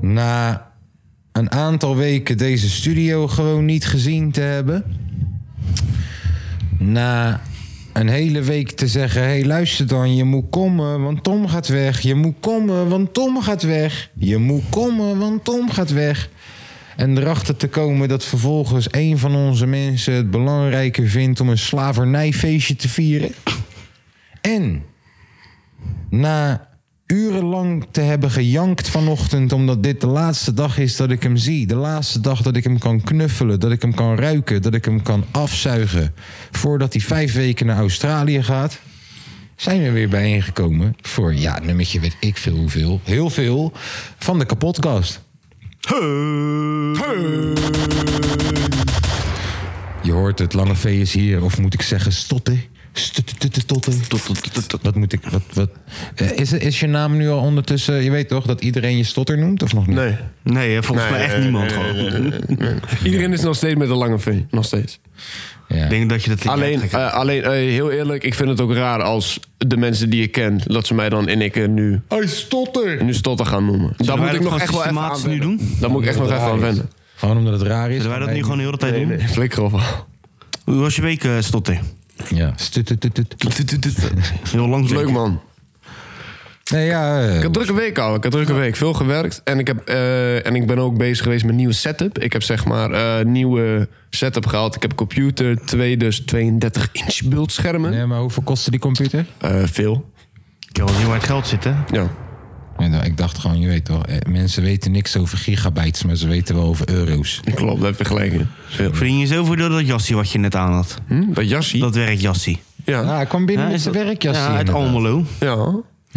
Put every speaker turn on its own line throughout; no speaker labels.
Na een aantal weken deze studio gewoon niet gezien te hebben. Na een hele week te zeggen: hé, hey, luister dan, je moet komen, want Tom gaat weg. Je moet komen, want Tom gaat weg. Je moet komen, want Tom gaat weg. En erachter te komen dat vervolgens een van onze mensen het belangrijker vindt om een slavernijfeestje te vieren. En na urenlang te hebben gejankt vanochtend, omdat dit de laatste dag is dat ik hem zie. De laatste dag dat ik hem kan knuffelen, dat ik hem kan ruiken, dat ik hem kan afzuigen. Voordat hij vijf weken naar Australië gaat. Zijn we weer bijeengekomen voor, ja, nummertje weet ik veel hoeveel, heel veel, van de kapotkast. Je hoort het, Lange V is hier. Of moet ik zeggen stotten? Stotten. Wat moet ik... Wat, wat? Eh, Is, is je naam nu al ondertussen... Je weet toch dat iedereen je stotter noemt? Of nog niet?
Nee.
Nee, hè, volgens mij echt niemand gewoon.
Iedereen is nog steeds met een lange V. Nog steeds.
Ja.
Ik denk dat je dat
Alleen, eh, alleen eh, heel eerlijk, ik vind het ook raar als de mensen die ik ken, dat ze mij dan en ik eh, nu,
Hij stotter!
nu stotter gaan noemen. Daar moet
wij dat
ik nog
gewoon
echt wel even aan
systematisch nu
wennen.
doen?
Daar moet ik echt nog even aan wennen.
Gewoon omdat het raar is.
Zullen wij dat nu gewoon de hele tijd doen?
Nee, flikker of wel.
Hoe was je week, eh, Stotter?
Ja. Stuttututut.
Heel lang
Leuk
zeker.
man.
Nee, ja... eh,
Ik heb een drukke week al. Ik heb een drukke week. Veel gewerkt. En ik, heb, eh, en ik ben ook bezig geweest met nieuwe setup. Ik heb zeg maar eh, nieuwe setup gehaald. Ik heb een computer, twee dus 32 inch beeldschermen.
nee, maar hoeveel kostte die computer?
Eh, veel.
Ik wil wel zien waar het geld zit, hè?
Ja.
Nee, nou, ik dacht gewoon, je weet toch... eh, Mensen weten niks over gigabytes, maar ze weten wel over euro's.
Klopt, daar heb je gelijk in. Veel.
Verdien je zoveel door dat jassie wat je net aan had?
Hm? Dat jassie?
Dat werkjassie.
Ja.
Ah, ik kwam binnen
Ja,
met
is
zijn
dat-
werkjas
Ja,
hier
uit
inderdaad.
Almelo.
Ja.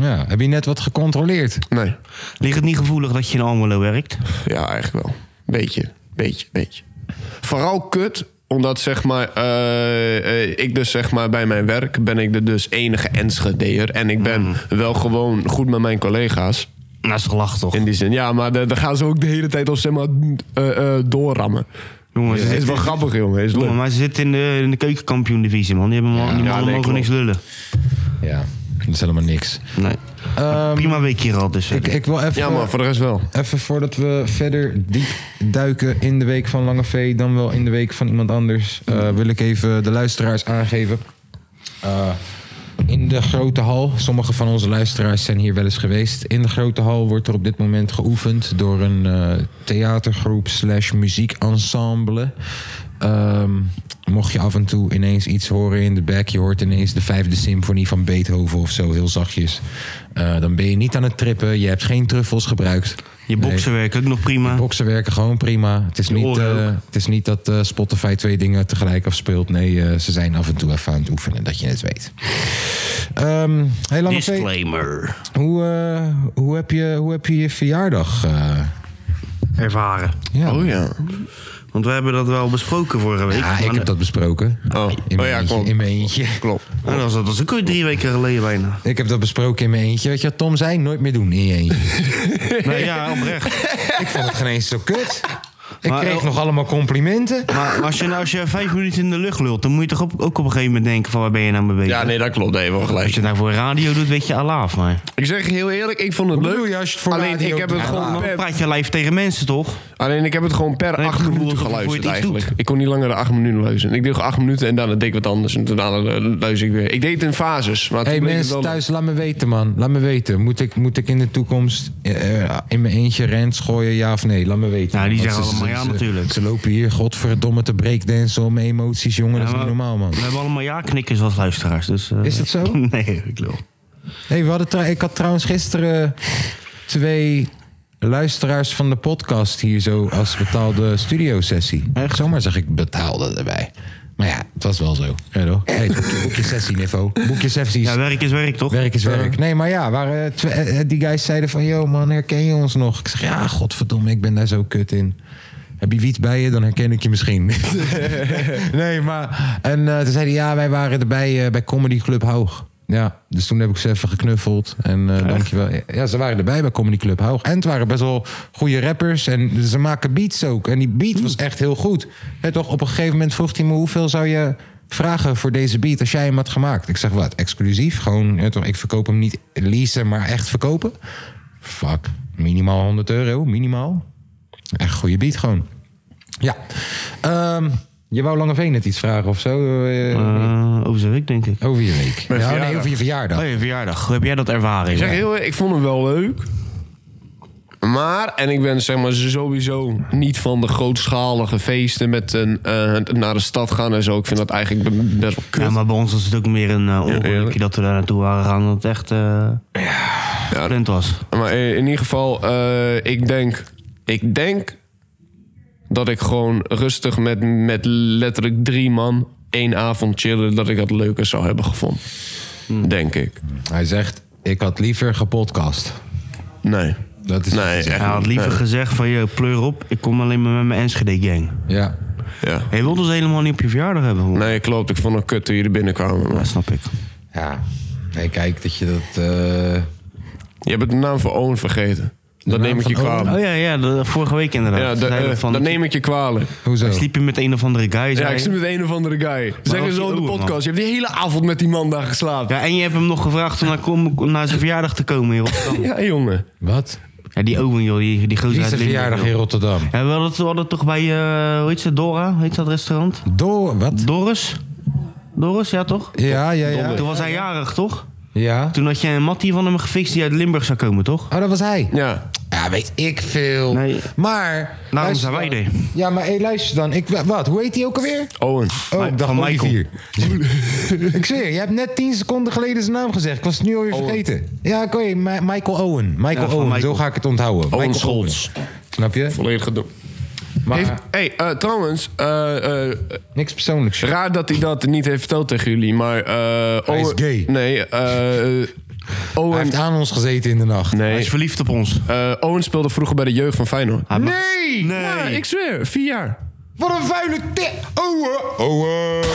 Ja, heb je net wat gecontroleerd?
Nee.
Ligt het niet gevoelig dat je in Almelo werkt?
Ja, eigenlijk wel. Beetje, beetje, beetje. Vooral kut, omdat zeg maar, eh, eh, ik dus zeg maar bij mijn werk ben ik de dus enige Enschedeer. En ik ben wel gewoon goed met mijn collega's.
Nou, is toch lach toch?
In die zin, ja, maar da- daar gaan ze ook de hele tijd op zeg maar eh, eh, doorrammen.
Jongens,
Het is wel grappig, jongen. Is leuk.
maar ze zitten in de, in de keukenkampioen-divisie, man. Die hebben ja, die
Ja,
mannen
nee,
mogen
klopt.
niks lullen.
Ja, dat is helemaal niks.
Nee. Prima week hier al, dus.
Ik, ik wil even...
Ja, maar voor de rest wel.
Even voordat we verder diep duiken in de week van Lange V, dan wel in de week van iemand anders, eh, wil ik even de luisteraars aangeven. Eh, in de grote hal, sommige van onze luisteraars zijn hier wel eens geweest. In de grote hal wordt er op dit moment geoefend door een eh, theatergroep slash muziekensemble. Ehm, mocht je af en toe ineens iets horen in de back, je hoort ineens de vijfde symfonie van Beethoven of zo, heel zachtjes. eh, dan ben je niet aan het trippen, je hebt geen truffels gebruikt.
Je boksen werken ook nog prima.
Boksen werken gewoon prima. Het is niet,
oren
eh, het is niet dat eh, Spotify twee dingen tegelijk afspeelt. Nee, eh, ze zijn af en toe even aan het oefenen, dat je het weet. Ehm hey Lange V,
Disclaimer.
hoe, eh, hoe, heb je, hoe heb je je verjaardag? eh,
Ervaren.
ja.
Oh ja.
Want we hebben dat wel besproken vorige week.
Ja, ik
Maar-
heb dat besproken.
Oh,
In
oh
mijn
ja,
eentje,
klopt.
in mijn eentje.
Klopt.
Nou, dat, was, dat was ook weer drie weken geleden bijna.
Ik heb dat besproken in mijn eentje. Weet je wat Tom zei? Nooit meer doen in je eentje.
Nee, ja, oprecht.
ik vond het geen eens zo kut. Ik
Maar-
oh.
kreeg nog allemaal complimenten.
Maar als je, nou, als je vijf minuten in de lucht lult, dan moet je toch op, ook op een gegeven moment denken van waar ben je nou mee bezig?
Ja, nee, dat klopt. Nee, wel
Als
gelijk.
je het nou voor radio doet, weet je alaaf, maar...
Ik zeg je heel eerlijk, ik vond het
bedoel
leuk.
je als je het voor
Alleen
radio
ik heb het
doet?
gewoon
Ja,
Dan
per
praat je live tegen mensen, toch?
Alleen ik heb het gewoon per
Dan heb je
acht
het gevoel
minuten
alsof je voor
geluisterd
het iets doet.
eigenlijk. Ik kon niet langer dan acht minuten luisteren. Ik deed gewoon acht minuten en daarna deed ik wat anders. En daarna eh, luister ik weer. Ik deed het in fases. Maar toen
hey,
bleek het
mensen
wel-
thuis, laat me weten, man. Laat me weten. Moet ik, moet ik in de toekomst eh, eh, in mijn eentje rants gooien, ja of nee? Laat me weten.
Nou, die zeggen
Want ze-
allemaal ja,
ze- ze-
natuurlijk.
Ze lopen hier, godverdomme, te breakdancen om emoties, jongen. dat is
Ja,
niet
maar-
normaal, man.
We hebben allemaal ja-knikkers als luisteraars, dus... eh,
Is dat zo?
Nee, ik lul.
Hey, we hadden tra- ik had trouwens gisteren twee luisteraars van de podcast hier zo als betaalde studiosessie. Echt? Zomaar zeg ik betaalde erbij. Maar ja, het was wel zo. Ja, toch? Hey, boekje, boekje sessie, Niffo. Boekje sessies.
Ja, werk is werk, toch?
Werk is werk. Eh, Nee, maar ja, waar, eh, tw- eh, eh, die guys zeiden van... Yo man, herken je ons nog? Ik zeg, ja, godverdomme, ik ben daar zo kut in. Heb je wiet bij je, dan herken ik je misschien. nee, maar... En eh, toen zeiden ja, wij waren erbij eh, bij Comedy Club Hoog. Ja, dus toen heb ik ze even geknuffeld. En eh dankjewel. Ja, ze waren erbij bij Comedy Club Hoog. En het waren best wel goede rappers. En ze maken beats ook. En die beat was echt heel goed. Hè, toch, op een gegeven moment vroeg hij me... hoeveel zou je vragen voor deze beat als jij hem had gemaakt? Ik zeg, wat, exclusief? Gewoon, hè, toch, ik verkoop hem niet leasen, maar echt verkopen? Fuck, minimaal 100 euro, minimaal. Echt goede beat gewoon. Ja. Ehm, je wou Langeveen net iets vragen of zo? eh,
Eh, over zijn week, denk ik.
over je week.
Mijn
Ja, nee,
verjaardag.
over je verjaardag.
Oh, je verjaardag. Hoe heb jij dat ervaren?
Ik zeg
joh?
heel eerlijk, ik vond hem wel leuk. Maar, en ik ben zeg maar sowieso niet van de grootschalige feesten met een, eh, naar de stad gaan en zo. Ik vind dat eigenlijk be- best wel kut.
Ja, maar bij ons was het ook meer een eh, ongelukje
eerlijk.
dat we daar naartoe waren gegaan. Dat het echt eh gepland was.
Maar in, in ieder geval, eh, ik denk... Ik denk dat ik gewoon rustig met, met letterlijk drie man... één avond chillen, dat ik dat leuker zou hebben gevonden. Denk ik.
Hij zegt, ik had liever gepodcast.
Nee.
Dat is
Nee, echt
Hij had
niet.
liever
Nee.
gezegd van, je pleur op, ik kom alleen maar met mijn Enschede-gang.
Ja.
Ja.
Hij wilde ons helemaal niet op je verjaardag hebben. hoor.
Nee, klopt. Ik vond het kut toen jullie binnenkwamen.
Ja,
maar-
snap ik.
Ja. Nee, kijk, dat je dat... eh,
Je hebt de naam van Owen vergeten. Dat
naam
neem ik je
van Owen?
kwalijk.
Oh ja, ja de, vorige week inderdaad.
Ah. Ja, de-
Zeiden we
eh,
van,
dat neem ik je kwalijk.
hoezo?
Sliep je met een of andere guy?
Ja,
zei
ik
je?
zit met een of andere guy. Zeggen
was
ze
die
al in de
ouwe, man?
podcast. Je hebt die hele avond met die man daar geslapen.
Ja, en je hebt hem nog gevraagd om naar, kom- om naar zijn verjaardag te komen in Rotterdam.
Ja, jongen.
Wat?
Ja, die Owen, joh, die, die gozer
Wie is
uit
de
Limburg,
verjaardag
joh.
in Rotterdam?
Ja, we hadden het, we hadden het toch bij, eh, hoe heet ze, Dora? Hoe heet dat restaurant?
Door, wat?
Doris? Doris, ja toch?
Ja, ja, ja.
Toen was hij jarig, toch?
Ja.
Toen had je een mattie van hem gefixt die uit Limburg zou komen, toch?
Oh, dat was hij?
Ja.
Ja, weet ik veel.
Nee.
Maar...
Nou,
luister
zijn wij
dan.
er.
Ja, maar hey, luister dan. Ik, wat? Hoe heet hij ook alweer?
Owen.
Oh, ik dacht
van
Olivier. ik zweer, je hebt net 10 seconden geleden zijn naam gezegd. Ik was het nu alweer vergeten. Ja, oké, Ma- Michael Owen. Michael
Ja, van
Owen,
Michael.
zo ga ik het onthouden. Owen
Scholz.
Snap je?
Volledig gedoe.
Maar
Heeft- hey, eh, trouwens, eh, eh,
niks persoonlijks.
raar dat hij dat niet heeft verteld tegen jullie, maar... eh
Hij is
Owen-
gay.
Nee, eh
Hij
Owen,
heeft aan ons gezeten in de nacht.
Hij
nee
is verliefd op ons.
eh, Owen speelde vroeger bij de jeugd van Feyenoord.
Hij mag- Ah, Nee!
Ja, ik zweer, vier jaar.
Wat een vuile tip! Owen!
Owen,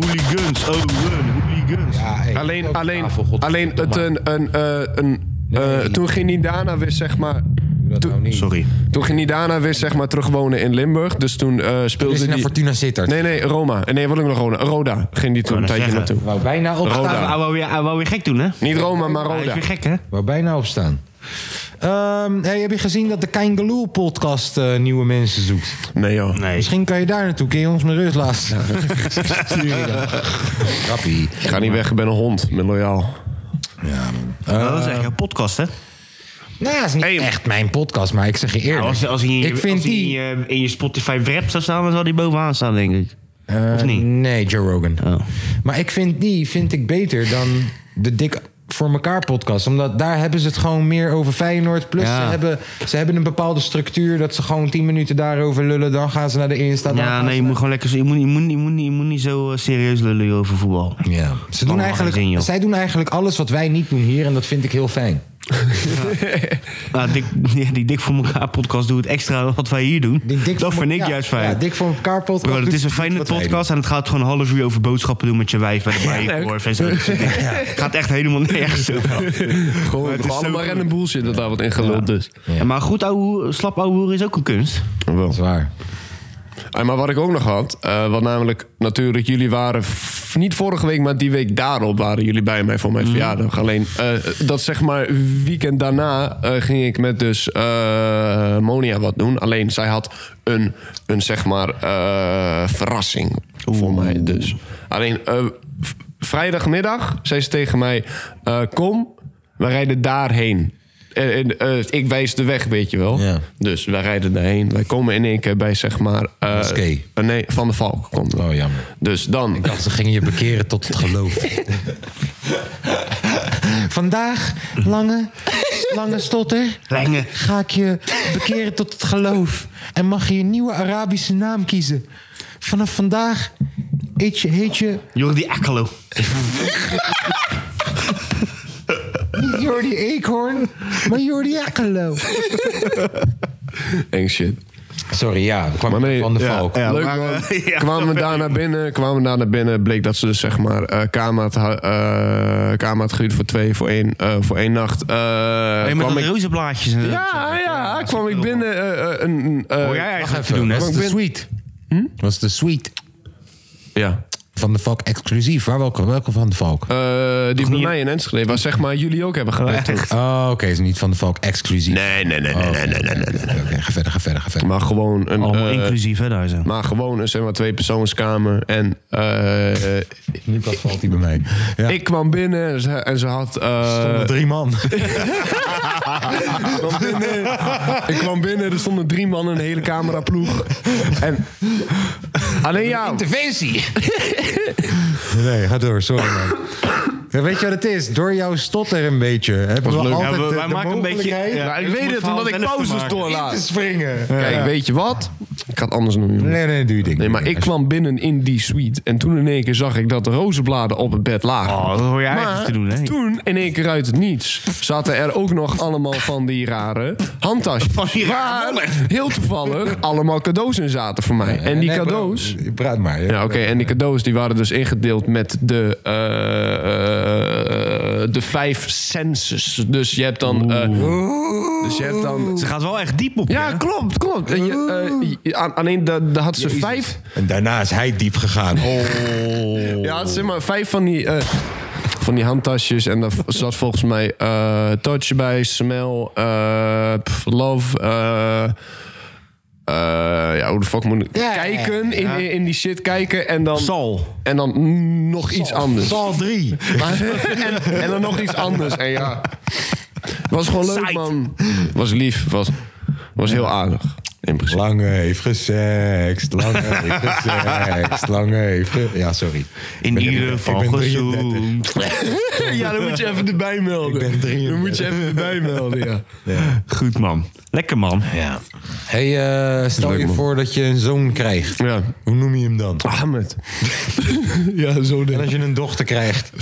hooligans, Owen, hooligans.
Ja, hey,
Alleen,
op
alleen,
tafel, God,
alleen het een... een, eh, een eh, toen ging hij daarna weer, zeg maar...
doe dat nou niet.
Sorry.
Toen ging hij daarna weer, zeg maar, terug wonen in Limburg. Dus toen eh,
Is
speelde
hij naar
hij...
Fortuna Sittard?
Nee, nee, Roma. Nee, wat ik nog Rona. Roda ging die toen een
dat
tijdje
zeggen.
naartoe.
Wou bijna opstaan.
Roda.
Hij wou, weer, hij wou weer gek doen, hè?
Niet Roma, maar
Hij is
Roda.
weer gek, hè?
Wou bijna opstaan. Ehm, hey, heb je gezien dat de Kein Geloel podcast eh, nieuwe mensen zoekt?
Nee, joh.
Nee.
Misschien kan je daar naartoe. Kun je ons met rust laten? Stuur je dat. Grappie.
Ik ga niet weg, ik ben een hond. Ik ben loyaal.
dat is echt een podcast, hè?
Nou, het is niet
Hey.
echt mijn podcast, maar ik zeg je eerlijk.
als, als hij in je,
ik vind
als hij in
die...
je, in je Spotify rap zou staan, dan zou die bovenaan staan, denk ik. of
Eh,
niet?
Nee, Joe Rogan.
Oh.
Maar ik vind die vind ik beter dan de Dik voor elkaar podcast. Omdat daar hebben ze het gewoon meer over Feyenoord. Plus
Ja.
ze, hebben, ze hebben een bepaalde structuur... dat ze gewoon tien minuten daarover lullen. Dan gaan ze naar de Insta. dan
Ja,
gaan
nee,
ze-
je moet gewoon lekker... zo- Je moet, je moet, je moet, niet- je moet niet zo eh, serieus lullen joh, over voetbal.
Ja. Ze doen
Allemaal
eigenlijk,
gezien, joh.
zij doen eigenlijk alles wat wij niet doen hier. En dat vind ik heel fijn.
Nou, dik, ja, die Dik voor elkaar podcast doet extra wat wij hier doen.
Die Dik
dat
voor-
vind ik
ja,
juist fijn.
Ja, Dik voor elkaar podcast.
Bro, het
doet
is een
niet
fijne
wat wij doen.
podcast en het gaat gewoon een half uur over boodschappen doen met je wijf bij de bijenkorf en zo. Dat soort dingen. Gaat echt helemaal nergens over.
Gewoon
het is zo
allemaal
goed.
random bullshit dat daar wat in geluld is.
Ja, maar goed ouwe, hoer- slap ouwe hoer is ook een kunst.
Wel.
Dat is waar.
Ah, maar wat ik ook nog had, eh, wat namelijk natuurlijk, jullie waren f- niet vorige week, maar die week daarop waren jullie bij mij voor mijn verjaardag. Alleen eh, dat zeg maar weekend daarna eh, ging ik met dus eh, Monia wat doen. Alleen zij had een, een zeg maar eh, verrassing voor mij dus. Alleen eh, v- vrijdagmiddag zei ze tegen mij, eh, kom, we rijden daarheen. En, en, eh, ik wijs de weg, weet je wel.
Ja.
Dus wij rijden daarheen. Wij komen in één keer bij, zeg maar... eh,
Moskee.
eh, nee, Van de Valk komt
Oh, jammer.
Dus dan...
Ik dacht, ze gingen je bekeren tot het geloof. Vandaag, lange, lange stotter,
Lange.
ga ik je bekeren tot het geloof. En mag je een nieuwe Arabische naam kiezen. Vanaf vandaag Heet je, heet je
Jordi Akkelo.
niet Jordi Eekhoorn, maar Jordi Akelo.
Eng shit.
Sorry, ja, kwam
Maar nee,
van de
ja,
valk.
ja, leuk
maar,
man.
eh, ja,
kwamen we
dat
daar naar binnen, kwamen we daar naar binnen, bleek dat ze dus zeg maar eh kamer had, hu- eh, kamer had gehuurd voor twee, voor één, eh, voor één nacht. Eh,
Oh,
Hey, met
kwam
dat
ik,
rozenblaadjes. en-
ja, ja, kwam ik binnen eh, eh, een, een, eh,
Oh,
Hoor jij eigenlijk te
Even,
doen, hè?
was
ik
de
ben-
suite. Was de suite
ja.
van de valk exclusief? Waar welke, welke van de valk?
Eh, die van
niet-
mij in Enschede, waar zeg maar jullie ook hebben gedaan. toch?
Oh, oké, is niet van de valk exclusief.
Nee, nee, nee, nee, nee, nee, nee, nee.
Oké, oké, ga verder, ga verder, ga verder.
Maar gewoon een,
Allemaal
eh,
inclusief, hè, daar zo.
maar gewoon een zeg maar twee persoonskamer en eh, eh,
Nu pas valt hij bij mij. Ja.
ik kwam binnen en ze, en ze had eh,
Stonden drie man.
Ik kwam binnen. Ik kwam binnen, er stonden drie man in een hele cameraploeg. En. Alleen ja.
Interventie! nee, ga door, sorry man. Ja, weet je wat het is? Door jouw stotter een beetje hebben we
leuk.
altijd
Ja, we-
de,
wij
de
maken een beetje-
mogelijkheid
ja.
Maar ik
Ik
weet
moet
het
verhaal
omdat ik
zelf
pauzes
maken.
doorlaat.
in te springen.
Kijk, weet je wat? Ik ga het anders doen, jongen.
Nee, nee, doe je ding.
Nee, maar ik kwam binnen in die suite. En toen in één keer zag ik dat de rozenbladen op het bed lagen.
Oh, dat hoor jij
Maar
eigenlijk te doen, hè?
toen, in één keer uit het niets, zaten er ook nog allemaal van die rare handtasjes.
Van die rare
waar
mannen.
heel toevallig allemaal cadeaus in zaten voor mij. En die
Nee,
cadeaus...
bro, praat maar. Ja.
Ja, oké. En die cadeaus die waren dus ingedeeld met de, eh, eh, de vijf senses. Dus je hebt dan. eh, dus je hebt dan.
Ze gaat wel echt diep op.
Ja,
hè?
klopt, klopt. En je, eh, je- aan, alleen daar daar had ze vijf.
En daarna is hij diep gegaan.
Oh. Ja, had ze maar vijf van die. eh, van die handtasjes. En daar v- zat volgens mij eh, Touch bij, Smell, eh, pff, Love. eh, eh, ja, hoe de fuck moet ik... kijken, In, in, in die shit kijken. En dan,
Sal.
en dan nog iets anders.
Sal 3.
Maar- en, en dan nog iets anders. En ja. Was gewoon leuk,
Site.
man. Was lief. Was, was heel aardig. In principe.
Lange heeft gesext, lange heeft gesext, lange heeft ge- Ja, sorry.
In ieder geval
ik ben
gezoend.
33.
Ja, dan moet je even erbij melden.
Ik ben 33. Dan moet je
even erbij melden, ja.
Goed, man. Lekker, man.
Ja. Hey, eh, stel
Leuk,
je
man.
voor dat je een zoon krijgt.
Ja.
Hoe noem je hem dan?
Ahmed. ja, zo
En
denk
als
ik.
je een dochter krijgt.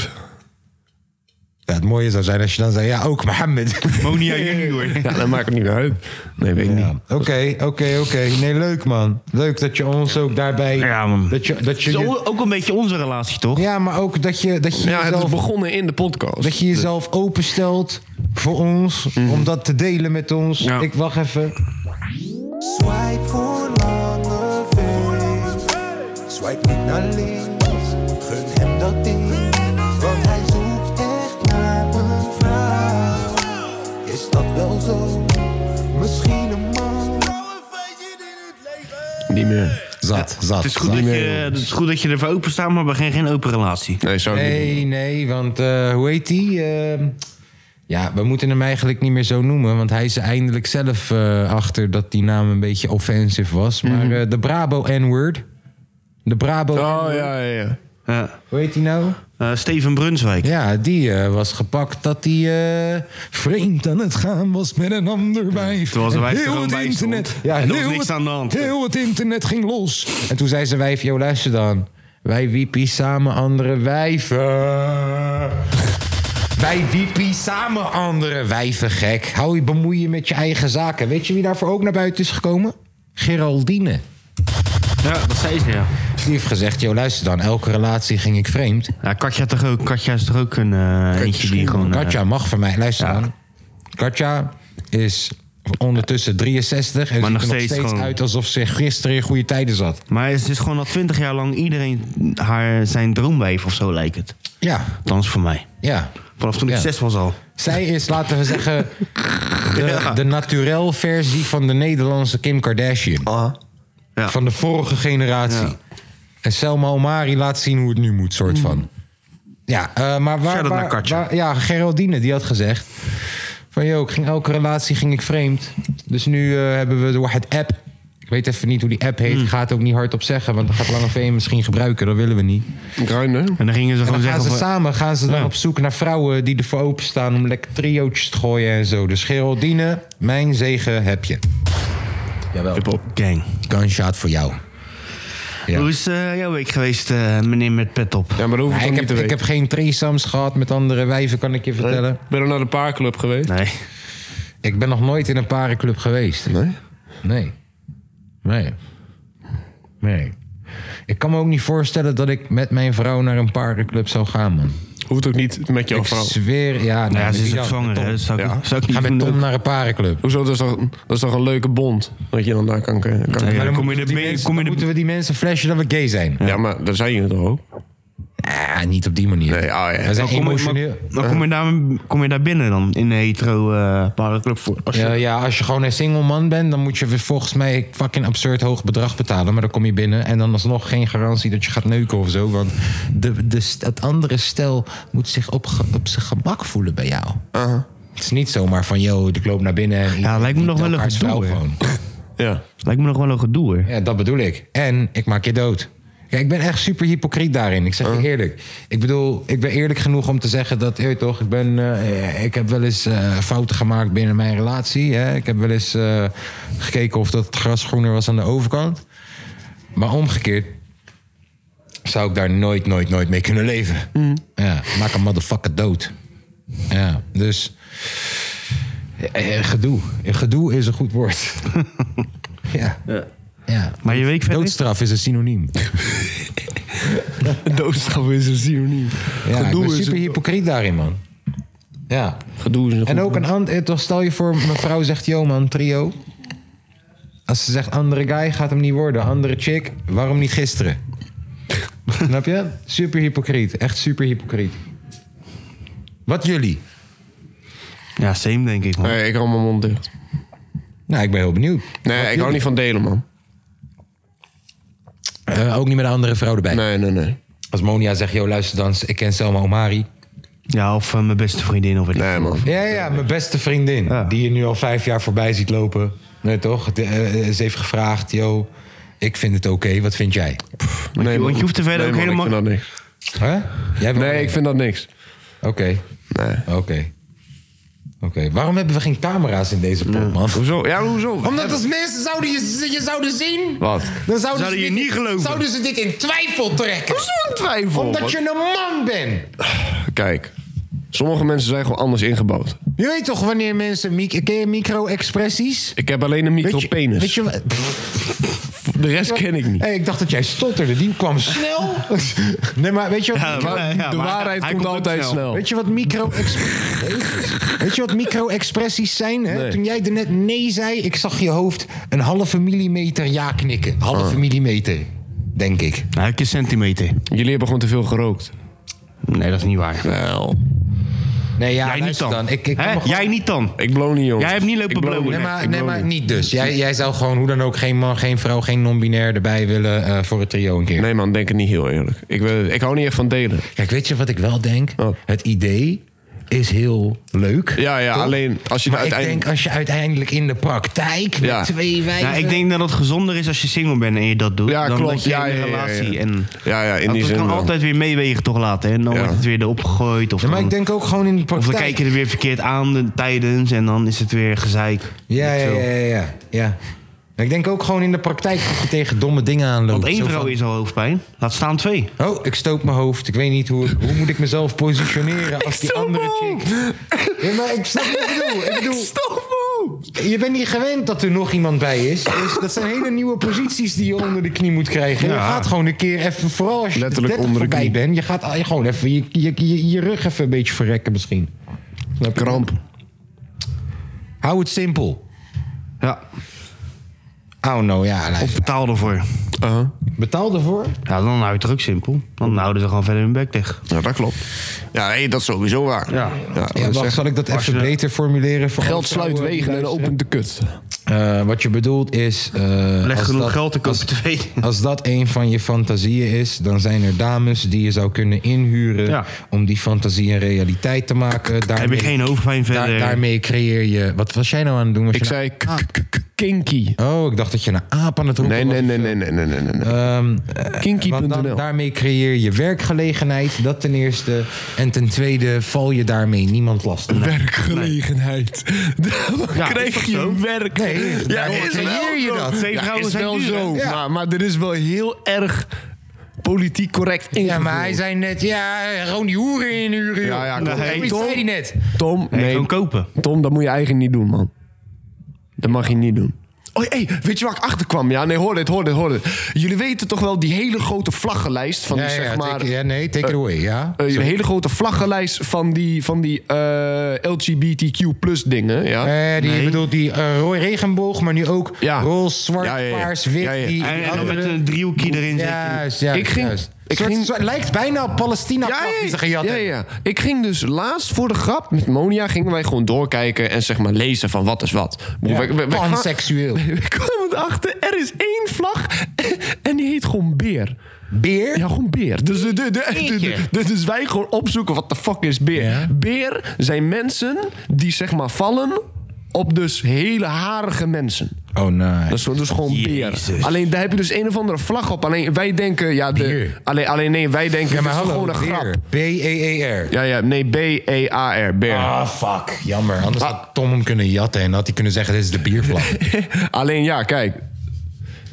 Ja, het mooie zou zijn als je dan zei, ja, ook Mohammed.
Monia Junior.
Ja, dat maakt het niet meer uit. Nee, weet ik niet.
Ja, Oké, oké, oké. Nee, leuk man. Leuk dat je ons ook daarbij...
Ja, man.
Dat je, dat je, je-
Zo, ook een beetje onze relatie, toch?
ja, maar ook dat je, dat je
Ja, het is
jezelf...
begonnen in de podcast.
Dat je jezelf openstelt voor ons, om dat te delen met ons.
Ja.
Ik wacht even.
Swipe voor lange feest. Swipe niet naar links. Gun hem dat ding. Want hij zoekt echt naar een vrouw. Is dat wel zo? Misschien een man.
Niet meer.
Zat, zat.
Het is, goed dat
Nee.
je, het is goed dat je ervoor open staat, maar we hebben geen open relatie.
Nee, zou ik niet.
Nee, nee, want eh, hoe heet die? Ehm, ja, we moeten hem eigenlijk niet meer zo noemen. Want hij is er eindelijk zelf eh, achter dat die naam een beetje offensive was. Maar eh, de Brabo N-word. De Brabo.
Oh, ja, ja, ja.
Ja.
Hoe heet die nou?
Eh, Steven Brunswijk.
Ja, die eh, was gepakt dat hij eh, vreemd aan het gaan was met een ander wijf.
Terwijl zijn
En
wijf er
heel
gewoon
het
bij
internet.
stond. En er was
heel
niks
het-
aan de hand.
Heel het internet ging los. En toen zei zijn wijf, joh luister dan. Wij wiepie samen andere wijven. Wij wiepie samen andere wijven, gek. Hou je bemoeien met je eigen zaken. Weet je wie daarvoor ook naar buiten is gekomen? Geraldine.
Ja, dat zei ze, ja.
Die heeft gezegd, joh luister dan. Elke relatie ging ik vreemd.
Ja, Katja, toch ook, Katja is toch ook een eh, eentje die gewoon... eh,
Katja mag van mij. Luister
ja.
dan. Katja is ondertussen 63 en
Maar
ziet
nog
er nog
steeds
steeds
gewoon-
uit alsof ze gisteren in goede tijden zat.
eh, Maar het is gewoon al twintig jaar lang iedereen haar, zijn droomwijf of zo lijkt het.
Ja,
Althans voor mij.
ja.
Vanaf toen ik
Ja.
zes was al.
Zij is, laten we zeggen, de, de naturel versie van de Nederlandse Kim Kardashian.
Ja.
Van de vorige generatie.
Ja. Mm.
En Selma Omari laat zien hoe het nu moet, soort van. Ja, eh, maar waar,
Shout-out
waar-
naar Katja.
waar- Ja, Geraldine, die had gezegd... van, joh, ik ging elke relatie ging ik vreemd. Dus nu eh, hebben we door het app... ik weet even niet hoe die app
Mm.
heet. Ik ga het ook niet hardop zeggen, want dan gaat Lange V hem misschien gebruiken. Dat willen we niet.
Bruin, hè?
En dan gingen ze
En
gewoon
dan gaan
zeggen...
ze
van-
samen gaan ze dan
Ja.
op zoek naar vrouwen die ervoor openstaan om lekker triootjes te gooien en zo. Dus Geraldine, mijn zegen heb je. Jawel.
Hip-hop gang.
Gunshot voor jou. Ja.
Hoe is eh, jouw week geweest, eh, meneer met pet op?
Ja, maar dat hoef ik
ik,
toch niet
heb,
te
ik
weten.
heb geen threesomes gehad met andere wijven, kan ik je vertellen.
Ben je naar de paarclub geweest?
Nee.
Ik ben nog nooit in een parenclub geweest.
Nee?
Nee. Nee. Nee. Ik kan me ook niet voorstellen dat ik met mijn vrouw naar een parenclub zou gaan, man.
Hoeft ook niet met jouw
Ik
vrouw.
zweer, ja.
Nou ja, ze is ook
zwanger.
zwanger, hè? Dat zou ik,
Ja.
zou ik niet
Ga met
doen.
Tom naar een parenclub.
Hoezo? Dat is, toch, dat is toch een leuke bond? Dat je dan daar kan... kan
Nee,
ja.
ja.
Maar
kom je
moeten
de
die
me-
mensen-
kom je de-
moeten we die mensen flashen dat we gay zijn?
maar daar zijn jullie toch ook?
Ah, niet op die manier.
Nee, ah, ja.
We zijn
Maar kom-
emotioneel.
Maar kom je, daar, kom je daar binnen dan? In de hetero eh parenclub voor? Als je-
Ja, ja, als je gewoon een single man bent, dan moet je weer volgens mij een fucking absurd hoog bedrag betalen. Maar dan kom je binnen en dan alsnog geen garantie dat je gaat neuken of zo. Want de, de, st- het andere stel moet zich op, ge- op zijn gemak voelen bij jou. Het is niet zomaar van, yo, ik loop naar binnen. en
Ja, lijkt me nog wel een
elkaars
gedoe,
vrouw
hè.
gewoon.
Ja.
Lijkt me nog wel een gedoe hoor.
Ja, dat bedoel ik. En ik maak je dood. Kijk, ik ben echt super hypocriet daarin. Ik zeg je eerlijk. Ik bedoel, ik ben eerlijk genoeg om te zeggen dat, je weet toch, ik ben, eh, ik heb wel eens eh, fouten gemaakt binnen mijn relatie. Hè? Ik heb wel eens eh, gekeken of dat het gras groener was aan de overkant. Maar omgekeerd zou ik daar nooit, nooit, nooit mee kunnen leven. Ja, maak een motherfucker dood. Ja, dus eh, eh, gedoe. Gedoe is een goed woord. ja. ja.
Maar je week verder?
Doodstraf is een synoniem.
Doodstraf is een synoniem.
Ja, ik ben
is
super
een-
hypocriet daarin, man. Ja.
Gedoe is een
En
goed-
ook een ander... Stel je voor, mijn vrouw zegt... Yo man, trio. Als ze zegt andere guy, gaat hem niet worden. Andere chick, waarom niet gisteren? Snap je? Super hypocriet. Echt super hypocriet. Wat jullie?
Ja, same denk ik man.
Nee, ik hou mijn mond dicht.
Nou, ik ben heel benieuwd.
Nee, ik hou niet van delen, man.
Eh, ook niet met een andere vrouw erbij.
Nee, nee, nee.
Als Monia zegt, yo luister dan, ik ken Selma Omari.
Ja, of eh, mijn beste vriendin of weet ik.
Nee, man.
Ja, ja, mijn beste vriendin.
Ja.
Die je nu al vijf jaar voorbij ziet lopen. Nee, toch? De- eh, eh, ze heeft gevraagd, yo, ik vind het oké, wat vind jij?
Nee,
want je hoeft er verder
nee,
ook helemaal-
man, Ik vind dat niks.
Huh? Jij bent-
Nee, ik vind dat niks.
Oké,
Nee.
oké. Oké, waarom hebben we geen camera's in deze pot, man?
Hoezo? Ja, hoezo?
Omdat als mensen zouden je, je zouden zien...
Wat?
Dan zouden,
Zouden
ze
je
dit-
niet geloven.
Zouden ze dit in twijfel trekken.
Zo'n twijfel.
Omdat
Wat-
je een man bent.
Kijk, sommige mensen zijn gewoon anders ingebouwd.
Je weet toch wanneer mensen... mic- Ken je micro-expressies?
Ik heb alleen een
Weet je- Weet
micropenis.
je wat?
De rest ken ik niet.
Hey, ik dacht dat jij stotterde. Die kwam snel. nee, maar weet je wat...
Ja, maar- ja,
de
maar
waarheid
hij
komt
ook
altijd snel.
Weet je wat micro Weet je wat micro-expressies zijn? Hè?
Nee.
Toen jij er net nee zei, ik zag je hoofd een halve millimeter ja knikken. Halve
Ah.
millimeter, denk ik.
Nou, een keer centimeter.
Jullie hebben gewoon te veel gerookt.
Nee, dat is niet waar.
Wel.
Nee, ja,
Jij niet
luister
dan.
Ik, ik kan
Hè?
me gewoon-
Jij niet dan.
Ik blow niet, jongens.
Jij hebt niet lopen
Ik blow
blowen.
niet.
Nee, maar,
Ik
nee,
blow
maar
niet.
niet dus. Jij, jij zou gewoon hoe dan ook geen man, geen vrouw, geen non-binair erbij willen eh, voor het trio een keer.
Nee, man, denk het niet heel eerlijk. Ik, wil- ik hou niet echt van delen.
Kijk, weet je wat ik wel denk?
Oh.
Het idee is heel leuk.
Ja, ja,
toch?
alleen als je
Maar
uiteindelijk-
ik denk als je uiteindelijk in de praktijk met
Ja.
twee wijven...
Nou, ik denk dat het gezonder is als je single bent en je dat doet.
Ja,
dan
klopt.
dat je
Ja,
in een
ja, ja, ja.
relatie en...
Ja, ja, in
Want
die
dat
zin
kan
wel.
altijd weer meewegen toch later. hè? En dan
Ja.
wordt het weer erop gegooid. Of,
Ja, maar
dan,
ik denk ook gewoon in de
of
praktijk.
we kijken er weer verkeerd aan de- tijdens en dan is het weer gezeik.
Ja,
Weet
ja,
ik
ja,
veel.
ja, ja, ja. Ik denk ook gewoon in de praktijk dat je tegen domme dingen aanloopt.
Want één
Zo
vrouw
van,
is al hoofdpijn. Laat staan twee.
Oh, ik stoot mijn hoofd. Ik weet niet hoe, hoe moet ik mezelf positioneren als die
stoot
andere
mijn
chick. Ja, maar ik snap wat ik bedoel. Ik bedoel, je bent niet gewend dat er nog iemand bij is. Dus dat zijn hele nieuwe posities die je onder de knie moet krijgen. Je gaat gewoon een keer even, vooral als je
Letterlijk
Letterlijk
onder de
voorbij
knie.
bent, je gaat al- je gewoon even je, je, je, je rug even een beetje verrekken misschien. Snap je?
Kramp.
Hou het simpel.
Ja.
Oh no, ja.
Of betaal ervoor.
Uh-huh.
Betaal ervoor.
Ja, dan hou je het ook simpel. Dan houden ze gewoon verder hun bek dicht.
Ja, dat klopt. Ja, hé, dat is sowieso waar.
Ja.
dat
Ja, wacht,
zegt-
zal ik dat even
je-
beter formuleren? Voor alle
Geld sluit
vrouwen die
wegen en
luisteren?
opent de kut.
Eh, wat je bedoelt is... eh,
Leg
als
genoeg
dat-
geld, dan koop je
als,
twee.
als dat een van je fantasieën is, dan zijn er dames die je zou kunnen inhuren...
Ja.
om die fantasie een realiteit te maken. Daarmee,
Heb je geen hoofdpijn
daar-
verder?
daarmee creëer je... Wat was jij nou aan het doen? Was
Ik
je nou-
zei... k- k- k- Kinky.
Oh, ik dacht dat je een aap aan het roepen
Nee,
was.
nee, nee, nee, nee, nee, nee. nee, nee.
Ehm, eh, want dan-
Kinky.nl.
daarmee creëer je werkgelegenheid, dat ten eerste. En ten tweede val je daarmee niemand lastig.
Werkgelegenheid. Dan
Ja, is
kreeg
dat
je
zo?
werk.
Nee,
ja,
daarom
is
creëer
wel
je
zo.
dat.
Twee
Ja,
vrouwen
is
zijn
wel
duur, hè?
zo.
Ja.
Maar, maar er is wel heel erg politiek correct ingevoerd.
Ja, maar hij zei net, ja, gewoon die hoeren inhuren. joh.
Ja, ja, klopt.
Hoe
Nee,
zei hij net?
Tom, nee.
Gewoon kopen.
Tom, dat moet je eigenlijk niet doen, man. Dat mag je niet doen. Oh, hey, weet je waar ik achter kwam? Ja, nee, hoor dit, hoor dit, hoor dit. Jullie weten toch wel die hele grote vlaggenlijst van
Ja,
die,
ja,
zeg
ja,
maar...
take- ja, nee, take it away, ja.
eh, die hele grote vlaggenlijst van die, van die eh, LGBTQ plus dingen, ja.
Eh, die
Nee.
bedoelt die eh rooi regenboog, maar nu ook
Ja.
roze, zwart,
Ja, ja, ja.
paars, wit.
Ja, ja, ja.
Die,
En,
die
en dan
andere-
met een driehoekje erin zitten.
Juist, juist,
Ik ging-
juist.
ik
Soort-
ging-
soort- lijkt bijna op Palestina
Ja,
die ze
ja,
gejat
ja,
hebben.
ja. Ik ging dus laatst voor de grap met Monia gingen wij gewoon doorkijken en zeg maar lezen van wat is wat.
Ja.
We- we- we- we-
Panseksueel.
We kwamen erachter, er is één vlag en die heet gewoon beer.
Beer?
Ja, gewoon beer. Dus, de- de- de- de- de- de- dus wij gewoon opzoeken wat de fuck is beer.
Ja.
Beer zijn mensen die zeg maar vallen op dus hele harige mensen.
Oh, nee.
Dat is, dat is gewoon beer. Alleen daar heb je dus een of andere vlag op. Alleen wij denken, ja, de,
Bier.
alleen, alleen nee, wij denken,
Ja, maar
het is
hallo, E
gewoon een grap.
beer. B-E-E-R.
Ja, ja, nee, E B-E-A-R, beer.
Ah, fuck. Jammer. Anders
Ah.
had Tom hem kunnen jatten en had hij kunnen zeggen: dit is de biervlag.
Alleen ja, kijk.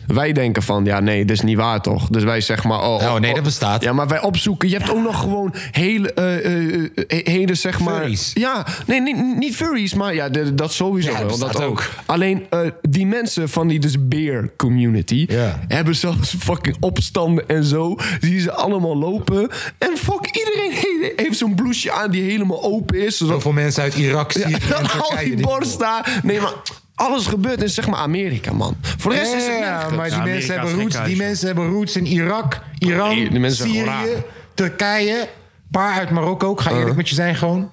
Wij denken van, ja, nee, dit is niet waar toch? Dus wij zeggen maar, oh,
Oh, nee, dat bestaat.
Ja, maar wij opzoeken. Je hebt ook nog gewoon hele, eh, eh, eh, hele zeg maar.
Furries.
Ja, nee, niet, niet furries, maar ja, de- dat sowieso
Ja, dat
wel. Dat
bestaat
ook.
ook.
Alleen eh, die mensen van die dus beer community
Ja.
hebben zelfs fucking opstanden en zo. Zie ze allemaal lopen en fuck iedereen he- heeft zo'n blouseje aan die helemaal open is, zodat
Zoveel mensen uit Irak, Syrië
ja,
en
dan al
Turkije.
die
die-
borst daar. Nee, maar alles gebeurt in zeg maar Amerika, man. Voor de rest is het
Ja,
nergens.
maar die,
Ja,
mensen
Amerika is
hebben
gek
roots, die
huis,
mensen hebben roots in Irak, Iran,
Nee, die mensen zijn gewoon
Syrië,
raar.
Turkije. Een paar uit Marokko ook. Ga eerlijk
Eh.
met je zijn gewoon.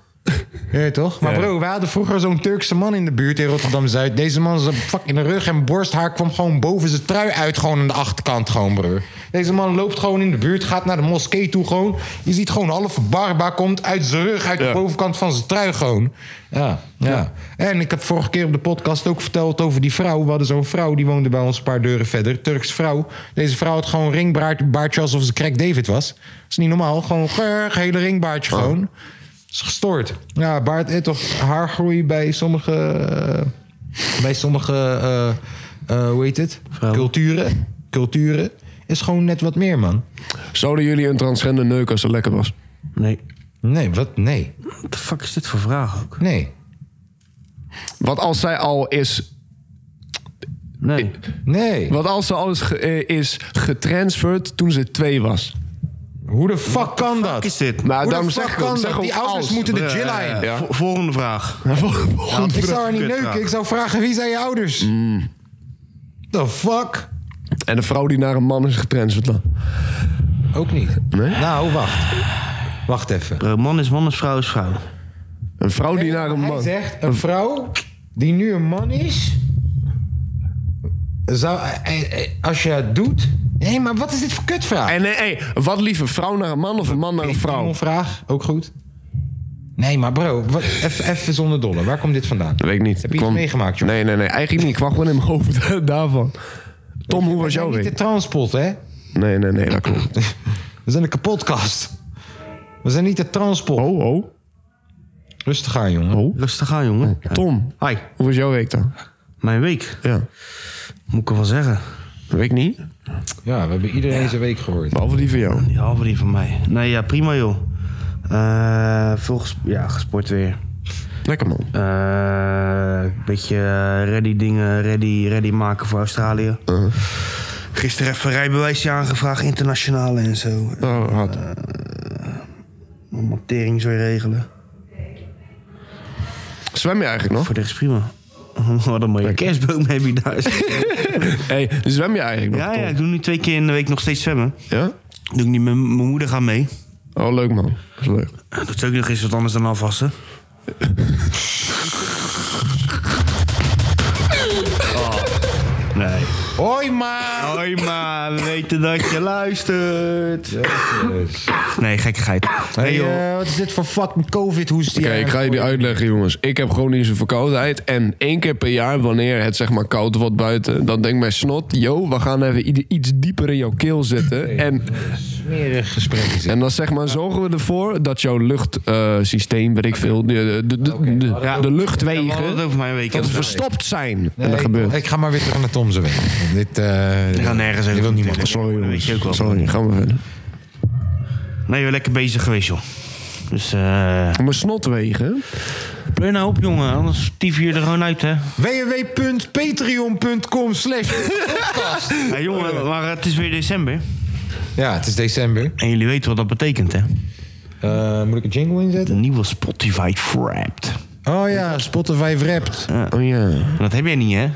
Ja, toch? Maar bro, we hadden vroeger zo'n Turkse man in de buurt in Rotterdam-Zuid. Deze man, zijn fucking rug en borsthaar kwam gewoon boven zijn trui uit. Gewoon aan de achterkant gewoon, bro. Deze man loopt gewoon in de buurt, gaat naar de moskee toe gewoon. Je ziet gewoon halve barba komt uit zijn rug, uit de
Ja.
bovenkant van zijn trui gewoon. Ja, ja. En ik heb vorige keer op de podcast ook verteld over die vrouw. We hadden zo'n vrouw, die woonde bij ons een paar deuren verder. Turks vrouw. Deze vrouw had gewoon een ringbaardje alsof ze Crack David was. Dat is niet normaal. Gewoon een hele ringbaardje gewoon. Is gestoord. Ja, baard, eh, toch, haargroei bij sommige. eh, bij sommige. eh, eh, hoe heet het? Culturen. Culturen. Is gewoon net wat meer, man.
Zouden jullie een transgender neuken als het lekker was?
Nee.
Nee, wat? Nee.
What the fuck is dit voor vraag ook?
Nee.
Want als zij al is,
Nee.
Nee.
wat als ze al is, ge- eh, is getransferd toen ze twee was?
Hoe de fuck kan
Wat is
dat?
dit?
Nou,
Hoe
daarom
de
zeg
fuck
ik ook,
kan
zeg
dat?
ook
Die ouders
als.
moeten de
Eh,
Jill in.
Ja.
vo- volgende vraag.
Ik zou haar niet neuken.
Kutvraag.
Ik zou vragen wie zijn je ouders? The fuck?
En een vrouw die naar een man is getransferd dan?
Ook niet. Nou, wacht. Wacht even.
Bro, Eh, man is man, is vrouw is vrouw.
Een vrouw die naar een
Hij
man...
zegt, een vrouw die nu een man is... Zou, eh, eh, als je het doet... Hé, maar wat is dit voor kutvraag?
En nee, hey, wat liever, vrouw naar een man of een man naar een vrouw?
vraag, ook goed. Nee, maar bro, wat- even even zonder dolle. Waar komt dit vandaan?
Dat weet ik niet.
Heb je iets
Kwam-
meegemaakt, joh?
Nee, nee, nee. Eigenlijk niet. Ik kwam gewoon in mijn hoofd daarvan. Tom, hoe was jouw
niet de
week?
transpot, hè?
Nee, nee, nee, dat klopt.
We zijn een kapotkast. We zijn niet de transpot.
Oh, oh.
Rustig aan, jongen.
Rustig aan, jongen.
Tom,
Hi,
hoe was jouw week dan?
mijn week.
Ja.
Moet ik er wel zeggen.
Weet ik niet.
Ja, we hebben iedereen zijn week gehoord.
Behalve die van jou.
Die halve die van mij. Nee, ja, prima joh. Eh veel ges- ja, gesport weer.
Lekker man.
Een beetje eh, ready dingen, ready, ready maken voor Australië. Gisteren even rijbewijsje aangevraagd, internationale en zo.
Oh, hard.
Montering zo regelen.
Zwem je eigenlijk nog?
Voor de rest prima. Wat een mooie kerstboom heb je daar.
Hé, hey, zwem je eigenlijk nog?
ja,
Tom?
ja, ik doe nu twee keer in de week nog steeds zwemmen.
ja.
Doe ik niet, met mijn moeder gaat mee.
Oh, leuk man. Dat is leuk.
Doet ze ook nog eens wat anders dan afwassen. Oh, Nee.
Hoi, ma!
Hoi, maar we weten dat je luistert. Nee, gekkigheid.
Hey,
Nee, joh.
eh, wat is dit voor fucking covid-hoest?
Oké,
hier
ik ga jullie uitleggen, jongens. Ik heb chronische verkoudheid. En één keer per jaar, wanneer het zeg maar koud wordt buiten, dan denkt mijn snot: yo, we gaan even ieder- iets dieper in jouw keel zitten. En,
Smerig gesprek is dit.
en dan zeg maar, zorgen we ervoor dat jouw luchtsysteem, weet ik veel, de, de, de, de, de, de
We hadden het
luchtwegen,
over mijn week.
dat ze verstopt zijn. En dat gebeurt.
Ik ga maar weer terug naar Tom's weg. Dit, eh
Ik ga nergens
dit
over
wil niemand.
vertellen.
Sorry,
Dat
jongens.
weet je ook wel.
Sorry, gaan we verder.
Nee, we lekker bezig geweest, joh. Dus, eh...
Mijn snotwegen.
Pleur nou op, jongen. Anders tief je er gewoon uit, hè.
www.patreon.com slash...
Ja, jongen, maar het is weer december.
Ja, het is december.
En jullie weten wat dat betekent, hè.
Eh, moet ik een jingle
De
inzetten?
nieuwe Spotify Wrapped.
Oh ja, Spotify Wrapped.
Oh ja.
Dat heb jij niet, hè?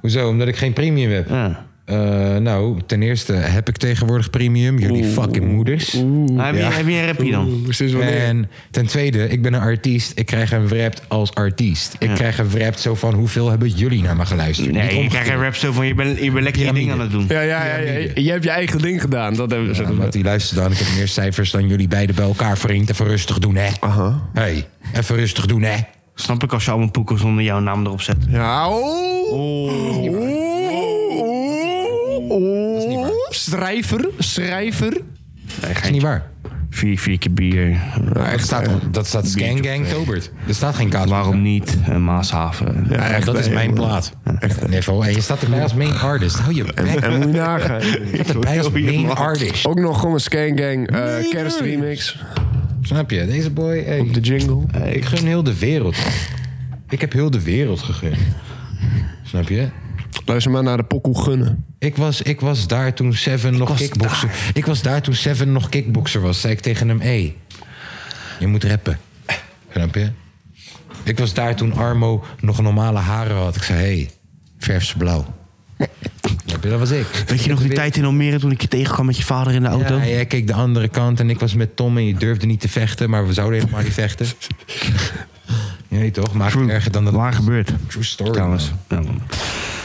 Hoezo? Omdat ik geen premium heb.
Ja.
Eh, nou, ten eerste heb ik tegenwoordig premium. Jullie fucking moeders.
Maar heb,
Ja.
je, heb je een rapje dan?
Precies wanneer.
En ten tweede, ik ben een artiest. Ik krijg een wrapped als artiest. Ik krijg een wrapped zo van hoeveel hebben jullie naar me geluisterd? Niet
Nee, ik
omgekeerd.
krijg een rap zo van je bent je bent lekker je ding
Pyramide.
aan het doen.
Ja, ja, ja, ja. Jij hebt je eigen ding gedaan. Dat hebben
Ja,
ze
omdat die luistert dan. Ik heb meer cijfers dan jullie beiden bij elkaar vriend. Even rustig doen, hè?
Aha.
Hey, even rustig doen, hè?
Snap ik als je allemaal poekers onder jouw naam erop zet.
Ja, oh. Oh. Oh. Schrijver, schrijver.
Dat is niet waar. Ah,
Vier, vier keer bier.
dat
eh,
staat, dat staat Scan Gang Tobert. Er staat geen kaas.
Waarom niet? Eh, Maashaven.
Ja, echt, eh,
dat is
nee,
mijn
jongen.
plaat. Echt. En je staat erbij als main artist. Hou je bek.
En moet je nagaan.
Erbij als main
man.
artist.
Ook nog gewoon een Skangang eh kerstremix.
Snap je? Deze boy. hey.
De jingle.
Eh, Ik gun heel de wereld. Ik heb heel de wereld gegund. Snap je?
Luister maar naar de pokoe gunnen.
Ik was, ik was daar toen Seven nog
was
kickboxer. Ik was daar toen Seven nog kickboxer was. Zei ik tegen hem: hé, hey, je moet rappen. Snap je? Ik was daar toen Armo nog normale haren had. Ik zei: hé, hey, verf ze blauw. Snap je? Dat was ik.
Weet je nog die tijd in Almere toen ik je tegenkwam met je vader in de auto?
Ja, jij keek de andere kant en ik was met Tom en je durfde niet te vechten, maar we zouden helemaal niet vechten. Je weet toch? Maakt het erger dan dat.
Waar gebeurd?
True story.
Trouwens.
man.
Ja, man.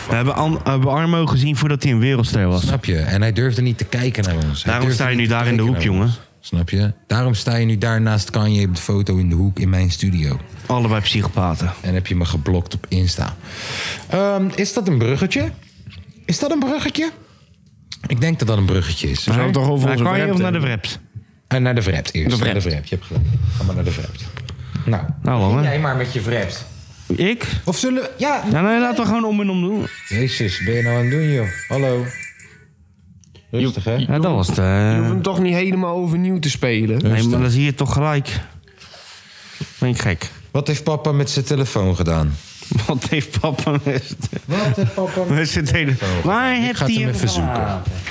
We hebben, An- eh, we hebben Armo gezien voordat hij een wereldster was.
Snap je? En hij durfde niet te kijken naar ons. Hij
Daarom
durfde
sta je
niet
nu
te
daar in de
kijken
hoek,
naar
jongen.
ons. Snap je? Daarom sta je nu daar naast Kanye op de foto in de hoek in mijn studio.
Allebei psychopaten.
En heb je me geblokt op Insta. Ehm, is dat een bruggetje? Is dat een bruggetje? Ik denk dat dat een bruggetje is.
Zou het toch over
Naar
onze
Kanye
rap
of naar de
hebben?
Wrapped?
En naar de vrept eerst.
De
Naar de
vrept.
vrept. Je hebt gelijk. Ga maar naar de vrept. Nou,
Nou,
begin
man, hè?
jij maar met je vrept.
Ik?
Of zullen we... Ja.
Ja, nee, laten we gewoon om en om doen.
Jezus, ben je nou aan het doen, joh? Hallo. Rustig, hè?
Ja, dat was het. eh.
Je hoeft hem toch niet helemaal overnieuw te spelen.
Nee, maar dan zie je het toch gelijk. Ben ik gek.
Wat heeft papa met zijn telefoon gedaan?
Wat heeft papa met
Wat heeft papa
met zijn telefoon? Waar
Ik
heeft
ga
hij
het hem
hem
even
gedaan?
zoeken.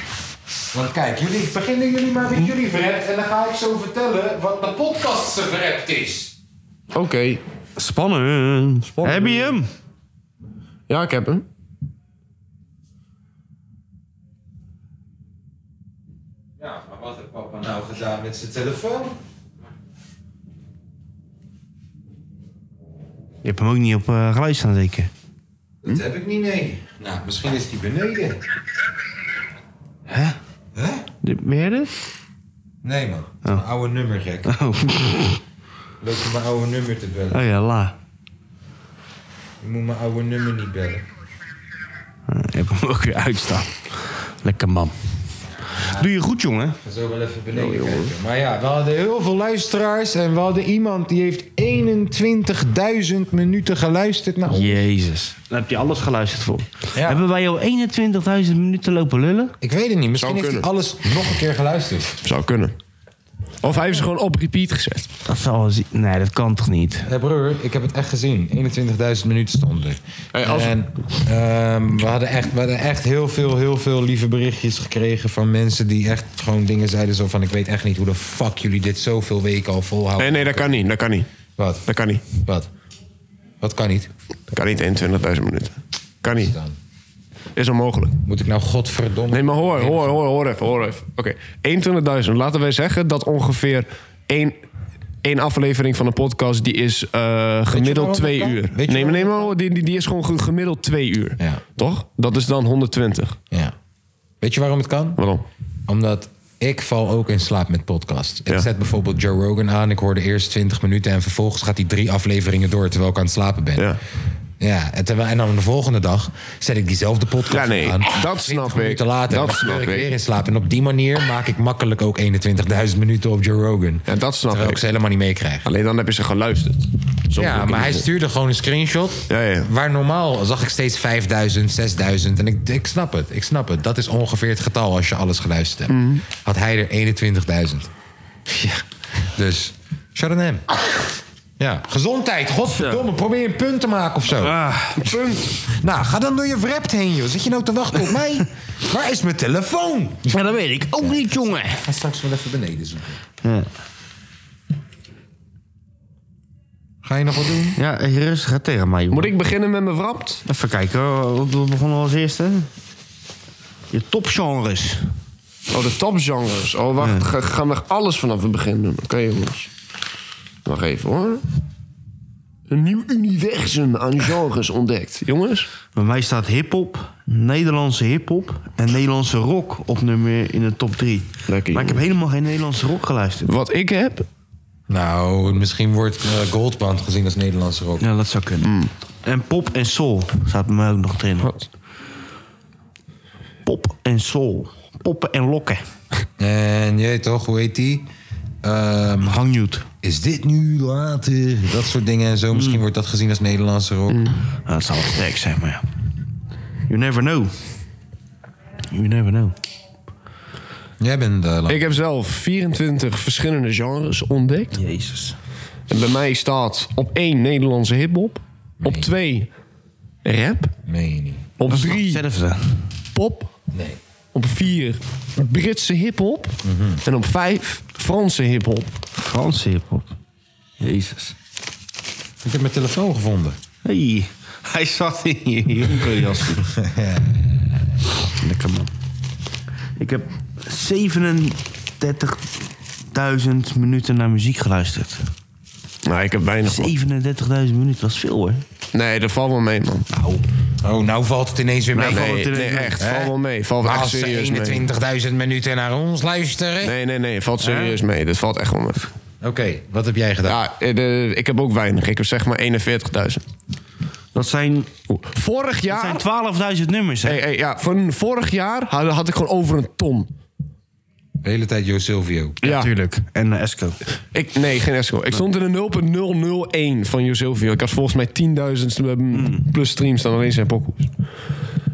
Want kijk, jullie, beginnen jullie maar met jullie vrept en dan ga ik zo vertellen wat de podcast zijn vrept is.
Oké.
Spannend.
Spannend.
Heb je hem?
Ja, ik heb hem.
Ja, maar wat heeft papa nou gedaan met zijn telefoon?
Je hebt hem ook niet op eh, geluid staan, zeker.
Hm?
Dat heb ik niet mee. Nou, misschien is die beneden. Hè? Hè?
De- dus? Ben jij dit?
Nee man, Het is mijn oude nummer gek.
Oh.
Loop je mijn oude nummer te bellen.
oh ja, la.
Je moet mijn oude nummer niet bellen.
Je hebt hem ook weer uitstaan. Lekker man. Doe je goed, jongen.
ga zo wel even
Oh,
beneden kijken. Maar ja, we hadden heel veel luisteraars. En we hadden iemand die heeft 21.000 minuten geluisterd Nou, naar ons.
Jezus. Dan heb je alles geluisterd voor.
Ja.
Hebben wij al 21.000 minuten lopen lullen?
Ik weet het niet. Misschien heeft
Zou
hij
kunnen.
alles nog een keer geluisterd.
Zou kunnen. Of hij heeft ze gewoon op repeat gezet.
Dat zal zi- Nee, dat kan toch niet?
Hé broer, ik heb het echt gezien. 21.000 minuten stonden er.
Hey, als-
En ehm, we, hadden echt, we hadden echt heel veel, heel veel lieve berichtjes gekregen... van mensen die echt gewoon dingen zeiden zo van... ik weet echt niet hoe de fuck jullie dit zoveel weken al volhouden.
Nee, nee, dat kan niet. Dat kan niet.
Wat?
Dat kan niet.
Wat? Wat kan niet?
Dat kan niet 21.000 minuten. Kan niet.
Dan
Is onmogelijk.
moet ik nou godverdomme...
Nee, maar hoor, hoor, hoor, hoor even, hoor even. Oké, 21.000. Laten wij zeggen dat ongeveer één één aflevering van een podcast die is eh, gemiddeld
waarom
twee
dat kan?
uur.
Weet je
Nee, maar, nee,
waarom
maar die, die, die is gewoon ge- gemiddeld twee uur.
Ja.
Toch? Dat is dan 120.
Ja. Weet je waarom het kan?
Waarom?
Omdat ik val ook in slaap met podcasts. Ik
Ja.
zet bijvoorbeeld Joe Rogan aan. Ik hoor de eerste 20 minuten en vervolgens gaat hij drie afleveringen door terwijl ik aan het slapen ben.
Ja.
Ja, en, terwijl, en dan de volgende dag zet ik diezelfde podcast
Ja, nee,
aan.
dat
20
snap ik.
minuten later
Dat
dan
snap
verkeer ik
ik.
weer in slaap. En op die manier maak ik makkelijk ook 21.000 minuten op Joe Rogan.
Ja, dat snap
terwijl ik
ik.
ze helemaal niet meekrijg.
Alleen dan heb je ze geluisterd. Sommige
Ja, maar hij
keer.
stuurde gewoon een screenshot.
Ja, ja.
Waar normaal zag ik steeds 5000, 6000. En ik, ik snap het, ik snap het. Dat is ongeveer het getal als je alles geluisterd hebt. Had hij er 21.000. Ja. Dus, shout out hem. Ja, gezondheid, godverdomme. Probeer een punt te maken of zo. Nou, ga dan door je vrept heen, joh. Zit je nou te wachten op mij? Waar is mijn telefoon?
Ja, dat weet ik ook niet, jongen.
Ik ga straks wel even beneden zoeken. Ga je nog wat doen?
Ja, rustig hè, tegen mij, jongen.
Moet ik beginnen met mijn wrapt?
Even kijken, hoor. wat wat begonnen we als eerste? Je topgenres.
Oh, de topgenres. Oh, wacht. Ga- gaan we alles vanaf het begin doen? Oké, jongens. Wacht even hoor. Een nieuw universum aan genres ontdekt. Jongens?
Bij mij staat hip-hop, Nederlandse hip-hop en Nederlandse rock op nummer in de top 3.
Lekker,
maar ik heb
jongen.
helemaal geen Nederlandse rock geluisterd.
Wat ik heb.
Nou, misschien wordt eh, Goldband gezien als Nederlandse rock.
Ja, dat zou kunnen. Oh. En pop en soul staat bij mij ook nog erin.
Wat?
Pop en soul. Poppen en lokken.
En je weet toch, hoe heet die? Ehm,
Hangnude.
is dit nu later? Dat soort dingen en zo. Misschien wordt dat gezien als Nederlandse rock.
Nou, dat zou wel sterk zijn, maar ja. You never know. You never know.
Jij bent eh, lang.
Ik heb zelf 24 verschillende genres ontdekt.
Jezus.
En bij mij staat op 1 Nederlandse hip-hop. Op 2 rap.
Meen je niet?
Op 3
Hetzelfde.
pop.
Nee.
Op 4 Britse hip-hop. En op 5 Franse hip-hop.
Franse hip-hop. Jezus.
Ik heb mijn telefoon gevonden.
Hey, hij zat in je jonkerjas. Lekker man. Ik heb 37.000 minuten naar muziek geluisterd. 37.000
Nou, ik heb weinig. man.
minuten, dat is veel hoor.
Nee, dat valt wel mee, man.
Oh, nou valt het ineens weer mee.
Nee,
Valt
nee,
het ineens mee.
echt.
Hè?
Val wel mee. Val wel echt
Als
serieus mee.
ze 21.000 minuten naar ons luisteren.
Nee, nee, nee. Valt serieus mee. Dat valt echt wel mee.
Oké, wat heb jij gedaan?
Ja, eh, de- ik heb ook weinig. Ik heb zeg maar 41.000.
Dat zijn,
Vorig
dat zijn
jaar...
12.000 nummers hè.
Hey, hey, ja, van vorig jaar had, had ik gewoon over een ton.
De hele tijd Jo Silvio.
Ja,
Tuurlijk. En eh, Esco.
Ik, nee, geen Esco. Ik stond in de 0.001 van Josilvio. Ik had volgens mij 10.000 plus streams dan alleen zijn pokoes.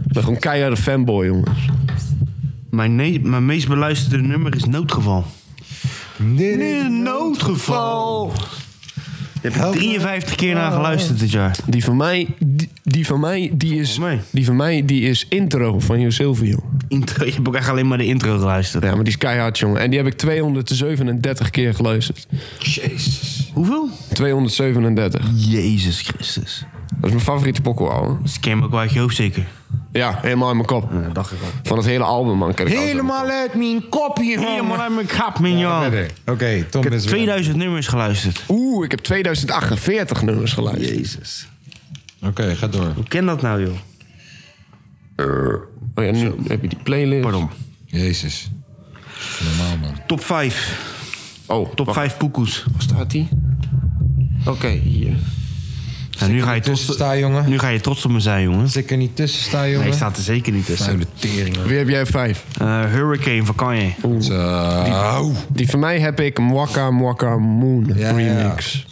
Ik ben gewoon keiharde fanboy, jongens.
Mijn, ne- mijn meest beluisterde nummer is Noodgeval.
Noodgeval.
Daar heb ik 53 keer naar geluisterd dit jaar.
Die van mij, die, die van mij, die is,
Volgens mij.
die van mij, die is intro van Josilvio.
Intro, je hebt ook echt alleen maar de intro geluisterd.
Ja, maar die is keihard, jongen. En die heb ik 237 keer geluisterd.
Eh, Hoeveel?
237. Dat
Jezus Christus.
is mijn favoriete pokoe, ouwe.
Dat ken je ook wel uit je hoofd zeker.
Ja, helemaal in mijn kop.
Dat dacht ik al.
Van het hele album, man. ken ik alles.
uit mijn kopje,
Helemaal uit mijn kap, mignon.
Oké, Tom
ik heb
is weer-
2000 nummers geluisterd.
Oeh, ik heb 2048 nummers geluisterd.
Jezus.
Oké, ga door.
Hoe ken dat nou, joh?
Oh ja, nu heb je die playlist.
Pardon.
Jezus. Normaal, man.
Top 5.
Oh,
Top
wacht,
5 poekoes.
Waar staat die? Oké, hier.
Nou, nu, ga je
Tussen
trots,
sta, jongen.
nu ga je trots op me zijn, jongen.
Als ik er niet tussen sta, jongen.
Nee, staat er zeker niet tussen.
Vuile tering.
Wie heb jij vijf?
Eh, Hurricane van Kanye.
Zo.
Die van mij heb ik Mwaka Mwaka Moon
ja, ja.
remix.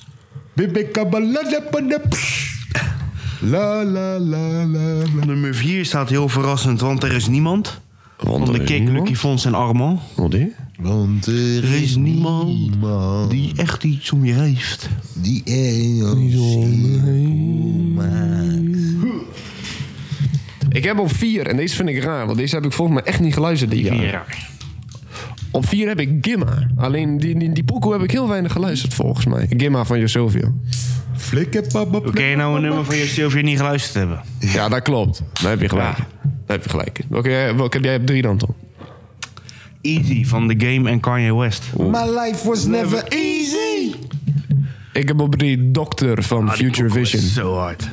La la la la.
Op nummer 4 staat heel verrassend, want er is niemand.
Want
Van de Kick, Lucky Fons en Armand.
Wat die?
Want
Er is niemand die echt iets om je heeft.
die
Ik heb op vier, en deze vind ik raar, want deze heb ik volgens mij echt niet geluisterd dit jaar. Op vier heb ik Gimma. Alleen die, die, die pokoe heb ik heel weinig geluisterd volgens mij. Gimma van Josilvio.
Flikker papa.
Hoe kan je nou een nummer van je Sylvia niet geluisterd hebben?
Ja, dat klopt. Daar heb je gelijk.
Ja.
Daar heb je gelijk. Welke, jij- welke heb jij op drie dan, Tom?
Easy van The Game en Kanye West. Ah,
e- My life was never easy.
Ik heb op die dokter van
Ah, die
Future
kokkel is
Vision.
Zo hard.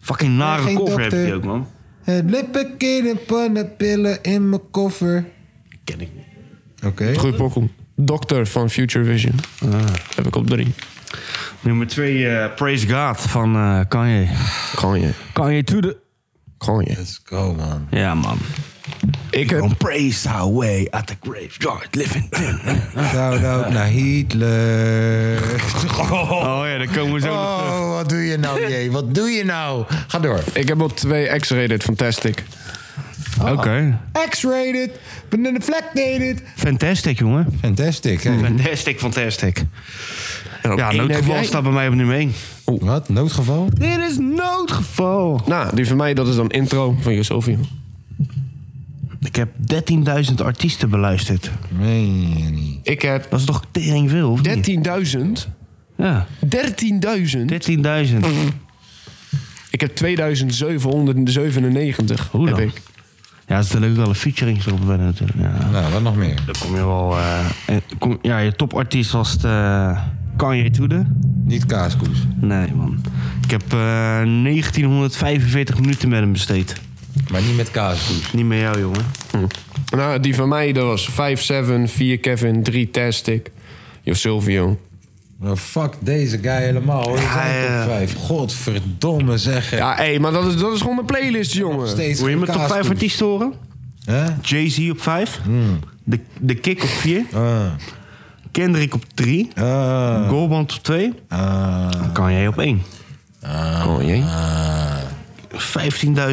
Fucking nare
geen
koffer heb
dokter.
je ook, man.
Het lippenkind van de pillen in mijn koffer.
Ken ik niet.
Oké.
Goed pokoe. Dokter van Future Vision.
Ah.
Heb ik op drie.
Nummer twee, eh, Praise God van eh Kanye.
Kan je.
Kanye to the...
Kan je.
Let's go, man.
Ja, man.
Ik heb
Praise our way at the graveyard living
Shout-out Nou, naar Hitler.
Oh ja, daar komen we zo nog terug.
Oh, wat doe je nou, jee? Wat doe je nou? Ga door.
Ik heb op twee X-rated, fantastic.
Oké.
X-rated, banana flag-dated.
Fantastic, jongen.
Fantastic, hè?
Fantastic, fantastic.
En op
Ja,
één heb
noodgeval
jij-
staat bij mij op nummer 1.
Wat? Noodgeval?
Dit is noodgeval.
Nou, die van mij, dat is dan intro van Josofie.
Ik heb 13.000 artiesten beluisterd.
Meen je niet.
Ik heb
Dat is toch tering veel, of niet?
13.000.
Ja,
13.000.
13.000.
Ik heb 2797.
Hoe dan?
Heb ik.
Ja, er zitten ook wel een featuring erop bij natuurlijk. Ja.
Nou, wat nog meer?
Dan kom je wel... eh, en kom- ja, je topartiest was het, eh, Kanye Toede.
Niet kaaskoes.
Nee, man. Ik heb eh, 1945 minuten met hem besteed.
Maar niet met kaaskoes.
Niet met jou, jongen.
Nou, die van mij, dat was 5-7, 4 Kevin, 3 Tastic. Josilvio.
Nou, fuck deze guy helemaal, hoor.
Ja,
Zijn
ja.
top vijf. Godverdomme, zeg. hè.
Ja, hé, maar dat is, dat is gewoon een playlist, jongen.
Steeds
Wil je
geen
mijn top 5
kaaskoes.
artiesten horen?
Hè? Hmm.
Jay-Z op 5. De, de Kick op 4.
Ah,
Kendrick op 3.
ah,
Goldband op 2.
ah.
Kan jij op 1.
Oh, jee.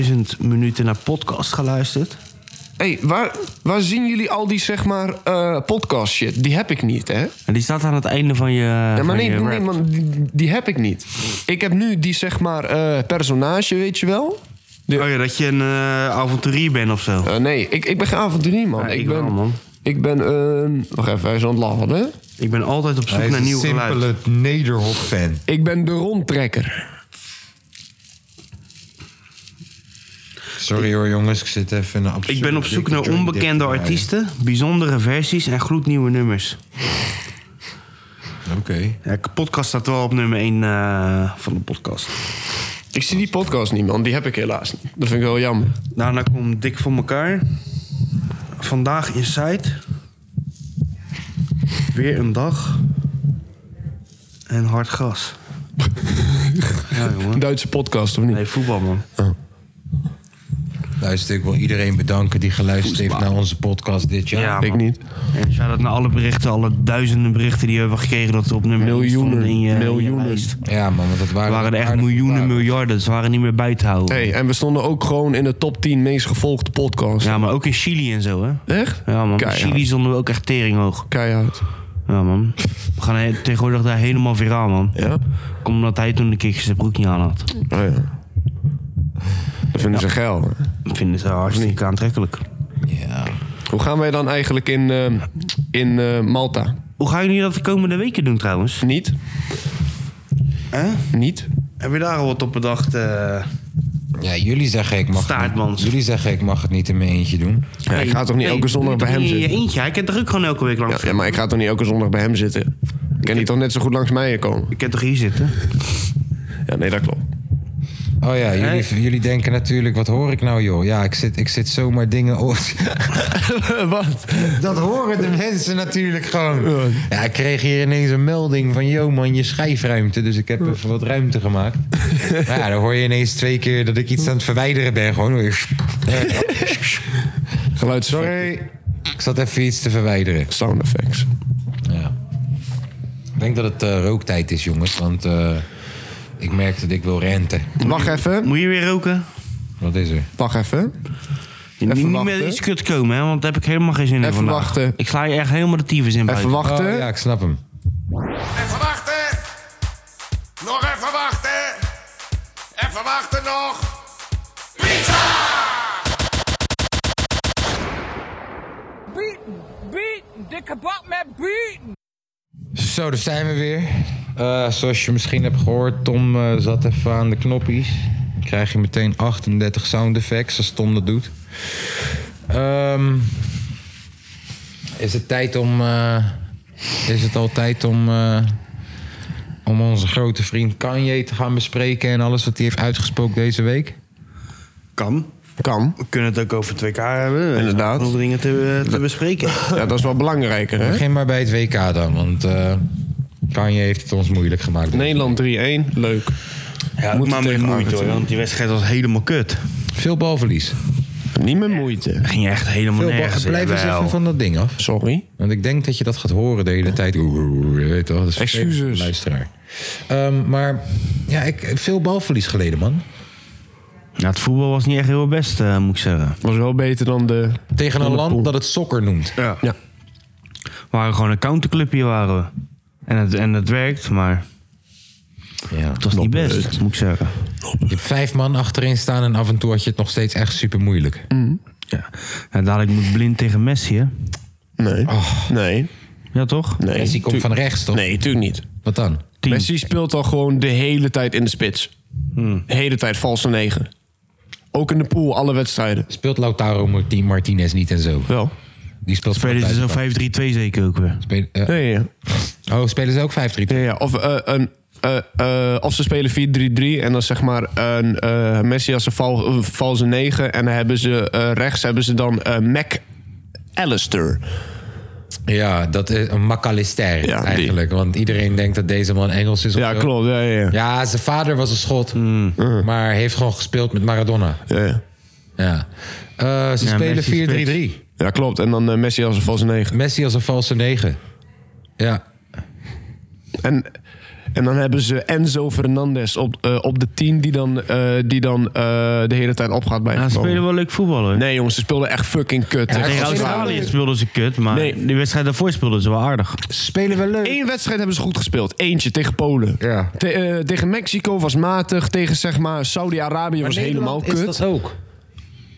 15.000 minuten naar podcast geluisterd.
Hé, waar, waar zien jullie al die, zeg maar, eh, podcast shit? Die heb ik niet, hè?
En die staat aan het einde van je.
Ja, maar
van
nee,
je
nee
rap.
man, die, die heb ik niet. Ik heb nu die, zeg maar, eh, personage, weet je wel?
Oh ja, dat je een eh, avonturier bent of zo.
Eh, nee, ik, ik ben geen avonturie, man.
Ja,
ik,
ik
ben,
wel, man.
Ik ben, eh, wacht even, hij is aan het lachen, hè?
Ik ben altijd op zoek
Hij is
naar
een
nieuw geluid.
simpele Nederhop-fan.
Ik ben de rondtrekker.
Sorry hoor jongens, ik zit even in een absoluut...
Ik ben op zoek naar onbekende artiesten, bijzondere versies en gloednieuwe nummers.
Oké.
Ja, de podcast staat wel op nummer 1 van de podcast.
Ik zie die podcast niet, man. Die heb ik helaas niet. Dat vind ik wel jammer.
Daarna komt Dik voor elkaar. Vandaag Inside. Weer een dag. En hard gras. ja, jongen.
Duitse podcast, of niet?
Nee, voetbal, man.
Luister, ik wil iedereen bedanken die geluisterd heeft naar onze podcast dit jaar.
Ja,
ik
man.
niet.
En shout out naar alle berichten, alle duizenden berichten die we hebben gekregen dat we op nummer 1
Miljoenen,
stonden in je, miljoenen.
miljoenen.
lijst.
Ja man, want dat waren,
Er waren er echt
aardige
miljoenen,
vragen.
miljarden. Ze waren niet meer bij te houden.
Hey, en we stonden ook gewoon in de top 10 meest gevolgde podcast.
Ja, maar ook in Chili en zo, hè?
Echt?
Ja, man. In
Keihard.
Chili stonden we ook echt tering hoog.
Keihard.
Ja, man. We gaan he- tegenwoordig daar helemaal viraal, man.
Ja?
Komt omdat hij toen een keertje zijn broek niet aan had.
Oh, ja. Dat vinden ze geil. hè?
Dat vinden ze hartstikke aantrekkelijk.
Ja.
Hoe gaan wij dan eigenlijk in, eh, in eh, Malta?
Hoe gaan jullie dat de komende weken doen, trouwens?
Niet? Niet?
Heb je daar al wat op bedacht?
eh,
ja, jullie zeggen ik mag het
Staartmans.
niet, jullie zeggen ik mag het niet in mijn eentje doen.
Ja, ik ga toch niet elke zondag bij hem
in je
zitten?
eentje. Hij kent er ook gewoon elke week langs.
Ja, ja, maar ik ga toch niet elke zondag bij hem zitten? Kan hij toch net zo goed langs mij komen?
Ik kan toch hier zitten?
Ja, nee, dat klopt.
Oh ja, jullie, jullie denken natuurlijk, wat hoor ik nou joh? Ja, ik zit, ik zit zomaar dingen... oor-
Eh,
Wat?
Dat horen de mensen natuurlijk gewoon. Ja, ik kreeg hier ineens een melding van... yo man, je schijfruimte. Dus ik heb even wat ruimte gemaakt. Maar ja, dan hoor je ineens twee keer dat ik iets aan het verwijderen ben. Gewoon hoor je-
Geluids.
Sorry. Ik zat even iets te verwijderen.
Sound effects.
Ja. Ik denk dat het eh, rooktijd is, jongens. Want eh, ik merk dat ik wil renten.
Wacht even.
Moet je weer roken?
Wat is er?
Wacht even.
Niet- niet
wachten.
met iets kut komen, hè? want daar heb ik helemaal geen zin in
Even
vandaag.
wachten.
Ik sla je echt helemaal de tyfus in
Even
buiten.
wachten.
Oh, ja, ik snap hem.
Even wachten. Nog even wachten. Even wachten nog. Pizza!
beaten, beaten, dikke bak met beaten.
Zo, daar zijn we weer. Eh, zoals je misschien hebt gehoord, Tom eh, zat even aan de knoppies. Dan krijg je meteen 38 sound effects als Tom dat doet. Ehm, is het tijd om. eh, is het al tijd om. eh, om onze grote vriend Kanye te gaan bespreken en alles wat hij heeft uitgesproken deze week?
Kan.
Kan.
We kunnen het ook over het WK hebben.
Inderdaad.
Nog dingen te, te bespreken.
Ja, dat is wel belangrijker, hè?
Begin maar bij het WK dan, want eh Kanye heeft het ons moeilijk gemaakt.
Nederland 3-1, leuk.
Ja,
Moeten
maar met moeite
tegen
hoor,
Argentinië.
want die wedstrijd was helemaal kut.
Veel balverlies.
Niet meer moeite.
Ging echt helemaal
Veel bal-
nergens.
Blijf eens
Jawel.
even van dat ding af.
Sorry.
Want ik denk dat je dat gaat horen de hele tijd. Oeh, oeh, oeh, je weet toch, dat is vervelend voor de
Excuses.
Luisteraar. Ehm, maar ja, ik, veel balverlies geleden, man.
Ja, het voetbal was niet echt heel best, eh, moet ik zeggen.
Was wel beter dan de...
Tegen een
de
land
pool.
dat het sokker noemt.
Ja.
Ja.
We waren gewoon een counterclub hier waren we. En het, en het werkt, maar
Ja.
het was niet best, moet ik zeggen.
Je hebt vijf man achterin staan en af en toe had je het nog steeds echt super moeilijk.
Ja. En dadelijk moet blind tegen Messi, hè?
Nee. Nee.
Ja, toch?
Nee.
Messi komt
Tu-
van rechts, toch?
Nee, tuurlijk niet.
Wat dan?
Tien.
Messi speelt al gewoon de hele tijd in de spits.
Hmm.
De hele tijd valse negen. Ook in de pool, alle wedstrijden.
Speelt Lautaro Martin- Martinez niet en zo?
Wel.
Die speelt
Spelen ze
vanuit
zo'n
buitenkant.
5-3-2 zeker ook weer.
Spelen- eh,
Ja, ja, ja.
Oh, spelen ze ook 5-3?
Ja, ja. Of, eh, een, eh, eh, of ze spelen 4-3-3 en dan zeg maar een, eh, Messi als een val, een valse 9. En dan hebben ze eh, rechts hebben ze dan eh Mac Allister.
Ja, dat is een McAllister
Ja, die.
eigenlijk. Want iedereen denkt dat deze man Engels is. of
Ja,
zo.
klopt. Ja, ja, ja.
Ja, zijn vader was een schot. Maar heeft gewoon gespeeld met Maradona.
Ja, ja.
Ja. Eh, ze
Ja, Messi
spelen 4-3-3.
spits.
Ja, klopt. En dan eh, Messi als een valse 9.
Messi als een valse 9. Ja.
En, en dan hebben ze Enzo Fernandez op, eh, op de 10 die dan, eh, die dan eh, de hele tijd opgaat bij
Ja, ze
Van Bommel.
spelen wel leuk voetbal, hoor.
Nee, jongens, ze speelden echt fucking kut.
Ja,
Tegen
Ze spelen
Australië
wel leuk.
speelden ze kut, maar
Nee.
die wedstrijd daarvoor speelden ze wel aardig.
Spelen we leuk.
Eén wedstrijd hebben ze goed gespeeld. Eentje tegen Polen.
Ja.
Te- eh, tegen Mexico was matig. Tegen zeg maar Saudi-Arabië was helemaal
is
kut.
dat ook.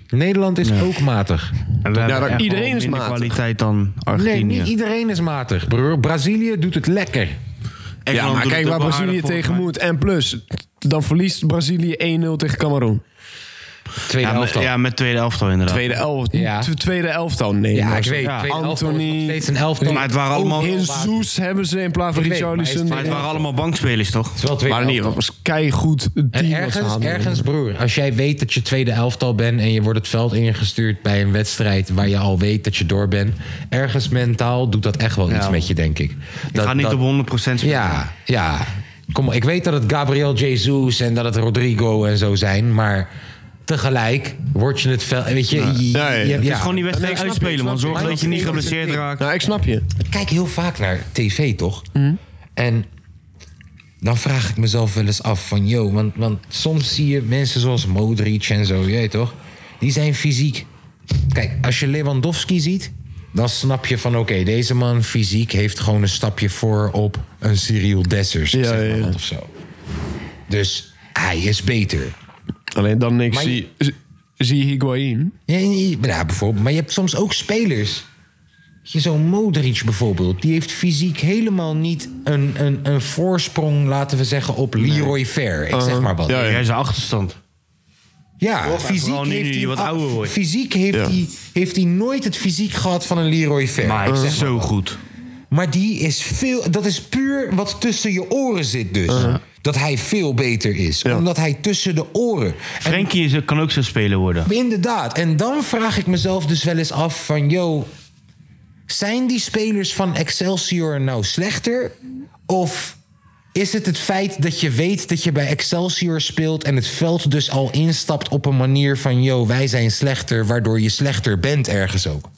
Nederland is ook matig.
En we hebben
dat-
echt
iedereen
wel
is
minder
matig.
kwaliteit dan
Nee,
Argentinië.
niet iedereen is matig, broer. Brazilië doet het lekker.
Ja, maar kijk waar Brazilië tegen moet. En plus, dan verliest Brazilië 1-0 tegen Cameroen.
Tweede
Ja, met,
helft al.
ja, met tweede elftal inderdaad.
Tweede, elf,
Ja.
tw- tweede elftal. Nee,
Ja, ik
jongens.
weet.
Ja,
Tweede helft al is
Anthony-
nog steeds een elftal.
Maar het waren allemaal,
In
het
Soes hebben ze in plaats van
Ik weet, maar is-
Richarlison.
maar
waren allemaal bankspelers, toch?
Het is wel tweede
Maar niet,
elftal.
dat was keigoed. het team
En
wat ze
ergens,
hadden.
ergens, broer, als jij weet dat je tweede elftal bent en je wordt het veld ingestuurd bij een wedstrijd waar je al weet dat je door bent, ergens mentaal doet dat echt wel iets met je, denk ik. Dat,
Ga niet
dat-
op 100% spelen.
Ja, ja. Kom, op, ik weet dat het Gabriel Jesus en dat het Rodrigo en zo zijn, maar tegelijk word je het veld. Weet je, je,
Ja, ja, ja.
je-
Het is
Het is gewoon die wedstrijd
Nee, ik snap je,
uitspelen, man.
ik snap
Zorg
je.
dat je niet
Maar dat is
geblesseerd
het ding.
raakt.
Nou, ik snap je.
Ik kijk heel vaak naar tv, toch? En dan vraag ik mezelf wel eens af van... Yo, want, want soms zie je mensen zoals Modric en zo, je weet toch? Die zijn fysiek. Kijk, als je Lewandowski ziet... dan snap je van, oké, deze man fysiek... heeft gewoon een stapje voor op een Cyril Dessers,
Ja,
zeg maar
ja, ja.
wat of zo. Dus hij is beter.
Alleen dan niks.
Maar
Zie, zie Higuain.
Ja, ja, ja, bijvoorbeeld. Maar je hebt soms ook spelers. Je Zo'n Modric bijvoorbeeld. Die heeft fysiek helemaal niet een, een, een voorsprong, laten we zeggen, op Leroy Fair. Ik zeg maar wat.
Uh-huh. Ja,
Ja,
ja.
Jij is een achterstand.
fysiek,
vooral nu
heeft
die
hij,
wat ouder wordt.
fysiek heeft,
Ja.
hij, heeft hij nooit het fysiek gehad van een Leroy Fair.
Maar
Ik
hij
zeg
is zo goed.
maar die is veel. Dat is puur wat tussen je oren zit, dus.
Uh-huh.
Dat hij veel beter is. Omdat hij tussen de oren. En
Frenkie is- kan ook zo spelen worden.
Inderdaad. En dan vraag ik mezelf dus wel eens af van... yo, zijn die spelers van Excelsior nou slechter? Of is het het feit dat je weet dat je bij Excelsior speelt... en het veld dus al instapt op een manier van... yo, wij zijn slechter, waardoor je slechter bent ergens ook?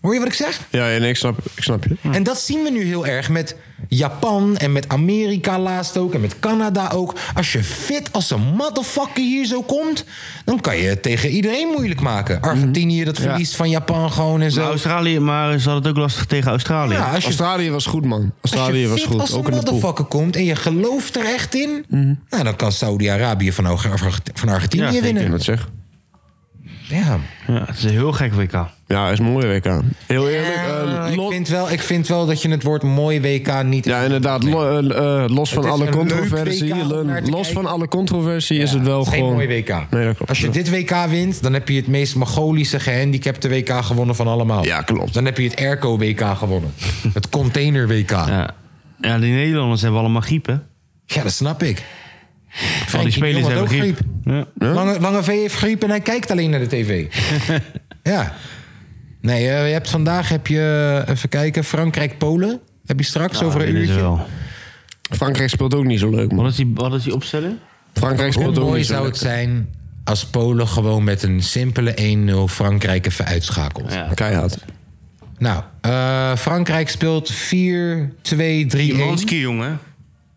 Hoor je wat ik zeg?
Ja, ja nee, ik snap, ik snap je.
En dat zien we nu heel erg met Japan en met Amerika laatst ook en met Canada ook. Als je fit als een motherfucker hier zo komt, dan kan je het tegen iedereen moeilijk
Hm.
maken. Argentinië dat verliest van Japan gewoon en
Nou,
Maar
zo.
Australië, maar ze hadden het ook lastig tegen Australië.
Ja, als je,
Australië was goed, man.
als
Australië
je
was
fit
goed.
als een
Ook in de pool. Hm.
motherfucker komt en je gelooft er echt in, nou, dan kan Saudi-Arabië van, Arge- van
Ja,
Argentinië
zeker.
winnen.
Wat zeg?
Ja.
Ja, het is een heel gek WK.
Ja, is een mooie WK. Heel eerlijk.
Ja,
eh,
ik,
lo-
vind wel, ik vind wel dat je het woord mooi WK niet...
ja, inderdaad. lo- eh, eh, los van
Het is
alle
een leuk
controversie.
WK om
lo-
naar te
Los
kijken.
van alle controversie is het wel
Het is
gewoon.
Geen mooi WK.
Nee, dat klopt.
Als je dit WK wint, dan heb je het meest Mongolische gehandicapte WK gewonnen van allemaal.
Ja, klopt.
Dan heb je het Airco WK gewonnen. Het Container WK.
Ja.
Ja, die Nederlanders hebben allemaal griep, hè?
Ja, dat snap ik.
Al die spelers hebben griep. Ja.
Lange, Lange V heeft griep en hij kijkt alleen naar de tv. ja. Nee, eh, je hebt vandaag heb je, eh, even kijken, Frankrijk-Polen. Heb je straks over een
dit is
uurtje.
wel.
Frankrijk speelt ook niet zo leuk, man.
Wat is, die, wat is die opstelling?
Frankrijk
Hoe
speelt ook
mooi
niet zo
zou
leuk.
het zijn als Polen gewoon met een simpele 1-0 Frankrijk even uitschakelt.
Ja.
Keihard.
Nou, eh, Frankrijk speelt 4-2-3-1.
Szymanski, jongen.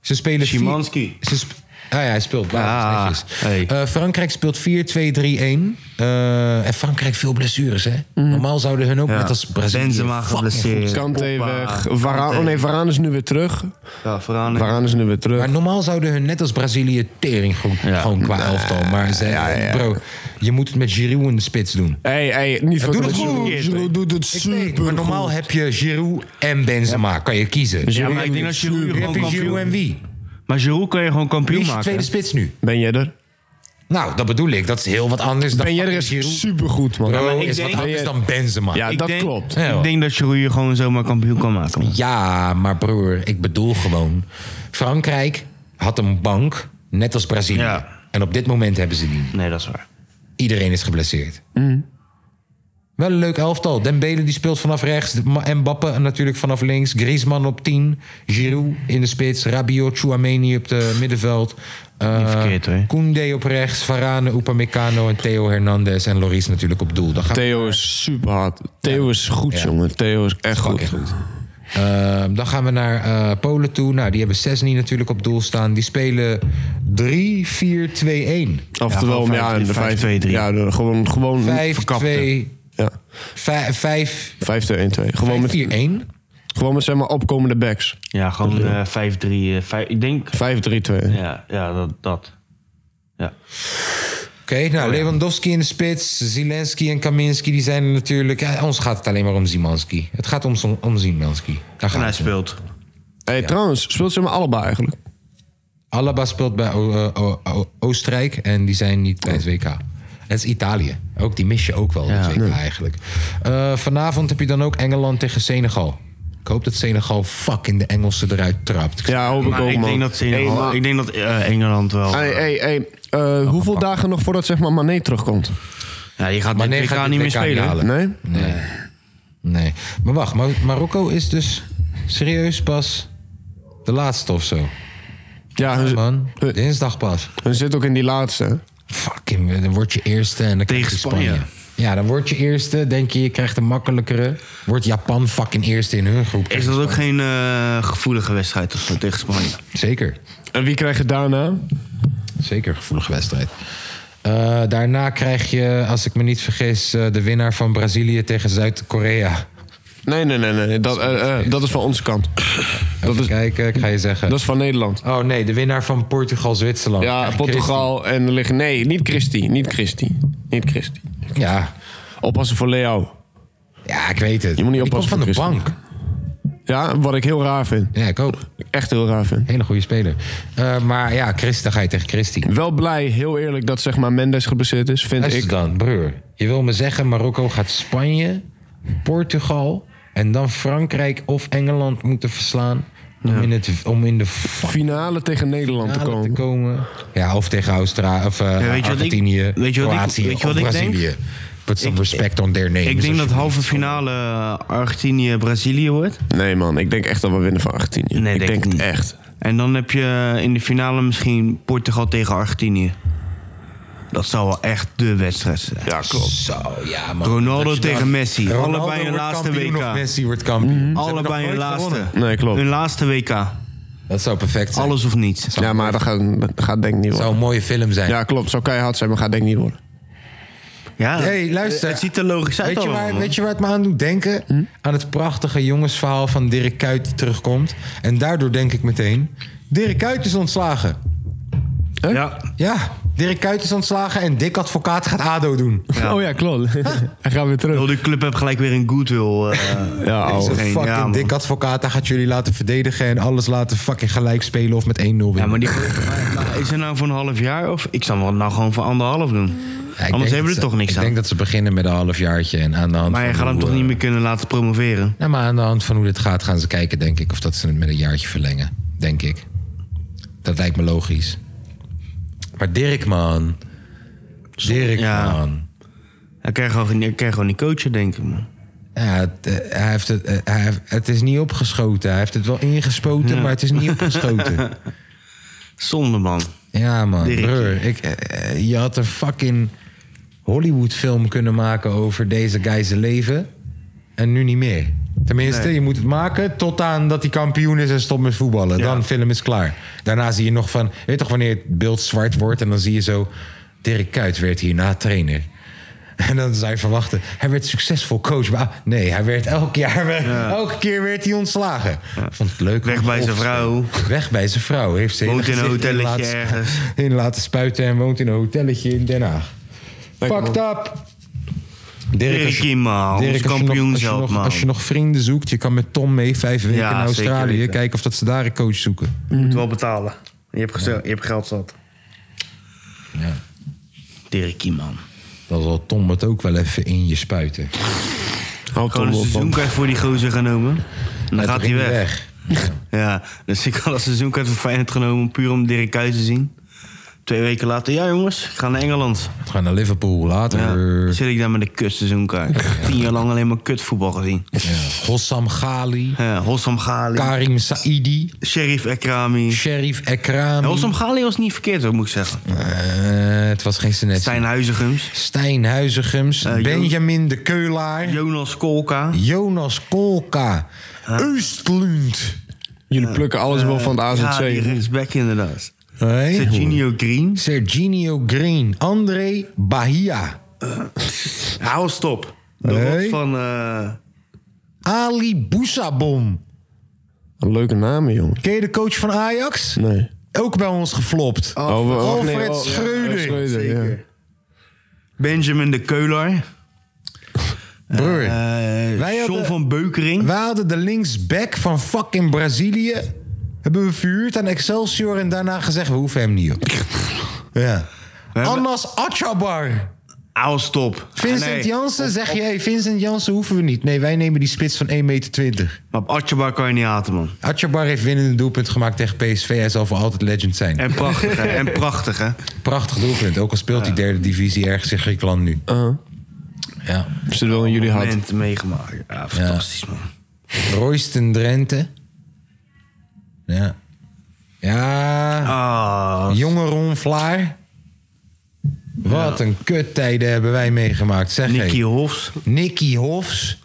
Ze spelen vier-
Szymanski.
Ze sp- ah ja, hij speelt
Ah,
basis. netjes.
hey.
Eh, Frankrijk speelt 4-2-3-1. Eh, en Frankrijk veel blessures, hè? Normaal zouden hun ook
Ja.
net als Brazilië...
Benzema
fucking
geblesseerd.
Kante
Pogba.
weg. Varaan, oh nee, Varaan is nu weer terug.
Ja, vooraan.
Varaan is nu weer terug.
Maar normaal zouden hun net als Brazilië tering gewoon, gewoon qua elftal. Maar ze, bro, je moet het met Giroud in de spits doen.
Hey, hey, niet voor
doe het goed.
Giroud. Giroud doet het
Ik weet,
super
maar normaal heb je Giroud en Benzema. Kan je kiezen.
Ja, maar ik denk dat Giroud
heb
gewoon
je Giroud en
kampioen...
wie?
Maar Giroud kan je gewoon
Wie
kampioen
is je
maken.
tweede spits nu?
Ben jij er?
Nou, dat bedoel ik. Dat is heel wat anders dan
Ben jij er
fucking
is
Giroud.
supergoed, man.
Bro,
maar ik
is
denk-
wat anders dan Benzema.
Ja,
Ik
dat
denk-
klopt.
Ja, hoor.
Ik denk dat Giroud je gewoon zomaar kampioen kan maken. man.
Ja, maar broer, ik bedoel gewoon... Frankrijk had een bank, net als Brazilië.
Ja.
En op dit moment hebben ze die.
Nee, dat is waar.
Iedereen is geblesseerd. Wel een leuk elftal. Dembele die speelt vanaf rechts. Ma- Mbappe natuurlijk vanaf links. Griezmann op 10. Giroud in de spits. Rabiot, Chouameni op de middenveld. Eh,
Niet verkeerd, hoor.
Koundé op rechts. Varane, Upamecano en Theo Hernandez. En Loris natuurlijk op doel. Dan gaan, we,
Theo is super hard. Theo is goed,
Ja.
jongen. Theo is echt goed.
Fucking Eh, dan gaan we naar eh, Polen toe. Nou, die hebben Sesni natuurlijk op doel staan. Die spelen 3-4-2-1.
Mm, Oftewel,
gewoon
ja,
vijf-
de
vijf,
5
twee, drie.
Ja, de- gewoon, gewoon
5
verkapte.
2
Ja,
5
5, 2, 1, 2. Gewoon met,
4 1
gewoon met zeg maar opkomende backs.
Ja, gewoon eh, 5-3. eh, vijf- ik denk...
5, 3, 2.
Ja, ja dat, dat. Ja.
Oké,
Oh,
nou Lewandowski in de spits, Zielinski en Kaminski, die zijn er natuurlijk. Ja, ons gaat het alleen maar om Zimanski. Het gaat om, om Zimanski. Daar
En
gaat
hij
het om.
speelt.
Hey, trouwens, speelt ze maar allebei eigenlijk?
Alaba speelt bij O- eh, O- O- Oostenrijk en die zijn niet bij het
Oh.
WK. Het is Italië. Ook die mis je ook wel in het WK eigenlijk. Eh, vanavond heb je dan ook Engeland tegen Senegal. Ik hoop dat Senegal fucking de Engelsen eruit trapt.
Ja, hoop ik
Maar
ook,
ik
man.
denk dat, Senegal-
Hey, maar-
ik denk dat eh, Engeland wel...
Ah,
Hey, hey, hey, eh, hoeveel dagen nog voordat zeg maar Mané terugkomt?
ja, die gaat
Maar
maar
nee,
dit
gaat
WK
dit
niet meer
WK niet
spelen.
halen.
Nee?
Nee. Nee. Maar wacht, Mar- Marokko is dus serieus pas de laatste of zo.
Ja, hun,
Man,
Eh.
hun-
dinsdag pas.
hun zit ook in die laatste. hè?
Fucking, dan word je eerste en dan krijg je
Tegen
Spanje.
Spanje.
Ja, dan word je eerste. Denk je, je krijgt een makkelijkere. Wordt Japan fucking eerste in hun groep.
Is dat ook geen eh, gevoelige wedstrijd of zo tegen Spanje?
Zeker.
En wie krijgt het daarna?
Zeker een gevoelige wedstrijd. Eh, daarna krijg je, als ik me niet vergis, eh, de winnaar van Brazilië tegen Zuid-Korea.
Nee, nee, nee, nee. Dat, eh, eh, dat is van onze kant. Dat
Even
is,
kijken, ik ga je zeggen.
dat is van Nederland.
Oh nee, de winnaar van Portugal-Zwitserland.
Ja,
Oh,
Krijg
Portugal en er liggen... Nee, niet Christie. Niet Christie. Niet Christie.
Christi- Ja.
Oppassen voor Leo.
ja, ik weet het.
Je moet niet
Die komt
oppassen
van de
voor
bank.
Ja, wat ik heel raar vind.
Ja, ik ook.
Echt heel raar vind.
Hele goede speler. Eh, maar ja, Christ, dan ga je tegen Christie.
Wel blij, heel eerlijk, dat zeg maar Mendes geblesseerd is, vind
Luister
ik.
dan, broer. Je wil me zeggen, Marokko gaat Spanje, Portugal en dan Frankrijk of Engeland moeten verslaan. Om, in, het, om in de finale
Finale tegen Nederland te
te
komen.
komen. Ja, of tegen Austra of eh,
Ja, weet je wat ik-
Argentinië,
weet je wat ik-
Kroatië
weet je wat
of
ik denk?
Brazilië. Put some respect on their names.
Ik denk dat
alsjeblieft.
halve finale Argentinië-Brazilië wordt.
Nee man, ik denk echt dat we winnen van Argentinië.
Nee,
ik
denk
denk
ik
het
niet.
echt.
En dan heb je in de finale misschien Portugal tegen Argentinië. Dat zou wel echt de wedstrijd zijn.
Ja, klopt.
Zo, ja man.
Ronaldo
Dat je
tegen
dan-
Messi.
Ronaldo
Allebei hun
wordt
laatste
kampioen
WK. Mhm.
of Messi wordt kampioen. Ze hebben
Allebei
nog
hun
nooit
laatste.
gewonnen.
Nee, klopt.
Hun laatste WK.
Dat zou perfect zijn.
Alles of niets.
Ja, maar dat gaat, dat gaat denk ik niet
zou
worden.
een mooie film zijn.
Ja, klopt. Zou keihard zijn, maar gaat denk ik niet worden.
Ja,
Hey, luister.
Het ziet er logisch uit
Weet je,
allemaal,
waar,
man. Mhm.
weet je waar het me aan doet denken? Aan het prachtige jongensverhaal van Dirk Kuyt die terugkomt. En daardoor denk ik meteen... Dirk Kuyt is ontslagen.
Ja.
Ja, Dirk Kuyt is ontslagen en Dick Advocaat gaat ADO doen.
Oh ja, klopt. Hij gaat weer
Heel
terug.
de club heeft gelijk weer een goodwill. eh
Ja,
Is
ouwe.
een
geen-
fucking
ja, man.
Dick Advocaat, hij gaat jullie laten verdedigen... en alles laten fucking gelijk spelen of met 1-0 winnen.
ja, maar die, maar is er nou voor een half jaar of... Ik zou hem nou gewoon voor anderhalf doen.
ik
Anders
denk
hebben we
dat
er toch
ze-
niks
ik
aan.
denk dat ze beginnen met een halfjaartje. En aan de hand
Maar je
van
gaat hem
hoe,
toch
eh,
niet meer kunnen laten promoveren?
Nou, maar aan de hand van hoe dit gaat, gaan ze kijken, denk ik, of dat ze het met een jaartje verlengen. Denk ik. Dat lijkt me logisch. Maar Dirk, man. Dirk,
ja.
man.
Hij kan je gewoon, hij kan je gewoon niet coachen, denk ik. man.
Ja, het, eh, hij heeft het, eh, hij heeft, het is niet opgeschoten. Hij heeft het wel ingespoten, maar het is niet opgeschoten.
Zonde, man.
Ja, man.
Dirk.
Broer, ik, eh, eh, je had een fucking Hollywood-film kunnen maken over deze guy's leven. En nu niet meer. Tenminste, je moet het maken tot aan dat hij kampioen is en stopt met voetballen. Dan film is klaar. Daarna zie je nog van... Weet je toch wanneer het beeld zwart wordt en dan zie je zo... Dirk Kuyt werd hierna trainer. En dan zou je verwachten, hij werd succesvol coach. Maar ah, nee, hij werd elk jaar, elke keer werd hij ontslagen. Vond het leuk.
Weg
om
bij zijn
op te-
vrouw.
Weg bij zijn vrouw. Heeft ze
Woont in een
gezicht
hotelletje
laten spu-
ergens.
In laten spuiten en woont in een hotelletje in Den Haag. Pakt up! Dirk, als je-
Dirkie, man.
Dirk,
Ons
als je nog-
kampioen
als je
zelf,
nog-
man.
Als je nog vrienden zoekt, je kan met Tom mee vijf weken
Ja,
naar
zeker
Australië.
weten.
Kijken of dat ze daar een coach zoeken.
Moet wel betalen. Je hebt, gezel- je hebt geld zat.
Ja.
Dirkie, man.
Dan zal Tom het ook wel even in je spuiten.
Houd
Gewoon een
toch op, man.
seizoenkaart voor die gozer genomen. Dan gaat hij
ging
weg. Ja, dus ik had een seizoenkaart voor Feyenoord genomen... puur om Dirk Kuyt te zien. Twee weken later, ja jongens, ik ga naar Engeland.
We gaan naar Liverpool later.
Ja,
Ja.
dan zit ik daar met een kut seizoenkaart. Tien jaar lang alleen maar kutvoetbal gezien.
Hossam Ghali.
Ja, Hossam Ghali,
Karim Saidi.
Sheriff Ekrami.
Sheriff Ekrami.
Hossam Ghali was niet verkeerd, hoor, moet ik zeggen.
Eh, het was geen Senesi.
Stijn Eh, Huizegums,
Stijn Huizegums,
Jo-
Benjamin de Keulaar,
Jonas Kolka.
Jonas Kolka, Östlund.
Jullie plukken alles wel van het AZC.
Ja, die rechtsback inderdaad.
Hey.
Serginio Green.
Serginio Green, André Bahia,
Hou stop. De
Hey.
rot van... eh,
Ali Boussabon.
Een leuke naam, joh.
Ken je de coach van Ajax?
Nee.
Ook bij ons geflopt.
Oh, we- oh,
Alfred
nee, oh, ja,
Schreuder.
ja.
Benjamin de Eh, Keuler.
Broer,
Eh. Wij
Wij
John
hadden-
van Beukering.
wij hadden de linksback van fucking Brazilië. Hebben we verhuurd aan Excelsior en daarna gezegd... we hoeven hem niet, op. ja. Anas Atjabar.
Hou stop.
Vincent
Ah, nee.
Jansen, zeg je, hey, Vincent Jansen hoeven we niet. Nee, wij nemen die spits van 1,20 meter.
Maar op Atjebar kan je niet haten, man.
Atjabar heeft winnende doelpunt gemaakt tegen PSV. Hij zal voor altijd legend zijn.
En prachtig, hè? En prachtig, hè?
Prachtig doelpunt, ook al speelt die derde divisie ergens in Griekenland nu. Ja.
Zit wel in jullie hart.
Moment meegemaakt. Ja, fantastisch, man.
Royston Drenthe. Ja. Ja,
Ah,
jonge Ron Vlaar. Wat een kuttijden hebben wij meegemaakt, zeg
Nicky
hey.
Hofs.
Nicky Hofs.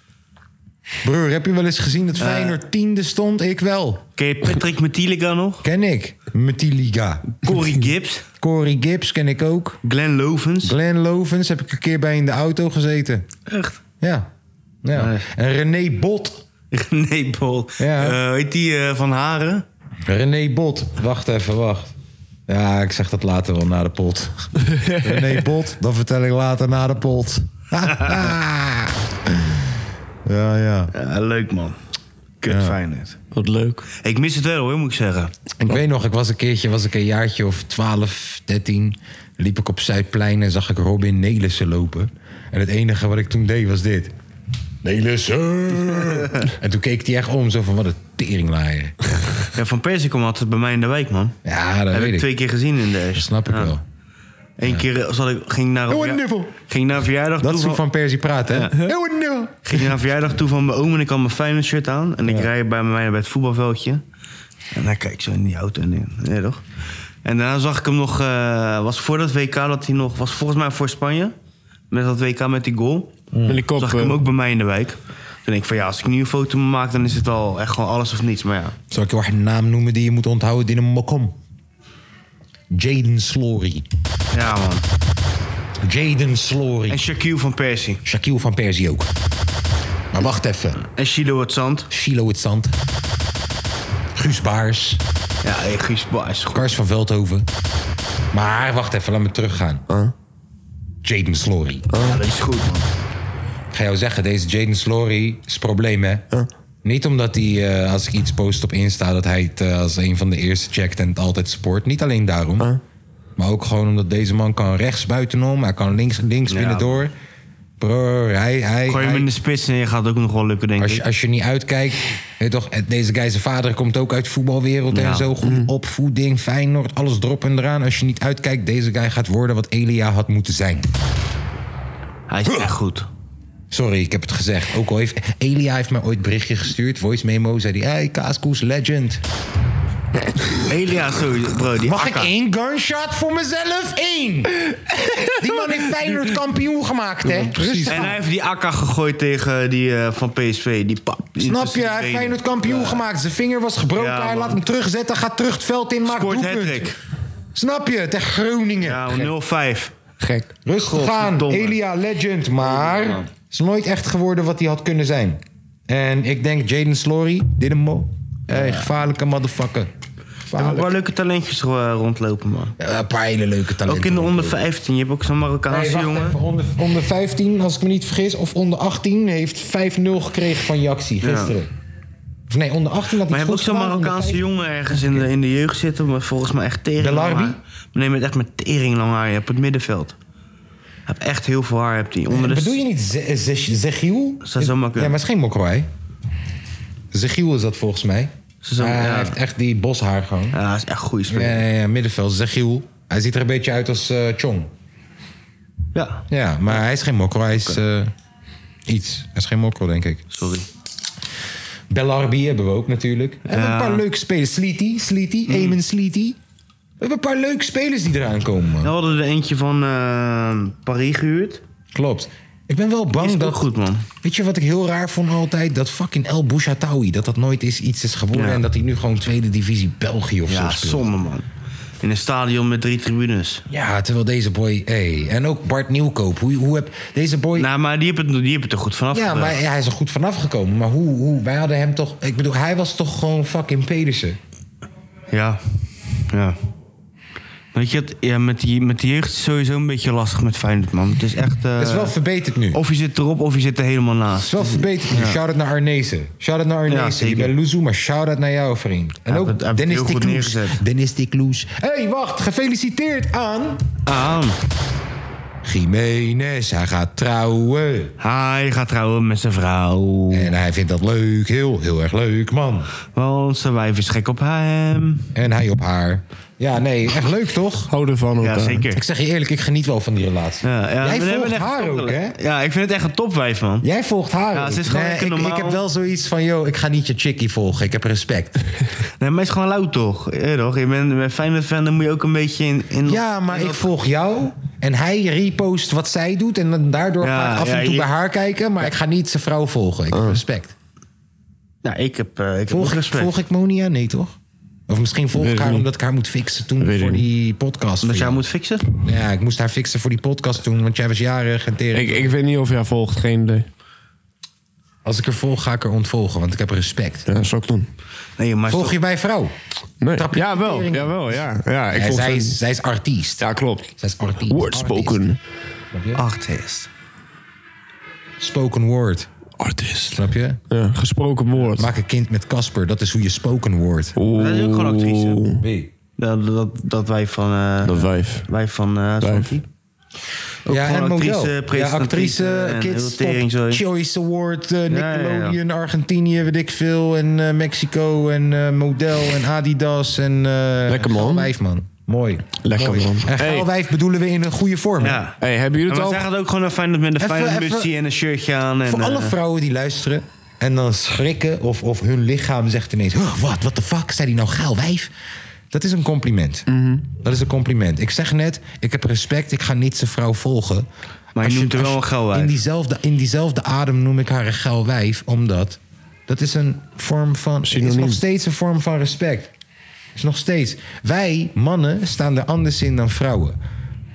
Broer, heb je wel eens gezien dat Feyenoord tiende stond? Ik wel.
Ken je Patrick Metilica nog?
Ken ik. Metiliga.
Corey Gibbs.
Corey Gibbs ken ik ook.
Glenn Lovens.
Glenn Lovens heb ik een keer bij in de auto gezeten.
Echt?
Ja. ja.
Nee.
En René Bot.
Nee, Paul.
Ja.
Eh, hoe heet die eh, van Haren?
René Bot. Wacht even, wacht. Ja, ik zeg dat later wel na de pot. René Bot, dat vertel ik later na de pot. ja, ja.
Ja, leuk, man. Kut Feyenoord.
Wat leuk.
Ik mis het wel, hoor, moet ik zeggen.
Ik weet nog, ik was een keertje, was ik een jaartje of 12, 13. Liep ik op Zuidplein en zag ik Robin Nelissen lopen. En het enige wat ik toen deed was dit. Nelissen! en toen keek hij echt om, zo van wat een teringlaaier.
Ja, van Persie kwam altijd bij mij in de wijk, man.
Ja, dat
Heb
weet
ik
ik.
twee keer gezien in de
Dat snap ik wel.
Eén keer eh, zat ik, ging naar een
Oh,
verja-
Niffel.
ging naar een verjaardag
Dat
toe.
is hoe
van,
Van Persie praat, hè? Oh, no.
ging naar een verjaardag toe van mijn oom en ik had mijn Feyenoord shirt aan. En ik rijd bij mij bij het voetbalveldje. En dan kijk ik zo in die auto. En, nee, toch? En daarna zag ik hem nog, eh, was voor dat WK dat hij nog, was volgens mij voor Spanje. Met dat WK met die goal.
Met die kop,
Zag ik hem
eh,
ook bij mij in de wijk. Toen denk ik van ja, als ik nu een foto maak, dan is het wel echt gewoon alles of niets. Maar ja,
Zal ik jou een naam noemen die je moet onthouden die een mokom? Jaden Slory.
ja man.
Jaden Slory.
En Shaquille van Persie.
Shaquille van Persie ook. Maar wacht even.
En Shiloh het Zand.
Chilo het Zand. Guus Baars.
Ja, hey, Guus Baars is goed.
Kars van Veldhoven. Maar wacht even, laat me teruggaan. Jaden Slory.
Ja, dat is goed man.
Ik ga jou zeggen, deze Jaden Slory is een probleem, hè? Niet omdat hij, eh, als ik iets post op Insta, dat hij het eh, als een van de eerste checkt en het altijd support. Niet alleen daarom. Maar ook gewoon omdat deze man kan rechts buitenom. Hij kan links, links
Ja.
binnendoor. Bro, hij... hij,
Gooi hem
hij-
in de spits en je gaat ook nog wel lukken, denk
als,
ik.
je, als je niet uitkijkt... weet je toch, eh, deze guy, zijn vader komt ook uit de voetbalwereld
Ja. Mm.
en zo. Goede opvoeding, Feyenoord, alles erop en eraan. Als je niet uitkijkt, deze guy gaat worden wat Elia had moeten zijn.
Hij is echt goed.
Sorry, ik heb het gezegd. Ook al heeft Elia heeft mij ooit berichtje gestuurd, voice memo, zei hij: Hey, Kaaskoes, legend.
Elia, sowieso, bro. Die
Mag ik
Akka.
één gunshot voor mezelf? Eén! Die man heeft Feyenoord kampioen gemaakt, hè? Precies.
En hij heeft die akka gegooid tegen die eh, van PSV. Die pap.
Snap je?
die
Hij heeft
benen.
Feyenoord kampioen gemaakt. Zijn vinger was gebroken.
Ja,
hij
man.
laat hem terugzetten, gaat terug het veld in, maakt
Scoort
doelpunt.
hattrick.
Snap je? Tegen Groningen.
Ja, 0-5.
Gek.
Rustig aan,
Godverdomme.
Elia legend, maar is nooit echt geworden wat hij had kunnen zijn. En ik denk Jaden Slory, Dynamo, hey, gevaarlijke motherfucker.
Er hebben
Gevaarlijk.
wel leuke talentjes ro- eh, rondlopen, man.
Ja, een paar hele leuke talenten.
Ook in de onder 15. Je hebt ook zo'n
Nee,
Marokkaanse
wacht
jongen.
even, onder, onder 15, als ik me niet vergis, of onder 18 heeft 5-0 gekregen van Jaxi gisteren. Of nee, onder 18 had
Maar
hij het
je hebt ook
goed gedaan,
zo'n
onder
Marokkaanse
15.
jongen ergens in de, in de jeugd zitten. Maar volgens mij echt tering
De
lang
Larbi?
haar. Maar nee, met echt met tering lang haar. Je hebt op het middenveld. Hij heeft echt heel veel haar. Hebt hij. Onder de...
Bedoel je niet Ze- eh, Ze- Zegiel?
Zou zomaar kunnen.
Ja, maar het is geen mokro, hè? Zegiel is dat volgens mij.
Zou zomaar-
hij
ja.
heeft echt die boshaar gewoon.
Ja, hij is echt een goede speler.
Ja, ja, ja, middenveld, Zegiel. Hij ziet er een beetje uit als eh, Chong.
Ja,
Ja, maar hij is geen mokro, hij is eh, iets. Hij is geen mokro, denk ik.
sorry.
Bellarbi hebben we ook natuurlijk. We hebben
Ja. Hmm.
een paar leuke spelers. Sleety, Sleety, Eamon Sleety. We hebben een paar leuke spelers die eraan komen.
We Nou hadden er eentje van eh, Paris gehuurd.
Klopt. Ik ben wel bang
Is ook
dat...
goed, man.
Weet je wat ik heel raar vond altijd? Dat fucking El Bouchataoui, dat dat nooit is iets is geworden...
Ja.
en dat hij nu gewoon tweede divisie België of
Ja,
zo speelt.
somme man. In een stadion met drie tribunes.
Ja, terwijl deze boy... Hey. En ook Bart Nieuwkoop. Hoe, hoe heb... Deze boy...
Nou, maar die hebben het, die hebben het er goed vanaf.
Ja,
gebracht.
maar hij is er goed vanaf gekomen. Maar hoe, hoe? Wij hadden hem toch... Ik bedoel, hij was toch gewoon fucking Pedersen?
Ja. Ja. Weet je, het, ja, met, die, met die jeugd is het sowieso een beetje lastig met Feyenoord, man. Het is echt... eh,
Het is wel verbeterd nu.
of je zit erop of je zit er helemaal naast.
Het is wel verbeterd. nu. Shout-out naar Arnezen. Shout-out naar
Ja,
Arnezen.
zeker.
ik ben Loezoe, maar shout-out naar jou, vriend. En
Hij
ook
heeft het- hij heeft het
Dennis
heel goed
Tikloes.
neergezet.
Dennis Tikloes. Hé, hey, wacht. Gefeliciteerd aan...
Aan.
Jiménez. Hij gaat trouwen.
Hij gaat trouwen met zijn vrouw.
En hij vindt dat leuk. Heel, heel erg leuk, man.
Want zijn wijf is gek op hem.
En hij op haar. Ja, nee. Echt leuk, toch?
Houden van elkaar.
Ja,
Ik
zeker.
zeg je eerlijk, ik geniet wel van die relatie.
Ja, ja,
Jij
we hebben
volgt
echt
haar
een
ook, hè?
topgele- Ja, ik vind het echt een topwijf, man.
Jij volgt haar.
Ja,
ook.
ze is gewoon
Nee,
lekker
ik, ik
normaal.
heb wel zoiets van, yo, ik ga niet je chickie volgen. Ik heb respect.
Nee, maar hij is gewoon lauw, toch? Ja, toch? Je bent bij Feyenoord-fan, dan moet je ook een beetje in... in
ja, maar ik volg jou. En hij repost wat zij doet. En dan daardoor
Ja,
ga ik af en
ja,
toe
je- Ah.
bij haar kijken. Maar ik ga niet zijn vrouw volgen. Ik heb respect.
Nou, ik heb, eh, ik heb ook
Volg, ik-
respect.
volg ik Monia? Nee, toch? Of misschien volg
Weet
ik
ik
haar
niet.
omdat ik haar moet fixen toen
Weet ik
voor
niet.
die podcast.
Dat
voor
Dus jij
jou.
moet fixen?
Ja, ik moest haar fixen voor die podcast toen. Want jij was jarig en tering.
Ik, ik weet niet of jij volgt, geen idee.
Als ik er volg, ga ik er ontvolgen. Want ik heb respect.
Ja, zou ik doen.
Nee, maar
Volg je mijn vrouw?
Nee.
Trap je
Jawel,
tering.
jawel, ja. ja ik
Ja,
volg
zij,
zijn-
is, zij is artiest.
Ja, klopt.
Zij is artiest.
Wordspoken.
artist.
Artiest. Spoken word.
Artist.
Snap je?
Ja, gesproken woord.
Maak een kind met Casper. Dat is hoe je spoken wordt.
Oeh.
Dat is ook gewoon actrice.
Wie?
Dat, dat, dat wij van... eh
Dat wijf.
wij van eh Zanti. Ook
ja,
gewoon
en
actrice,
model. ja, actrice,
presentatrice
eh,
en heel
Kids,
tering,
Top
sorry.
Choice Award, eh,
ja, ja.
Nickelodeon, Argentinië, weet ik veel. En eh, Mexico en eh, model en Adidas en... eh
Lekker, man.
Gaal Wijf, man. Mooi.
Lekker,
Mooi.
man.
En
Hey.
Gaal Wijf bebedoelen we in een goede vorm. hè?
Ja.
Hey, hebben jullie
Maar
het al?
zij gaat ook gewoon naar Feyenoord met een
Even-
Feyenoord
even-
mutsie en een shirtje aan. En,
Voor alle
eh,
vrouwen die luisteren en dan schrikken... of, of hun lichaam zegt ineens... "Huh, wat, what the fuck, zei die nou Gaal Wijf? Dat is een compliment. Dat is een compliment. Ik zeg net, ik heb respect, ik ga niet zijn vrouw volgen.
Maar je
Als
noemt haar
als
wel een geil wijf.
In diezelfde, in diezelfde adem noem ik haar een geil wijf, omdat dat is een vorm van. Het is
Synoniem.
nog steeds een vorm van respect. Het is nog steeds. Wij mannen staan er anders in dan vrouwen.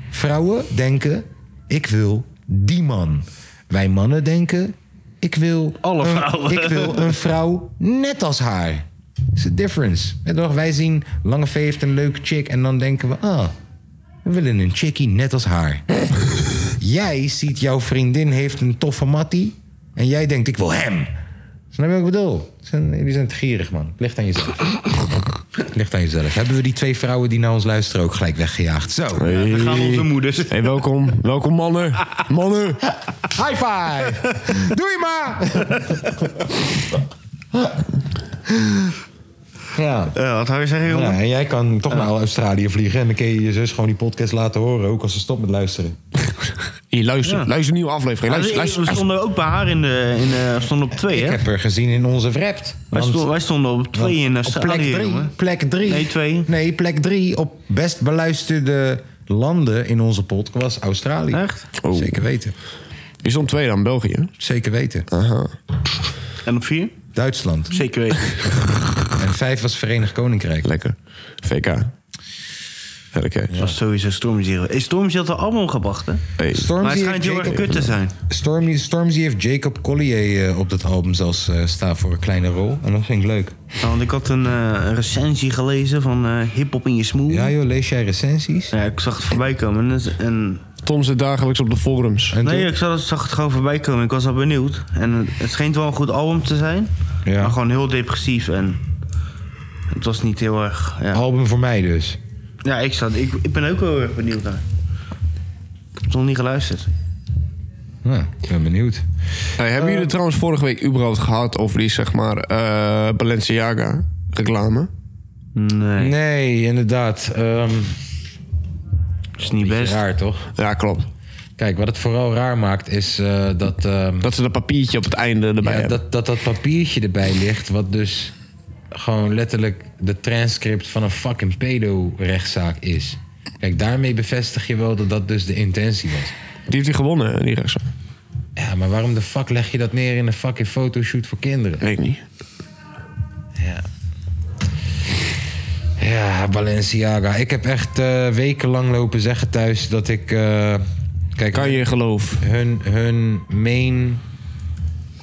Vrouwen denken: ik wil die man. Wij mannen denken: ik wil.
Alle
een-
vrouwen.
Ik wil een vrouw net als haar. Dat is de difference. En toch, wij zien Lange V heeft een leuke chick en dan denken we: ah, we willen een chickie net als haar. jij ziet jouw vriendin heeft een toffe mattie. En jij denkt, ik wil hem. Snap je wat ik bedoel? Ze zijn- Jullie zijn te gierig, man. Het ligt aan jezelf. Ligt aan jezelf. Hebben we die twee vrouwen die naar ons luisteren ook gelijk weggejaagd? Zo.
We
gaan onze moeders.
Hey, welkom. Welkom, mannen. Mannen.
High five! Doei ma! ja.
Eh, wat hou je zeggen, jongen?
ja. En jij kan toch naar Australië vliegen en dan kun je je zus gewoon die podcast laten horen, ook als ze stopt met luisteren.
Hier, luister. Luister nieuwe aflevering.
Ah, we-
Luister, luister.
we stonden ook bij haar in de, in de, we stonden op twee,
Ik
hè?
heb haar gezien in onze Wrapped.
Wij
want-
stonden, wij stonden op twee in
want op plek
Australië,
drie,
jongen.
plek drie.
Nee, twee.
Nee, plek drie op best beluisterde landen in onze podcast was Australië.
Echt?
Oh.
Zeker weten.
Je stond tweede aan België.
Zeker weten.
En op vier?
Duitsland.
Zeker weten.
En vijf was Verenigd Koninkrijk.
Lekker. VK. Lekker.
Dat was sowieso Stormzy. Is Stormzy had een album gebracht, hè?
Hey.
Maar het
Stormzy heeft,
schijnt heel erg
Jacob,
kut te zijn.
Stormy- Stormzy heeft Jacob Collier eh, op dat album zelfs eh, staan voor een kleine rol. En dat vind ik leuk.
Nou, want ik had een eh, recensie gelezen van eh Hip Hop in je smoel.
Ja
Ja,
joh, lees jij recensies?
ik zag het voorbij komen. En, en,
Tom zit dagelijks op de forums.
En
nee,
toen-
ik zag, het- zag het gewoon voorbij komen. Ik was al benieuwd. En het- het schijnt wel een goed album te zijn.
Ja.
Maar gewoon heel depressief. En het was niet heel erg... Ja,
Album voor mij dus.
ja ik, zat, ik, ik ben ook wel heel erg benieuwd naar. Ik heb het nog niet geluisterd.
Nou, ik ben benieuwd.
Hey, hebben
Ehm.
jullie trouwens vorige week überhaupt gehad over die, zeg maar, eh, Balenciaga reclame?
Nee,
Nee, inderdaad. Ehm
is niet best.
raar toch?
Ja, klopt.
Kijk, wat het vooral raar maakt is eh, dat, ehm,
Dat ze dat papiertje op het einde erbij
ja,
hebben.
dat, dat dat papiertje erbij ligt. Wat dus gewoon letterlijk de transcript van een fucking pedo-rechtszaak is. Kijk, daarmee bevestig je wel dat dat dus de intentie was.
Die heeft hij gewonnen, hè, die rechtszaak.
Ja, maar waarom de fuck leg je dat neer in een fucking fotoshoot voor kinderen?
Weet ik niet.
Ja. Ja, Balenciaga. Ik heb echt eh, wekenlang lopen zeggen thuis dat ik... eh, kijk,
Kan je geloof.
hun, hun main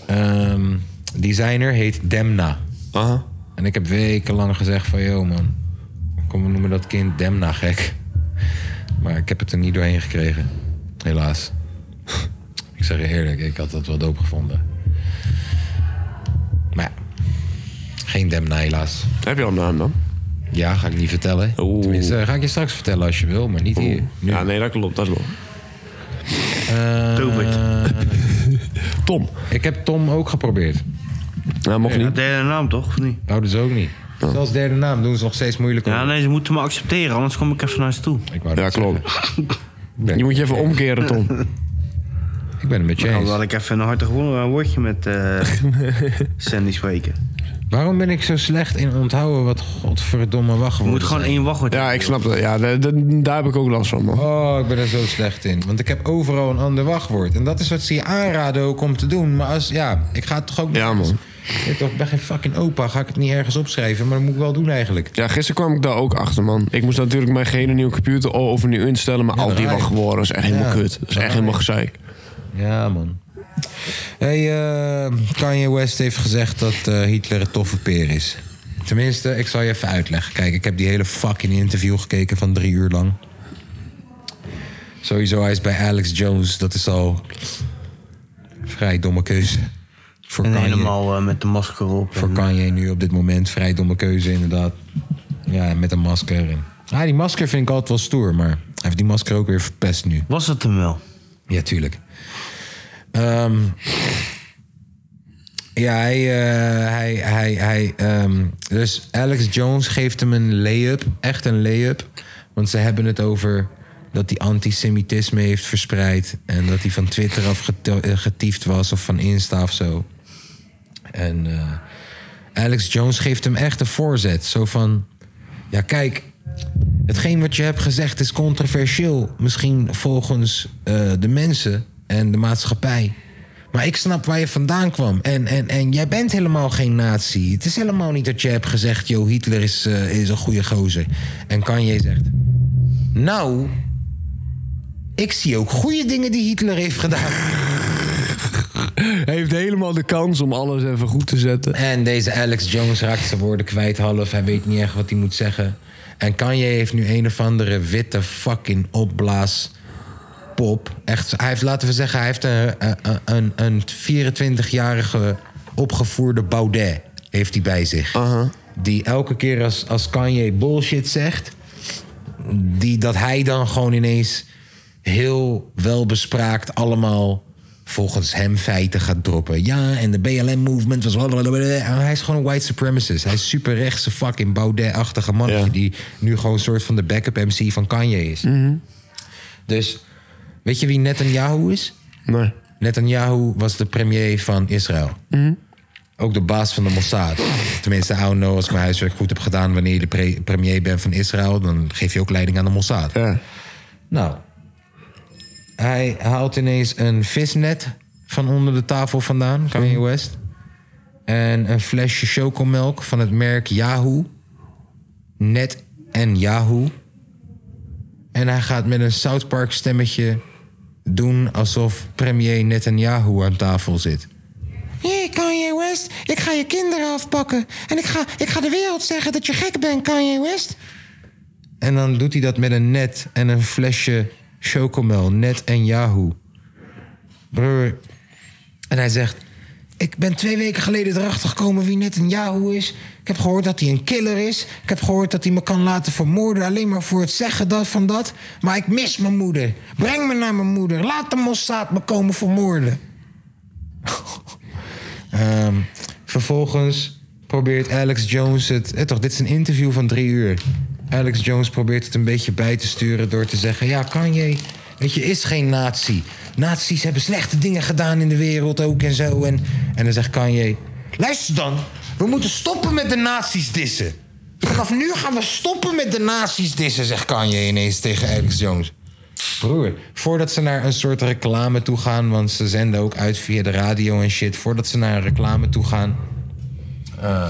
ehm, designer heet Demna.
Aha.
En ik heb wekenlang gezegd van... Yo man, kom, we noemen dat kind Demna gek. Maar ik heb het er niet doorheen gekregen. Helaas. ik zeg je eerlijk, ik had dat wel doop gevonden. Maar ja, geen Demna helaas.
Heb je al een naam dan?
Ja, ga ik niet vertellen.
Oeh.
Tenminste, ga ik je straks vertellen als je wil, maar niet hier. Nu.
Ja, nee, dat klopt. Dat klopt.
Eh,
Tom.
ik heb Tom ook geprobeerd.
Nou, mocht
Ja,
niet.
derde naam toch? Of niet?
Houden ze ook niet. Zelfs derde naam doen ze nog steeds moeilijker.
Ja, nee, ze moeten me accepteren, anders kom ik even naar ze toe.
Ik wou
Ja,
dat zeggen.
klopt.
Ik ben-
Je moet je even omkeren, Tom.
Ik ben het met je
Nou, dan had
eens.
ik even een hartig wo- een woordje met eh, Sandy spreken.
Waarom ben ik zo slecht in onthouden wat godverdomme
Je
wachtwoorden
moet gewoon
zijn?
één wachtwoord
Ja, ik snap dat. Ja, de- de- daar heb ik ook last van, man.
Oh, ik ben er zo slecht in. Want ik heb overal een ander wachtwoord. En dat is wat ze je aanraden ook om te doen. Maar als, ja, ik ga het toch ook... niet-
Ja, man.
Ik toch, ik ben geen fucking opa, ga ik het niet ergens opschrijven. Maar dat moet ik wel doen eigenlijk.
Ja, gisteren kwam ik daar ook achter, man. Ik moest natuurlijk mijn gehele nieuwe computer al overnieuw instellen. Maar al die
draai.
wachtwoorden is echt helemaal
Ja,
kut. Dat is
draai.
echt helemaal gezeik.
Ja, man. Hey, eh, Kanye West heeft gezegd dat eh, Hitler een toffe peer is. Tenminste, ik zal je even uitleggen. Kijk, ik heb die hele fucking interview gekeken van drie uur lang. Sowieso, hij is bij Alex Jones. Dat is al vrij domme keuze. Voor
En
Kanye.
helemaal eh, met de masker op.
Voor
en-
Kanye nu op dit moment vrij domme keuze, inderdaad. Ja, en met een masker. En... Ah, die masker vind ik altijd wel stoer, maar hij heeft die masker ook weer verpest nu.
Was het hem wel?
Ja, tuurlijk. Ehm, ja, hij, eh, hij, hij, hij ehm, dus Alex Jones geeft hem een lay-up, echt een lay-up. Want ze hebben het over dat hij antisemitisme heeft verspreid en dat hij van Twitter af geto- eh, getiefd was of van Insta of zo. En eh, Alex Jones geeft hem echt een voorzet. Zo van, ja kijk, hetgeen wat je hebt gezegd is controversieel. Misschien volgens eh, de mensen en de maatschappij. Maar ik snap waar je vandaan kwam. En, en, en jij bent helemaal geen nazi. Het is helemaal niet dat je hebt gezegd... joh, Hitler is, eh, is een goede gozer. En Kanye zegt... Nou, ik zie ook goede dingen die Hitler heeft gedaan.
Hij heeft helemaal de kans om alles even goed te zetten.
En deze Alex Jones raakt zijn woorden kwijt half. Hij weet niet echt wat hij moet zeggen. En Kanye heeft nu een of andere witte fucking opblaas pop. Echt, hij heeft, laten we zeggen, hij heeft een, een- een, een 24-jarige opgevoerde Baudet heeft hij bij zich. die elke keer als, als Kanye bullshit zegt, die, dat hij dan gewoon ineens heel welbespraakt allemaal volgens hem feiten gaat droppen. Ja, en de BLM-movement was... blablabla. En Hij is gewoon een white supremacist. Hij is superrechtse fucking Baudet-achtige mannetje...
Ja.
die nu gewoon een soort van de backup MC van Kanye is. Dus weet je wie Netanyahu is?
Nee.
Netanyahu was de premier van Israël. Ook de baas van de Mossad. Tenminste, I don't know, als ik mijn huiswerk goed heb gedaan... wanneer je de pre- premier bent van Israël... dan geef je ook leiding aan de Mossad.
Ja.
Nou, hij haalt ineens een visnet van onder de tafel vandaan, Kanye West. En een flesje chocomelk van het merk Yahoo. Net en Yahoo. En hij gaat met een South Park stemmetje doen alsof premier Netanyahu aan tafel zit. Hey Kanye West, ik ga je kinderen afpakken. En ik ga, ik ga de wereld zeggen dat je gek bent, Kanye West. En dan doet hij dat met een net en een flesje chocomel. Net en Yahoo. Broer. En hij zegt... Ik ben twee weken geleden erachter gekomen wie net een Yahoo is. Ik heb gehoord dat hij een killer is. Ik heb gehoord dat hij me kan laten vermoorden... alleen maar voor het zeggen dat, van dat. Maar ik mis mijn moeder. Breng me naar mijn moeder. Laat de Mossad me komen vermoorden. Ehm, vervolgens probeert Alex Jones het. eh, toch, dit is een interview van drie uur. Alex Jones probeert het een beetje bij te sturen door te zeggen: Ja, Kanye, weet je, is geen nazi. Nazi's hebben slechte dingen gedaan in de wereld ook en zo. En, en dan zegt Kanye: Luister dan, we moeten stoppen met de nazi's dissen. Vanaf nu gaan we stoppen met de nazi's dissen, zegt Kanye ineens tegen Alex Jones. Broer, voordat ze naar een soort reclame toe gaan, want ze zenden ook uit via de radio en shit. Voordat ze naar een reclame toe gaan, eh,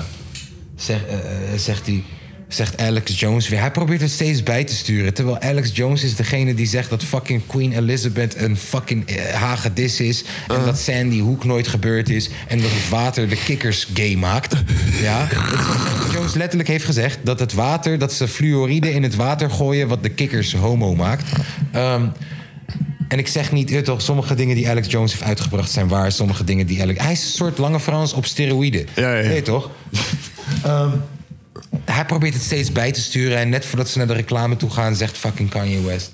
zeg- eh, eh, zegt hij. Zegt Alex Jones weer. Hij probeert het steeds bij te sturen. Terwijl Alex Jones is degene die zegt dat fucking Queen Elizabeth een fucking eh, hagedis is. En
Eh.
dat Sandy Hook nooit gebeurd is. En dat het water de kikkers gay maakt. Ja. Alex Jones letterlijk heeft gezegd dat het water, dat ze fluoride in het water gooien, wat de kikkers homo maakt. Ehm, en ik zeg niet, eh, toch, sommige dingen die Alex Jones heeft uitgebracht zijn waar. Sommige dingen die Alex. Hij is een soort lange Frans op steroïden.
Ja, ja, ja.
Nee, toch? Ehm, hij probeert het steeds bij te sturen. En net voordat ze naar de reclame toe gaan, zegt fucking Kanye West.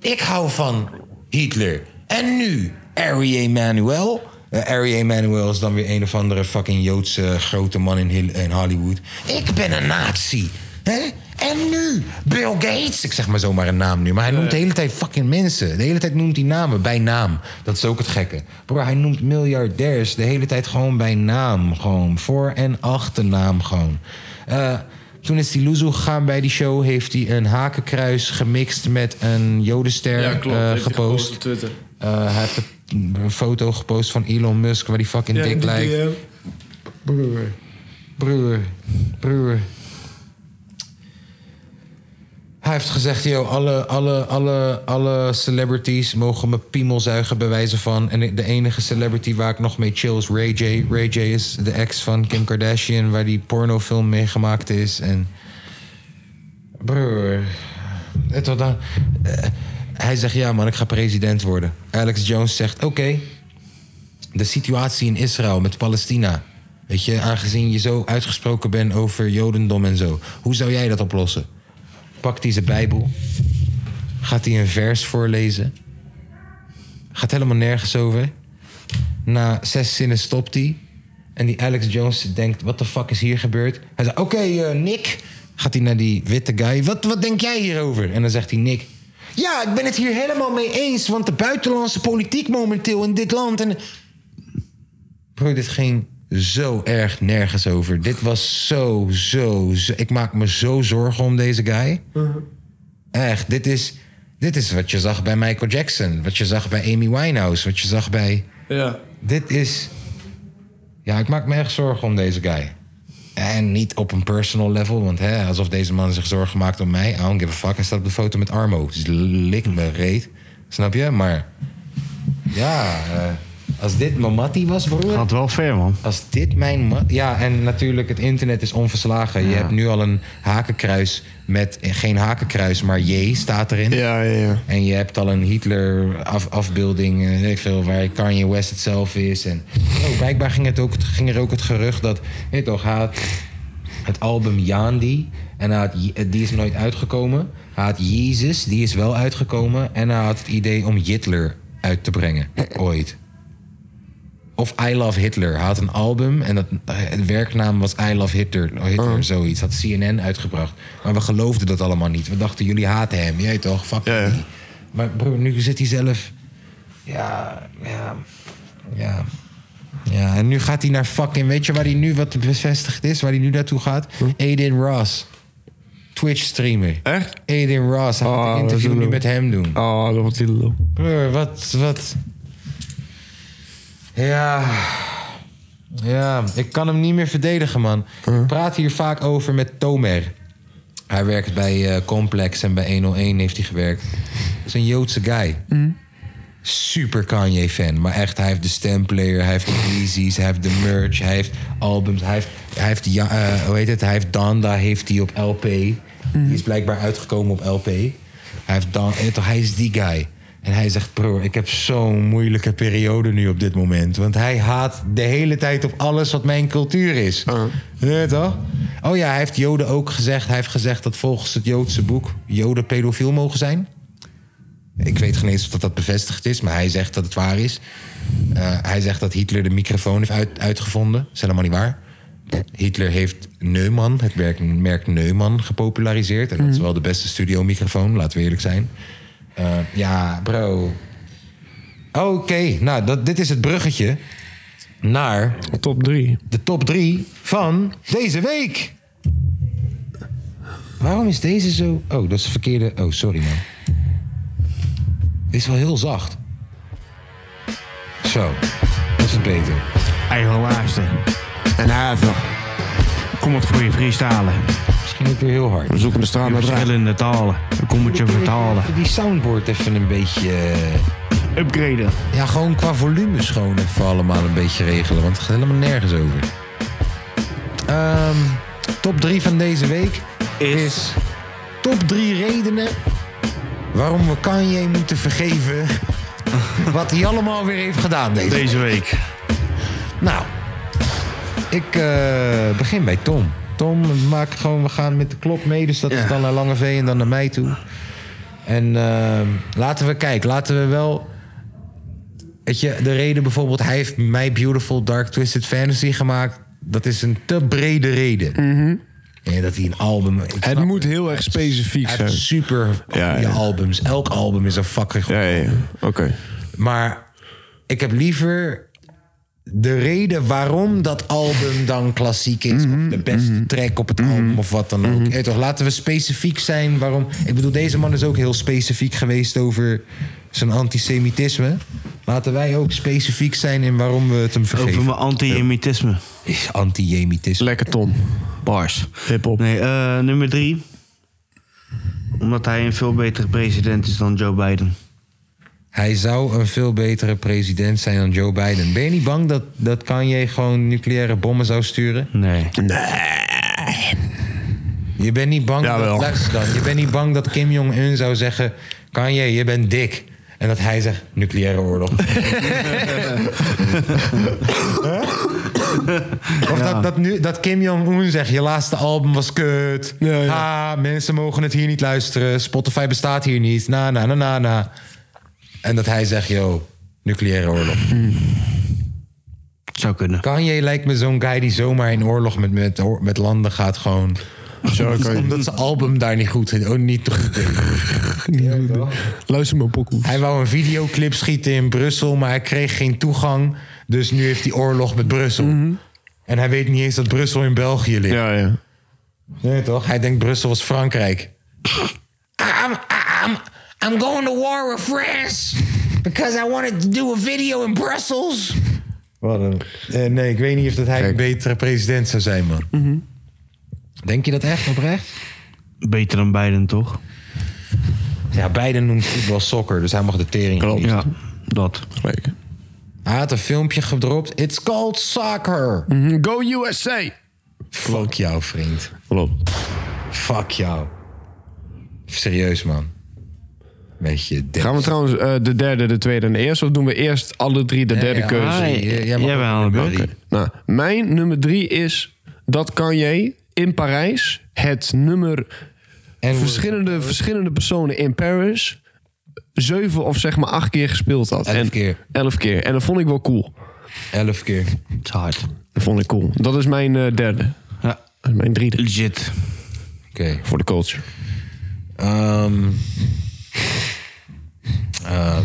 Ik hou van Hitler. En nu, Ari Emanuel. Eh, Ari Emanuel is dan weer een of andere fucking Joodse grote man in, Hil- in Hollywood. Ik ben een nazi. Hè? En nu, Bill Gates. Ik zeg maar zomaar een naam nu. Maar hij noemt de hele tijd fucking mensen. De hele tijd noemt hij namen bij naam. Dat is ook het gekke. Bro, hij noemt miljardairs de hele tijd gewoon bij naam. Gewoon voor- en achternaam gewoon. Eh, toen is hij loezoe gegaan bij die show. Heeft hij een hakenkruis gemixt met een jodenster
Ja, klopt.
eh,
Heeft hij gepost
gepost.
op Twitter.
Eh, hij heeft een, een foto gepost van Elon Musk waar die fucking dik
eh,
lijkt. Broer. Broer. Broer. Hij heeft gezegd, yo, alle, alle, alle, alle celebrities mogen me piemel zuigen bij wijze van. En de enige celebrity waar ik nog mee chill is Ray J. Ray J is de ex van Kim Kardashian, waar die pornofilm mee gemaakt is. En Broer. Het wordt dan, eh, hij zegt, ja man, ik ga president worden. Alex Jones zegt, oké. de situatie in Israël met Palestina. Weet je, aangezien je zo uitgesproken bent over jodendom en zo. Hoe zou jij dat oplossen? Pakt hij zijn Bijbel. Gaat hij een vers voorlezen. Gaat helemaal nergens over. Na zes zinnen stopt hij. En die Alex Jones denkt, wat de fuck is hier gebeurd? Hij zegt, oké eh, Nick. Gaat hij naar die witte guy. Wat, wat denk jij hierover? En dan zegt hij, Nick. Ja, ik ben het hier helemaal mee eens. Want de buitenlandse politiek momenteel in dit land... En... Bro, dit ging zo erg nergens over. Dit was zo, zo, zo... Ik maak me zo zorgen om deze guy. Echt, dit is, dit is wat je zag bij Michael Jackson. Wat je zag bij Amy Winehouse. Wat je zag bij...
Ja.
Dit is. Ja, ik maak me echt zorgen om deze guy. En niet op een personal level, want hè, alsof deze man zich zorgen maakt om mij. I don't give a fuck. Hij staat op de foto met Armo. Dus lik me reet. Snap je? Maar ja, eh, als dit mijn mattie was, broer.
Gaat wel ver, man.
Als dit mijn... ma- Ja, en natuurlijk, het internet is onverslagen. Je hebt nu al een hakenkruis met... eh, Geen hakenkruis, maar J staat erin.
Ja, ja, ja.
En je hebt al een Hitler-afbeelding, eh, weet ik veel, waar Kanye West het zelf is. En oh, blijkbaar ging, het ook, ging er ook het gerucht dat, weet je toch, hij had het album Yandi. En hij had, Je- die is nooit uitgekomen. Hij had Jezus, die is wel uitgekomen. En hij had het idee om Hitler uit te brengen, ooit. Of I Love Hitler. Hij had een album en dat, het werknaam was I Love Hitler. Oh, Hitler
Oh.
Zoiets. Had CNN uitgebracht. Maar we geloofden dat allemaal niet. We dachten, jullie haten hem. Jij toch? Fuck
Ja, ja.
die. Maar broer, nu zit hij zelf... Ja, ja, ja. Ja, en nu gaat hij naar fucking... Weet je waar hij nu wat bevestigd is? Waar hij nu naartoe gaat?
Hm?
Aiden Ross. Twitch streamer.
Echt?
Aiden Ross. Hij gaat
Eh. Ah,
een
dat is
interview nu
een-
met hem doen.
Oh, dat wordt heel lul.
Broer, wat, wat. Ja. Ja, ik kan hem niet meer verdedigen, man. Ik praat hier vaak over met Tomer. Hij werkt bij eh, Complex en bij 101 heeft hij gewerkt. Dat is een Joodse guy. Super Kanye-fan. Maar echt, hij heeft de stemplayer, hij heeft de Yeezys, hij heeft de merch, hij heeft albums. Hij heeft, hij heeft ja, eh, hoe heet het? Hij heeft Danda heeft hij op LP. Die is blijkbaar uitgekomen op LP. Hij, heeft dan, en toch, hij is die guy. En hij zegt, broer, ik heb zo'n moeilijke periode nu op dit moment. Want hij haat de hele tijd op alles wat mijn cultuur is. Ja, toch? Oh ja, hij heeft Joden ook gezegd. Hij heeft gezegd dat volgens het Joodse boek Joden pedofiel mogen zijn. Ik weet geen eens of dat, dat bevestigd is, maar hij zegt dat het waar is. Eh, hij zegt dat Hitler de microfoon heeft uit- uitgevonden. Dat is helemaal niet waar. Hitler heeft Neumann, het merk, merk Neumann, gepopulariseerd. En dat is wel de beste studiomicrofoon, laten we eerlijk zijn. Eh, ja, bro. Oké, nou, dat, dit is het bruggetje naar
Top 3.
de top drie van deze week. Waarom is deze zo... Oh, dat is de verkeerde... Oh, sorry man. Dit is wel heel zacht. Zo, dat is beter.
Eigen laatste.
En hevig.
Kom het voor je freestalen.
Misschien ook weer heel hard.
We zoeken de straat naar raad.
Verschillende talen. Ik kom het je vertalen.
Even die soundboard even een beetje... eh,
Upgraden.
Ja, gewoon qua volume schoon even allemaal een beetje regelen. Want het gaat helemaal nergens over. Ehm, top 3 van deze week is... top 3 redenen waarom we Kanye moeten vergeven... wat hij allemaal weer heeft gedaan deze
Deze week.
nou, ik eh, begin bij Tom. Tom, we, maken gewoon, we gaan met de klop mee. Dus dat is dan naar Lange V en dan naar mij toe. En ehm, laten we kijken. Laten we wel... Weet je, de reden bijvoorbeeld... Hij heeft My Beautiful Dark Twisted Fantasy gemaakt. Dat is een te brede reden.
Mhm.
Ja, dat hij een album... ik snap
Het moet heel erg specifiek
Hij heeft
zijn.
super
Ja, ja.
albums. Elk album is een fucking goed
Ja, ja, ja. Oké.
maar ik heb liever de reden waarom dat album dan klassiek is. Of de beste track op het album of wat dan ook. Eh, toch, laten we specifiek zijn waarom... Ik bedoel, deze man is ook heel specifiek geweest over zijn antisemitisme. Laten wij ook specifiek zijn in waarom we het hem
Over
vergeven.
mijn anti-emitisme.
Antisemitisme.
Lekker Tom.
Bars.
Hip-hop.
Nee, eh, nummer drie. Omdat hij een veel betere president is dan Joe Biden.
Hij zou een veel betere president zijn dan Joe Biden. Ben je niet bang dat, dat Kanye gewoon nucleaire bommen zou sturen?
Nee.
Je bent niet bang
Jawel.
dat, luister dan, je bent niet bang dat Kim Jong-un zou zeggen... Kanye, je bent dik. En dat hij zegt, nucleaire oorlog. Huh? of dat, dat, nu, dat Kim Jong-un zegt, je laatste album was kut. Ha, mensen mogen het hier niet luisteren. Spotify bestaat hier niet. Na, na, na, na, na. En dat hij zegt, yo, nucleaire oorlog.
Zou kunnen.
Kanye lijkt me zo'n guy die zomaar in oorlog met, met, met landen gaat gewoon...
Zo, oké.
Omdat zijn album daar niet goed in. Oh, niet te goed in.
Luister maar, pokoe.
Hij wou een videoclip schieten in Brussel, maar hij kreeg geen toegang. Dus nu heeft hij oorlog met Brussel. En hij weet niet eens dat Brussel in België ligt.
Ja, ja.
Nee, toch? Hij denkt Brussel was Frankrijk. I'm, I'm, I'm going to war with France. Because I wanted to do a video in Brussels. Wat een... Eh, nee, ik weet niet of dat hij een betere president zou zijn, man. Denk je dat echt oprecht?
Beter dan Biden, toch?
Ja, beiden noemt voetbal soccer, dus hij mag de tering
Klopt.
niet.
Ja. Dat.
Gelijk.
Hij had een filmpje gedropt. It's called soccer.
Mhm. Go USA!
Fuck jou, vriend.
Klopt.
Fuck jou. Serieus, man. Weet je, dit-
Gaan we trouwens eh, de derde, de tweede en de eerste? Of doen we eerst alle drie de derde
ja,
keuze?
ah,
Hey,
jij- jij
jij
mag
bent
ook
aan de
nummer
beurt.
drie.
Nou, mijn nummer drie is dat Kanye in Parijs het nummer
En
eh,
verschillende, verschillende personen in Paris zeven of zeg maar acht keer gespeeld had.
Elf
en,
keer.
Elf keer. En dat vond ik wel cool.
Elf keer.
Het is hard.
Dat vond ik cool. Dat is mijn eh, derde.
Ja.
Dat is mijn driede.
Legit.
Oké.
Voor de coach.
Ehm, ehm,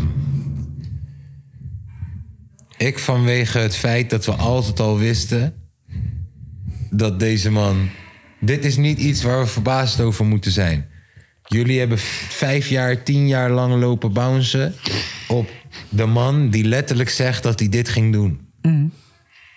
ik vanwege het feit dat we altijd al wisten dat deze man. Dit is niet iets waar we verbaasd over moeten zijn. Jullie hebben v- vijf jaar, tien jaar lang lopen bouncen op de man die letterlijk zegt dat hij dit ging doen.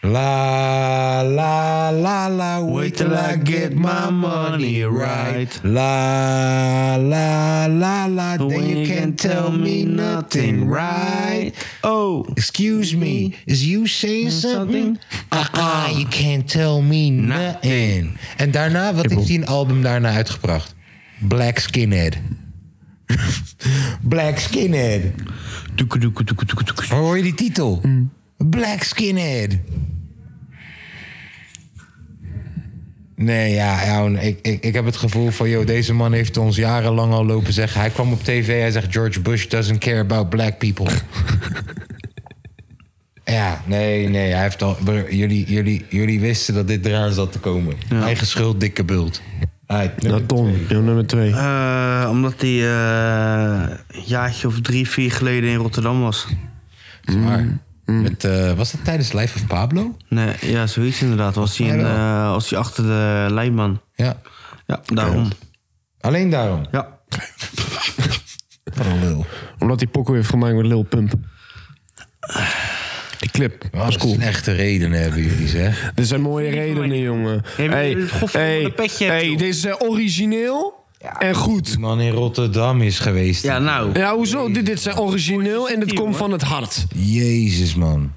La la la la, wait till I get my money right. La la la la, then you can't tell me nothing right.
Oh.
Excuse me, is you saying something? Ah, uh you can't tell me nothing. En daarna, wat heeft hij een album daarna uitgebracht? Black Skinhead. Black Skinhead.
Doeke, doeke, doeke, doeke, doeke.
Hoor je die titel? Black Skinhead. Nee, ja, ja ik, ik, ik heb het gevoel van... Yo, deze man heeft ons jarenlang al lopen zeggen... Hij kwam op tv, hij zegt... George Bush doesn't care about black people. ja, nee, nee. Hij heeft al, broer, jullie, jullie, jullie wisten dat dit eraan zat te komen. Eigen schuld, dikke bult. Ah, Uit,
Nou, Tom, jouw nummer twee.
Eh, omdat die eh, een jaartje of drie, vier geleden in Rotterdam was.
maar, met, eh, was dat tijdens Life of Pablo?
Nee, ja, zoiets inderdaad. Was hij, in,
wel.
eh, was hij achter de lijnman.
Ja.
Ja, daarom.
Alleen daarom.
Ja.
Wat een lul.
Omdat hij Poco heeft gemaakt met Lil Pump. Die clip.
Wat
was cool.
een echte redenen hebben jullie, zeg.
Er zijn mooie redenen, jongen.
maar
Hey,
je hebt het godverdomme
hey,
een petje hebt,
hey,
joh.
dit is eh, origineel en goed.
Die man in Rotterdam is geweest.
Ja, nou.
Ja, hoezo? Dit, dit zijn origineel en dit komt van het hart.
Jezus, man.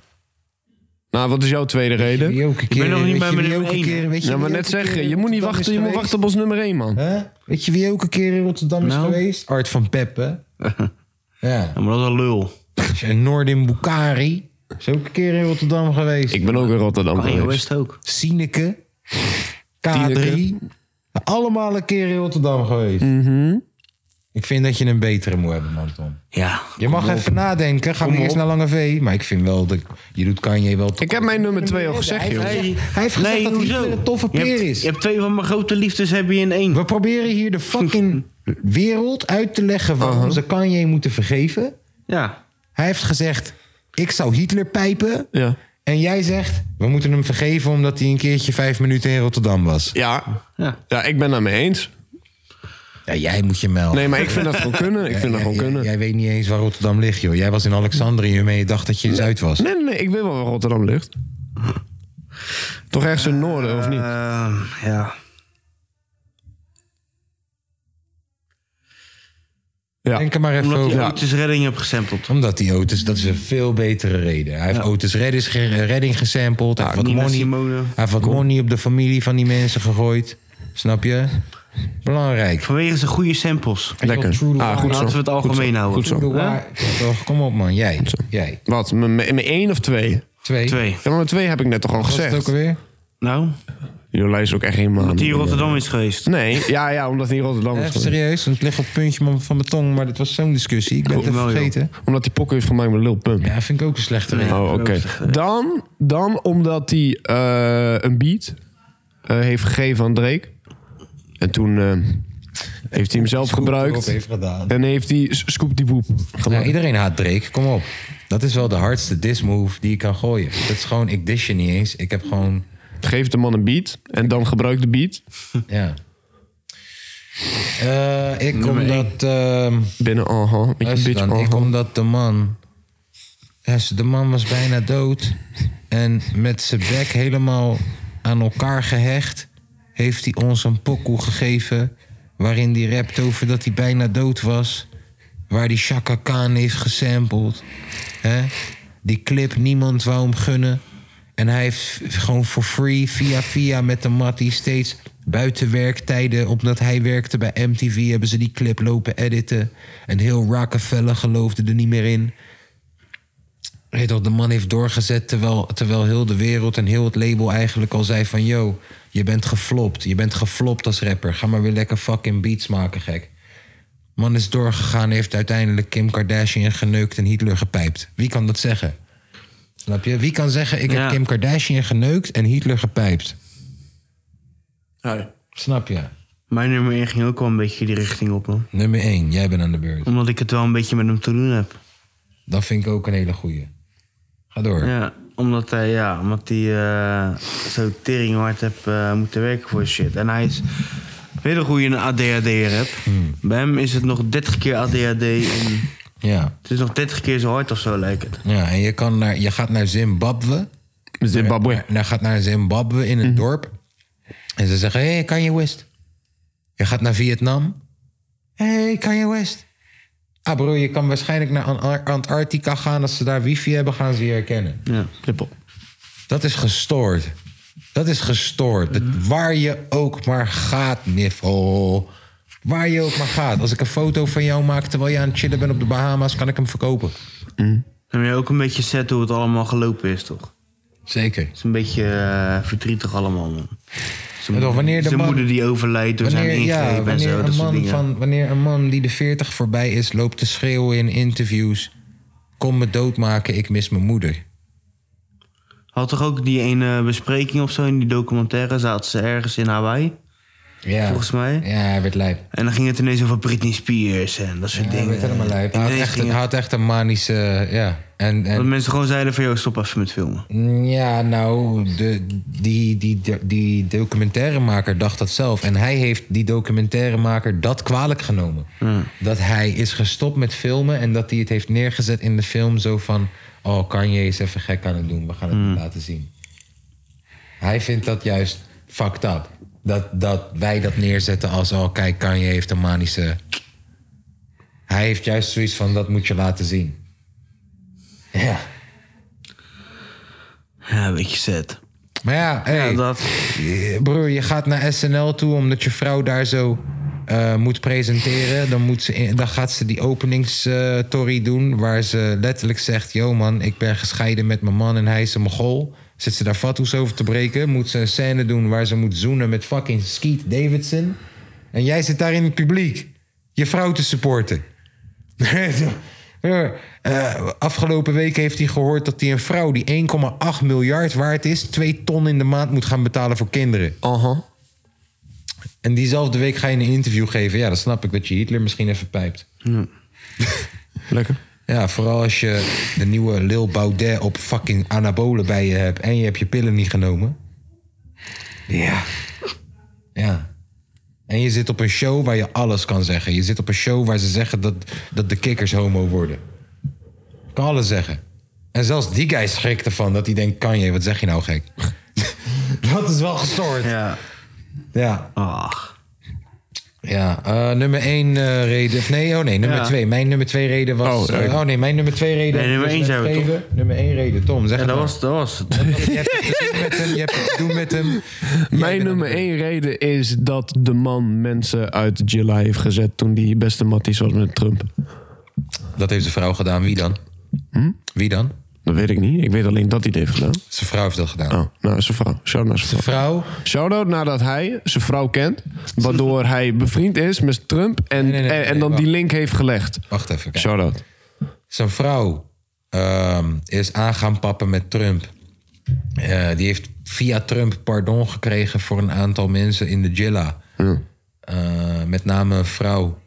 Nou, wat is jouw tweede reden?
Die ook een keer,
nog niet
weet
bij
je wie
mijn
ook een
nummer
keer- weet je wie
Ja, maar
ook
net
een keer
zeggen,
in
je moet niet
Rotterdam is
wachten, je moet Nou?
geweest?
wachten op ons nummer 1, man.
Hè? Weet je wie ook een keer in Rotterdam is geweest? Art van Peppe. ja.
Ja, maar dat is een
Oh,
lul.
En Noordin Bukari. Is ook een keer in Rotterdam geweest.
Ik ben ook in Rotterdam
Kanye
geweest.
West ook.
Sineke. K3.
Tineke.
Allemaal een keer in Rotterdam geweest.
Mhm.
Ik vind dat je een betere moet hebben, man, Tom.
Ja.
Je mag even nadenken. Ga niet eens naar Lange V. Maar ik vind wel dat je doet Kanye wel te
Ik heb mijn nummer 2 al gezegd, joh.
Hij heeft gezegd dat hij
hoezo?
een toffe
Je
peer
hebt-
is.
Je hebt twee van mijn grote liefdes heb je in één.
We proberen hier de fucking wereld uit te leggen waarom
Uh-huh.
ze Kanye moeten vergeven.
Ja.
Hij heeft gezegd, ik zou Hitler pijpen.
Ja.
En jij zegt, we moeten hem vergeven omdat hij een keertje vijf minuten in Rotterdam was.
Ja.
Ja.
ja, ik ben daar mee eens.
Ja, jij moet je melden.
Nee, maar ik vind dat gewoon kunnen. Ik vind dat gewoon
Jij-
kunnen.
Jij weet niet eens waar Rotterdam ligt, joh. Jij was in Alexandrium en je dacht dat je in Zuid was.
Nee, nee, nee, ik weet wel waar Rotterdam ligt. Toch ergens in het noorden, of niet?
Ehm, ja.
Ja.
Denk er maar even
Omdat
over.
je Otis Redding hebt gesampled.
Omdat die Otis, dat is een veel betere reden. Hij heeft Otis Redding, ge- Redding gesampled. Hij heeft wat
Nina
money,
Simone.
hij heeft wat money op de familie van die mensen gegooid. Snap je? Belangrijk.
Vanwege zijn goede samples.
Lekker.
True the
Ah,
Wire.
goed zo.
Laten we het algemeen
Goed zo.
houden.
Goed zo.
Doe waar. Toch, Kom op man, jij. Jij.
Wat, mijn mijn- mijn één of twee?
Twee.
Twee.
Ja, maar twee heb ik net toch al
Was het ook
gezegd.
alweer?
Nou,
Jolijn is ook echt helemaal...
dat hij in Rotterdam is geweest.
Nee, ja, ja, omdat hij in Rotterdam is.
Even
geweest.
serieus, want het ligt op het puntje van van mijn tong. Maar dit was zo'n discussie. Ik ben het even
wel, joh.
vergeten.
Omdat hij pokken heeft gemaakt met Lil Pump.
Ja, eh. vind ik ook een slechte reden.
Oh, oké. Dan, dan omdat hij eh, een beat eh, heeft gegeven aan Drake. En toen eh, heeft hij hem zelf
Erop
gebruikt.
heeft gedaan.
En heeft hij S- Scoop die Woep
Nou,
gemaakt.
iedereen haat Drake, kom op. Dat is wel de hardste diss move die je kan gooien. Dat is gewoon, ik dish je niet eens. Ik heb gewoon
Geef de man een beat en dan gebruikt de beat
Ja. Eh, ik omdat... ehm,
binnen. uh-huh, Aha, met je
luister
bitch.
dan,
aha.
ik omdat de man... luister, De man was bijna dood. En met zijn bek helemaal aan elkaar gehecht... heeft hij ons een pokoe gegeven... waarin hij rapt over dat hij bijna dood was. Waar die Chaka Khan heeft gesampled. Hè? Die clip, niemand wou hem gunnen. En hij heeft gewoon voor free, via via met de Mattie steeds buiten werktijden. Omdat hij werkte bij MTV, hebben ze die clip lopen editen. En heel Rockefeller geloofde er niet meer in. weet je wel, de man heeft doorgezet terwijl, terwijl heel de wereld en heel het label eigenlijk al zei van... yo, je bent geflopt. Je bent geflopt als rapper. Ga maar weer lekker fucking beats maken, gek. Man is doorgegaan, heeft uiteindelijk Kim Kardashian geneukt en Hitler gepijpt. Wie kan dat zeggen? Snap je? Wie kan zeggen, ik
Ja.
heb Kim Kardashian geneukt en Hitler gepijpt? Snap je?
Mijn nummer 1 ging ook wel een beetje die richting op, man.
Nummer 1, jij bent aan de beurt.
Omdat ik het wel een beetje met hem te doen heb.
Dat vind ik ook een hele goeie. Ga door.
Ja, omdat hij, ja, omdat hij eh, zo tering hard heeft eh, moeten werken voor shit. En hij is weet nog hoe je een ADHD'er hebt.
Hmm.
Bij hem is het nog 30 keer ADHD. En
Ja.
het is nog 30 keer zo hard of zo, lijkt het.
Ja, en je, kan naar, je gaat naar Zimbabwe.
Zimbabwe.
Eh, En dan gaat naar Zimbabwe in een dorp. En ze zeggen, hé, hey, Kanye West. Je gaat naar Vietnam. Hé, hey, Kanye West. Ah bro, je kan waarschijnlijk naar An- Antarctica gaan. Als ze daar wifi hebben, gaan ze je herkennen.
Ja.
Dat is gestoord. Dat is gestoord. Dat- waar je ook maar gaat, Niffel. Waar je ook maar gaat. Als ik een foto van jou maak terwijl je aan het chillen bent op de Bahama's... kan ik hem verkopen.
En ben je ook een beetje set hoe het allemaal gelopen is, toch? Het
Zeker.
is een beetje eh, verdrietig allemaal, man. Zijn,
Ja, toch, wanneer de
zijn
man-
moeder die overlijdt door zijn
Wanneer, ja,
ingreep en
wanneer
zo,
een
dat soort
man
dingen.
van, wanneer een man die de 40 voorbij is, loopt te schreeuwen in interviews. Kom me doodmaken, ik mis mijn moeder.
Had toch ook die ene bespreking of zo in die documentaire? Zaten ze ergens in Hawaii?
Ja.
Volgens mij.
Ja, hij werd lijp.
En dan ging het ineens over Britney Spears en dat nou, soort
Ja, hij
dingen.
werd helemaal lijp. Hij had,
Ineens
echt,
ging
hij
het-
had echt een manische... Ja, en,
Dat
en,
mensen gewoon zeiden van, joh, stop even met filmen.
ja nou, de, die, die, die, die documentairemaker dacht dat zelf. En hij heeft die documentairemaker dat kwalijk genomen. Dat hij is gestopt met filmen en dat hij het heeft neergezet in de film. Zo van, oh Kanye is even gek aan het doen, we gaan het niet laten zien. Hij vindt dat juist fucked up. Dat, dat wij dat neerzetten als, oh kijk, Kanye heeft een manische... Hij heeft juist zoiets van, dat moet je laten zien. Ja.
Ja, een beetje sad.
Maar ja, hey,
Ja, dat.
eh, broer, je gaat naar SNL toe omdat je vrouw daar zo eh, moet presenteren. Dan, moet ze in- dan gaat ze die openingstory eh, doen waar ze letterlijk zegt... Yo man, ik ben gescheiden met mijn man en hij is een mogol. Zit ze daar fatsoes over te breken? Moet ze een scène doen waar ze moet zoenen met fucking Skeet Davidson? En jij zit daar in het publiek je vrouw te supporten. Ja, eh, afgelopen week heeft hij gehoord dat hij een vrouw die 1,8 miljard waard is, 2 ton in de maand moet gaan betalen voor kinderen.
Aha.
En diezelfde week ga je een interview geven. Ja, dan snap ik dat je Hitler misschien even pijpt.
Lekker.
Ja, vooral als je de nieuwe Lil Baudet op fucking anabolen bij je hebt en je hebt je pillen niet genomen. Ja. Ja. En je zit op een show waar je alles kan zeggen. Je zit op een show waar ze zeggen dat, dat de kikkers homo worden. Kan alles zeggen. En zelfs die guy schrikt ervan dat hij denkt: Kanje, wat zeg je nou gek? dat is wel gestoord.
Ja.
Ja.
Ach.
Ja, eh, nummer één eh, reden. Of nee, oh nee, nummer
Ja.
twee. Mijn nummer twee reden was.
Oh,
eh,
ja.
oh nee, mijn nummer twee reden.
Nee, nummer
was
één
net
zijn we,
geven. Nummer één reden, Tom. Zeg
Ja,
het
dat
maar.
was, dat was het.
Je hebt het te doen met hem. Je hebt het te doen met hem.
Mijn nummer één reden is dat de man mensen uit Gilla heeft gezet toen die beste matties was met Trump.
Dat heeft zijn vrouw gedaan. Wie dan?
Hm?
Wie dan?
Dat weet ik niet. Ik weet alleen dat hij het heeft gedaan.
Zijn vrouw heeft dat gedaan.
Oh, nou, zijn vrouw. Shout naar zijn vrouw.
Vrouw?
Shout-out nadat hij zijn vrouw kent. Waardoor hij bevriend is met Trump. En,
Nee, nee, nee,
en, en
nee,
dan
wacht.
die link heeft gelegd.
Wacht even. Kijk.
Shout-out.
Zijn vrouw ehm, is aan gaan pappen met Trump. Eh, die heeft via Trump pardon gekregen voor een aantal mensen in de Jilla. Eh, met name een vrouw.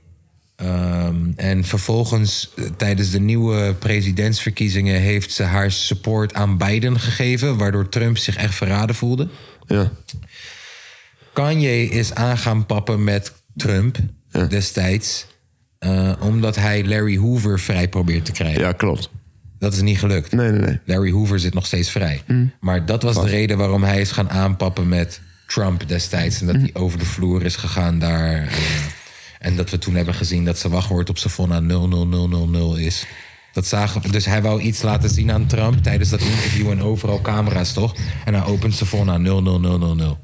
Ehm, en vervolgens, eh, tijdens de nieuwe presidentsverkiezingen, heeft ze haar support aan Biden gegeven. Waardoor Trump zich echt verraden voelde.
Ja.
Kanye is aan gaan pappen met Trump destijds. eh, omdat hij Larry Hoover vrij probeert te krijgen.
ja, klopt.
Dat is niet gelukt.
Nee, nee, Mm. nee.
Larry Hoover zit nog steeds vrij. Maar dat was de reden waarom hij is gaan aanpappen met Trump destijds.
Mm.
En dat hij over de vloer is gegaan daar. eh, en dat we toen hebben gezien dat zijn wachtwoord op Savonna 00000 is. Dat zagen, we- dus hij wou iets laten zien aan Trump tijdens dat interview en overal camera's, toch? En hij opent Savonna 00000.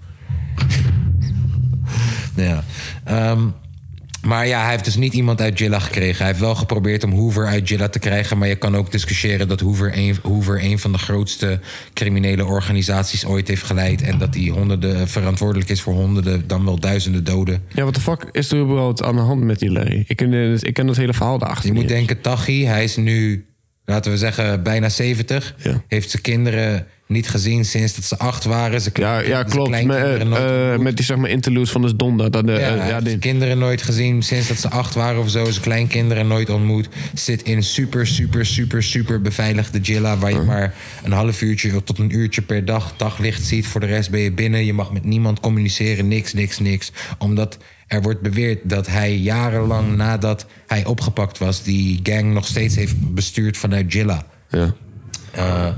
ja. Ehm, Maar ja, hij heeft dus niet iemand uit Jilla gekregen. Hij heeft wel geprobeerd om Hoover uit Jilla te krijgen. Maar je kan ook discussiëren dat Hoover een, Hoover een van de grootste criminele organisaties ooit heeft geleid. En dat hij honderden, eh, verantwoordelijk is voor honderden, dan wel duizenden doden.
Ja, wat de fuck is er überhaupt aan de hand met die Larry? Ik ken, eh, ik ken dat hele verhaal daarachter.
Je moet
niet.
denken, Tachi, hij is nu, laten we zeggen, bijna 70.
Ja.
Heeft zijn kinderen niet gezien sinds dat ze acht waren. Ze
Ja, ja
zijn
klopt. Met,
kleinkinderen nooit
eh, eh, met die zeg maar interludes van de Donda. Dat, de,
Ja,
eh,
hij
ja,
heeft
die-
zijn kinderen nooit gezien sinds dat ze acht waren of zo. Zijn kleinkinderen nooit ontmoet. Zit in super, super, super, super beveiligde Jilla... waar je maar een half uurtje tot een uurtje per dag daglicht ziet. Voor de rest ben je binnen. Je mag met niemand communiceren. Niks, niks, niks. Omdat er wordt beweerd dat hij
Hmm.
jarenlang nadat hij opgepakt was... die gang nog steeds heeft bestuurd vanuit Jilla.
ja.
Eh,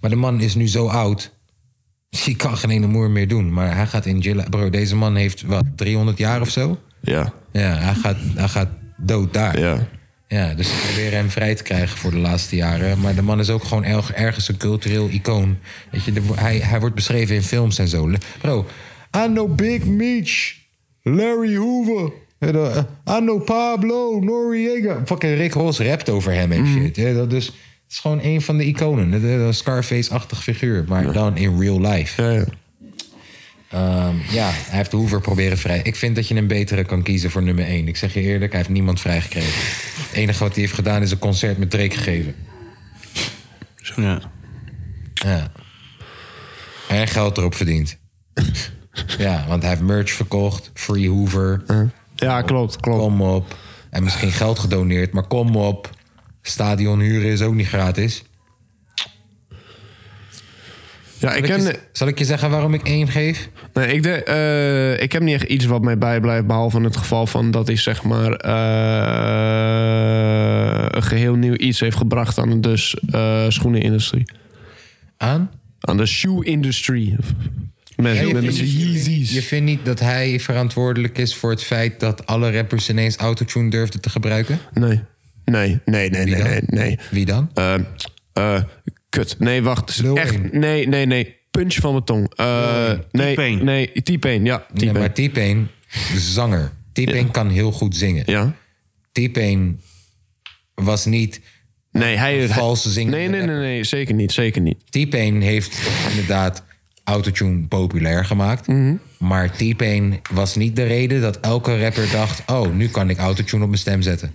maar de man is nu zo oud... Je kan geen ene moer meer doen. Maar hij gaat in Jilla... Bro, deze man heeft, wat, 300 jaar of zo?
Ja.
Ja, hij gaat, hij gaat dood daar.
Ja.
Ja, dus ze proberen hem vrij te krijgen voor de laatste jaren. Maar de man is ook gewoon erg- ergens een cultureel icoon. Weet je, de- hij, hij wordt beschreven in films en zo. Le- Bro, I know Big Meech, Larry Hoover, eh, de- eh, I know Pablo, Noriega. Fucking Rick Ross rapt over hem
Mm.
en shit. hè. Dat dus, het is gewoon een van de iconen. De- de- de Scarface-achtig figuur, maar dan in real life.
Ja, ja.
Ehm, ja, hij heeft Hoover proberen vrij. Ik vind dat je een betere kan kiezen voor nummer 1. Ik zeg je eerlijk, hij heeft niemand vrijgekregen. Het enige wat hij heeft gedaan is een concert met Drake gegeven.
Ja.
Ja. En geld erop verdiend. ja, want hij heeft merch verkocht. Free Hoover.
Ja, klopt, klopt.
Kom op. En misschien geld gedoneerd, maar kom op. Stadion huren is ook niet gratis.
Ja, ik
Zal ik
ken...
je- zal ik je zeggen waarom ik één geef?
Nee, ik, denk, eh, ik heb niet echt iets wat mij bijblijft. Behalve in het geval van dat hij zeg maar eh, een geheel nieuw iets heeft gebracht aan de dus, eh, schoenenindustrie.
Aan?
Aan de shoe industry. Met,
Ja, je vindt-
met, met zijn
Je
Yeezys.
vindt niet dat hij verantwoordelijk is voor het feit dat alle rappers ineens autotune durfden te gebruiken?
Nee. Nee, nee, nee, nee,
dan?
nee. nee.
Wie dan?
Eh, eh, kut. Nee, wacht. Het is
Lil Wayne.
echt, nee, nee, nee. Punch van mijn tong. Eh, nee,
T-Pain.
nee, T-Pain. Ja, T-Pain.
Nee, maar T-Pain, zanger. T-Pain kan heel goed zingen.
ja.
T-Pain was niet...
Nee, hij... hij-
valse zingende
Nee, nee, nee, nee. Zeker niet, zeker niet.
T-Pain heeft inderdaad autotune populair gemaakt.
Mhm.
Maar T-Pain was niet de reden dat elke rapper dacht... oh, nu kan ik autotune op mijn stem zetten.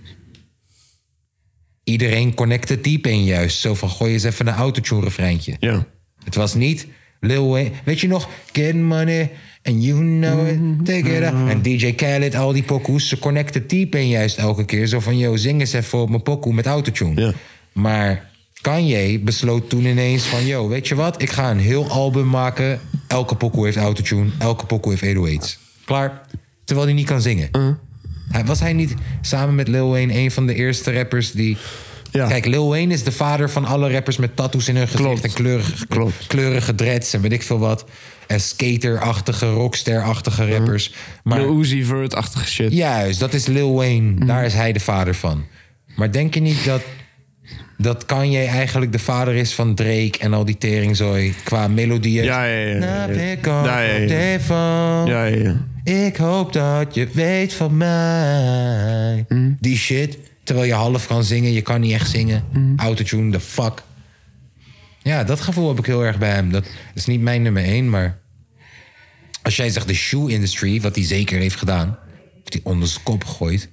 Iedereen connecte T-Pain juist. Zo van, gooi eens even een autotune-refreintje.
Ja.
Het was niet Lil Wayne. Weet je nog? Get money and you know
Mhm.
it. Take it
Ah.
out. En DJ Khaled, al die pokoes. Ze connecten T-Pain juist elke keer. Zo van, yo, zing eens even op mijn pokoe met autotune.
Ja.
Maar Kanye besloot toen ineens van... yo, weet je wat? Ik ga een heel album maken. Elke pokoe heeft autotune. Elke pokoe heeft 808's. Klaar. Terwijl hij niet kan zingen.
Uh.
Hij- Was hij niet samen met Lil Wayne een van de eerste rappers die...
Ja.
Kijk, Lil Wayne is de vader van alle rappers met tattoos in hun gezicht...
Klopt.
en kleurige,
Klopt.
kleurige dreads en weet ik veel wat. En skaterachtige, rocksterachtige rappers. Maar
De Mhm. Uzi Mhm. Vert-achtige shit.
juist, dat is Lil Wayne. Daar is hij de vader van. Maar denk je niet dat, dat Kanye eigenlijk de vader is van Drake... en al die teringzooi qua melodieën?
Ja, ja, ja, ja, ja.
Nou, ik hoop
Ja, ja, ja.
ervan.
Ja, ja, ja.
Ik hoop dat je weet van mij. Die shit. Terwijl je half kan zingen, je kan niet echt zingen. Autotune, the fuck. Ja, dat gevoel heb ik heel erg bij hem. Dat is niet mijn nummer één, maar... Als jij zegt de shoe industry, wat hij zeker heeft gedaan... heeft hij onder zijn kop gegooid...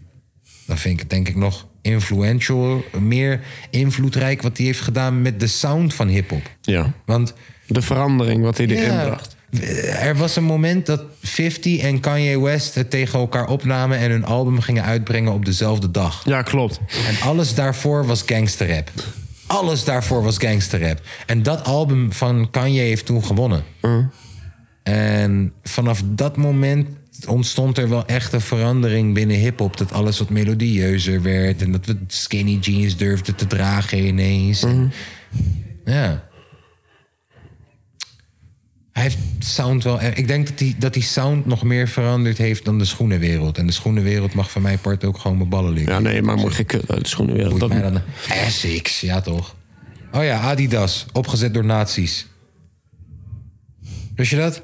dan vind ik het denk ik nog influential... meer invloedrijk wat hij heeft gedaan met de sound van hiphop.
Ja.
Want
De verandering wat hij erin
ja,
bracht.
Er was een moment dat 50 en Kanye West het tegen elkaar opnamen en hun album gingen uitbrengen op dezelfde dag.
Ja, klopt.
En alles daarvoor was gangsterrap. Alles daarvoor was gangsterrap. En dat album van Kanye heeft toen gewonnen. En vanaf dat moment ontstond er wel echt een verandering binnen hip-hop. Dat alles wat melodieuzer werd. En dat we skinny jeans durfden te dragen ineens. En- ja. Hij heeft sound wel. e- Ik denk dat die, dat die sound nog meer veranderd heeft dan de schoenenwereld. En de schoenenwereld mag van mijn part ook gewoon mijn ballen liggen.
Ja, nee, maar moet geen kut uit de schoenen weer.
Boeit
Dat,
mij dan. Essex, ja toch? Oh ja, Adidas, opgezet door nazi's. Wist je dat?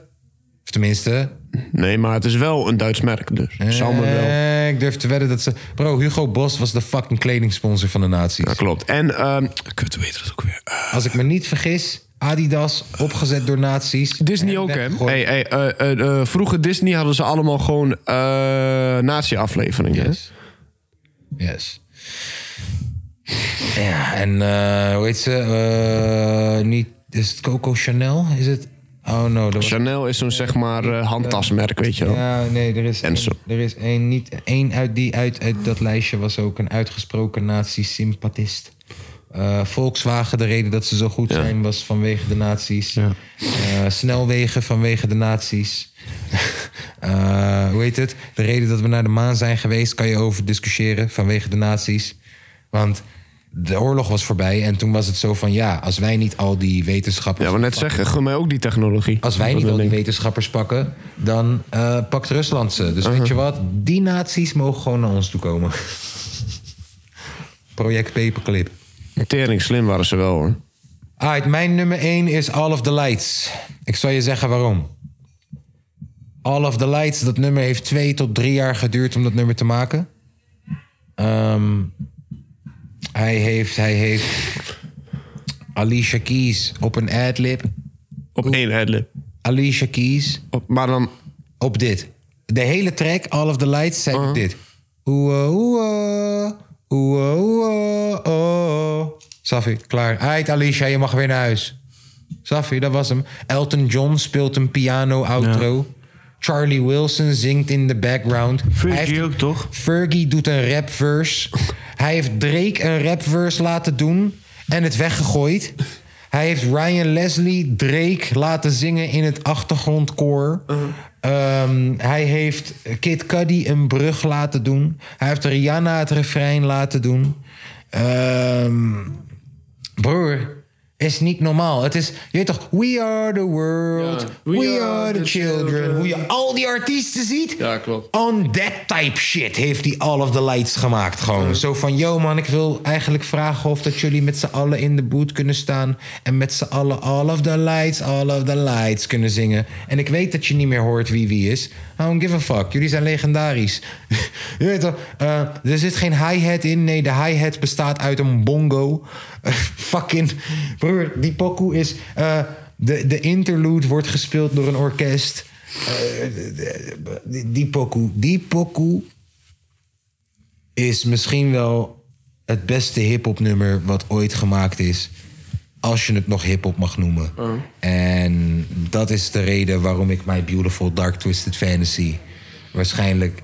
Of tenminste,
Nee, maar het is wel een Duits merk, dus. Zou me wel.
Eh, Ik durf te wedden dat ze... Bro, Hugo Boss was de fucking kledingsponsor van de nazi's.
Dat klopt. En, ehm kut, weet je dat ook weer? Eh,
Als ik me niet vergis, Adidas, opgezet door nazi's.
Disney
en
ook, hè?
weggegooid.
Hey, hey, eh, eh, eh, vroeger Disney hadden ze allemaal gewoon eh nazi-afleveringen. hè?
Yes. Yes. Ja, en eh, hoe heet ze? Eh, niet, is het Coco Chanel? Is het? Oh no, dat was-
Chanel is zo'n, zeg maar, eh, handtasmerk, weet je wel.
Ja, nee, er is,
En
één-
zo.
er is één, niet één uit die uit, uit dat lijstje was ook een uitgesproken nazi-sympathist. Eh, Volkswagen, de reden dat ze zo goed zijn was vanwege de nazi's. Eh, snelwegen vanwege de nazi's. Eh, hoe heet het? De reden dat we naar de maan zijn geweest kan je over discussiëren vanwege de nazi's. Want de oorlog was voorbij en toen was het zo van ja, als wij niet al die wetenschappers.
Ja, maar net zeggen, gun mij ook die technologie.
Als wij
Dat
niet
wil
al die
ik.
wetenschappers pakken, dan eh, pakt Rusland ze. Dus
Uh-huh.
weet je wat? Die naties mogen gewoon naar ons toe komen. Project Paperclip.
Tering slim waren ze wel, hoor.
Alright, mijn nummer 1 is All of the Lights. Ik zal je zeggen waarom. All of the Lights, dat nummer heeft twee tot drie jaar geduurd om dat nummer te maken. Ehm, hij heeft, hij heeft Alicia Keys op een ad-lib.
Op één adlib.
Alicia Keys
Op- Maar dan...
op dit. De hele track, All of the Lights, zijn dit. eh, Oeh, oeh, oeh, oeh, oeh. eh, oh. Safi, klaar. Ait Alicia, je mag weer naar huis. Safi, dat was hem. Elton John speelt een piano-outro. Charlie Wilson zingt in de background. Hij heeft-
Fergie ook, toch?
Fergie doet een rap verse. Hij heeft Drake een rap verse laten doen en het weggegooid. Hij heeft Ryan Leslie Drake laten zingen in het achtergrondkoor. Ehm, hij heeft Kid Cudi een brug laten doen. Hij heeft Rihanna het refrein laten doen. Ehm, broer, is niet normaal. Het is, je weet toch, we are the world, we, are, the, children. Hoe je al die artiesten ziet.
Ja, klopt.
On that type shit heeft hij all of the lights gemaakt gewoon. Zo van, yo man, ik wil eigenlijk vragen of dat jullie met z'n allen in de boot kunnen staan. En met z'n allen all of the lights, all of the lights kunnen zingen. En ik weet dat je niet meer hoort wie wie is. I don't give a fuck. Jullie zijn legendarisch. je weet toch, eh, er zit geen hi-hat in. Nee, de hi-hat bestaat uit een bongo. Fucking, broer, die pokoe is... eh, de, de interlude wordt gespeeld door een orkest. Eh, Die, die pokoe, die pokoe is misschien wel het beste hip-hop nummer wat ooit gemaakt is. Als je het nog hip-hop mag noemen. En dat is de reden waarom ik My Beautiful Dark Twisted Fantasy waarschijnlijk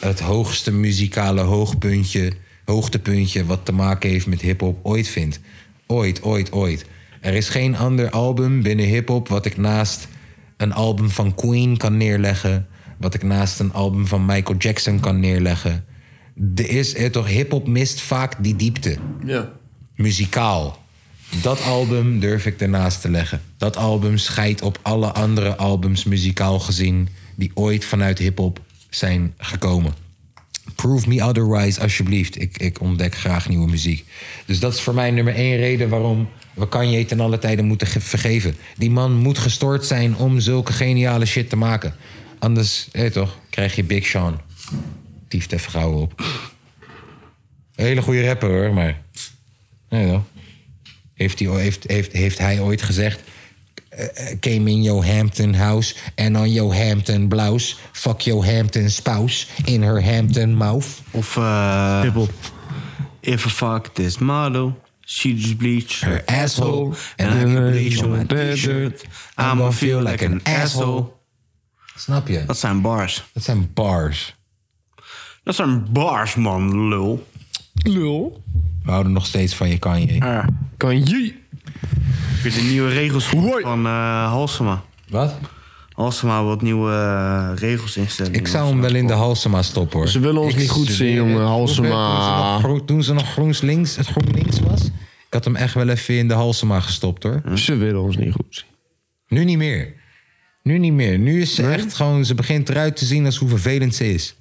het hoogste muzikale hoogpuntje, hoogtepuntje wat te maken heeft met hip-hop ooit vind. Ooit, ooit, ooit. Er is geen ander album binnen hip-hop wat ik naast een album van Queen kan neerleggen. Wat ik naast een album van Michael Jackson kan neerleggen. Er is er toch, hip-hop mist vaak die diepte
Ja.
muzikaal. Dat album durf ik ernaast te leggen. Dat album scheidt op alle andere albums muzikaal gezien... die ooit vanuit hip-hop zijn gekomen. Prove me otherwise, alsjeblieft. Ik, ik ontdek graag nieuwe muziek. Dus dat is voor mij nummer één reden waarom we Kanye ten alle tijden moeten ge- vergeven. Die man moet gestoord zijn om zulke geniale shit te maken. Anders, hé toch, krijg je Big Sean. Tief te vrouwen op. Hele goede rapper hoor, maar... Nee, joh. Heeft, hij, heeft, heeft, heeft hij ooit gezegd... eh, eh, Came in your Hampton house and on your Hampton blouse. Fuck your Hampton spouse in her Hampton mouth.
Of eh If a fuck this model, she just bleach her
asshole.
And I can bleach on my t-shirt. I'm gonna feel like an asshole.
Snap je?
Dat zijn bars.
Dat zijn bars.
Dat zijn bars, man, lul.
Lul.
We houden nog steeds van je Kanye.
Kan je...
Heb je de nieuwe regels
Hoi.
gehoord van eh Halsema?
Wat?
Halsema wil wat nieuwe eh, regels instellen.
Ik zou hem wel in de Halsema stoppen, hoor.
Ze willen ons
Ik
niet goed zien,
zweer
jongen.
het.
Halsema.
Toen ze nog gro- Toen ze nog GroenLinks, het GroenLinks was... Ik had hem echt wel even in de Halsema gestopt, hoor.
Ze willen ons niet goed zien.
Nu niet meer. Nu niet meer. Nu is ze echt gewoon... Ze begint eruit te zien als hoe vervelend ze is.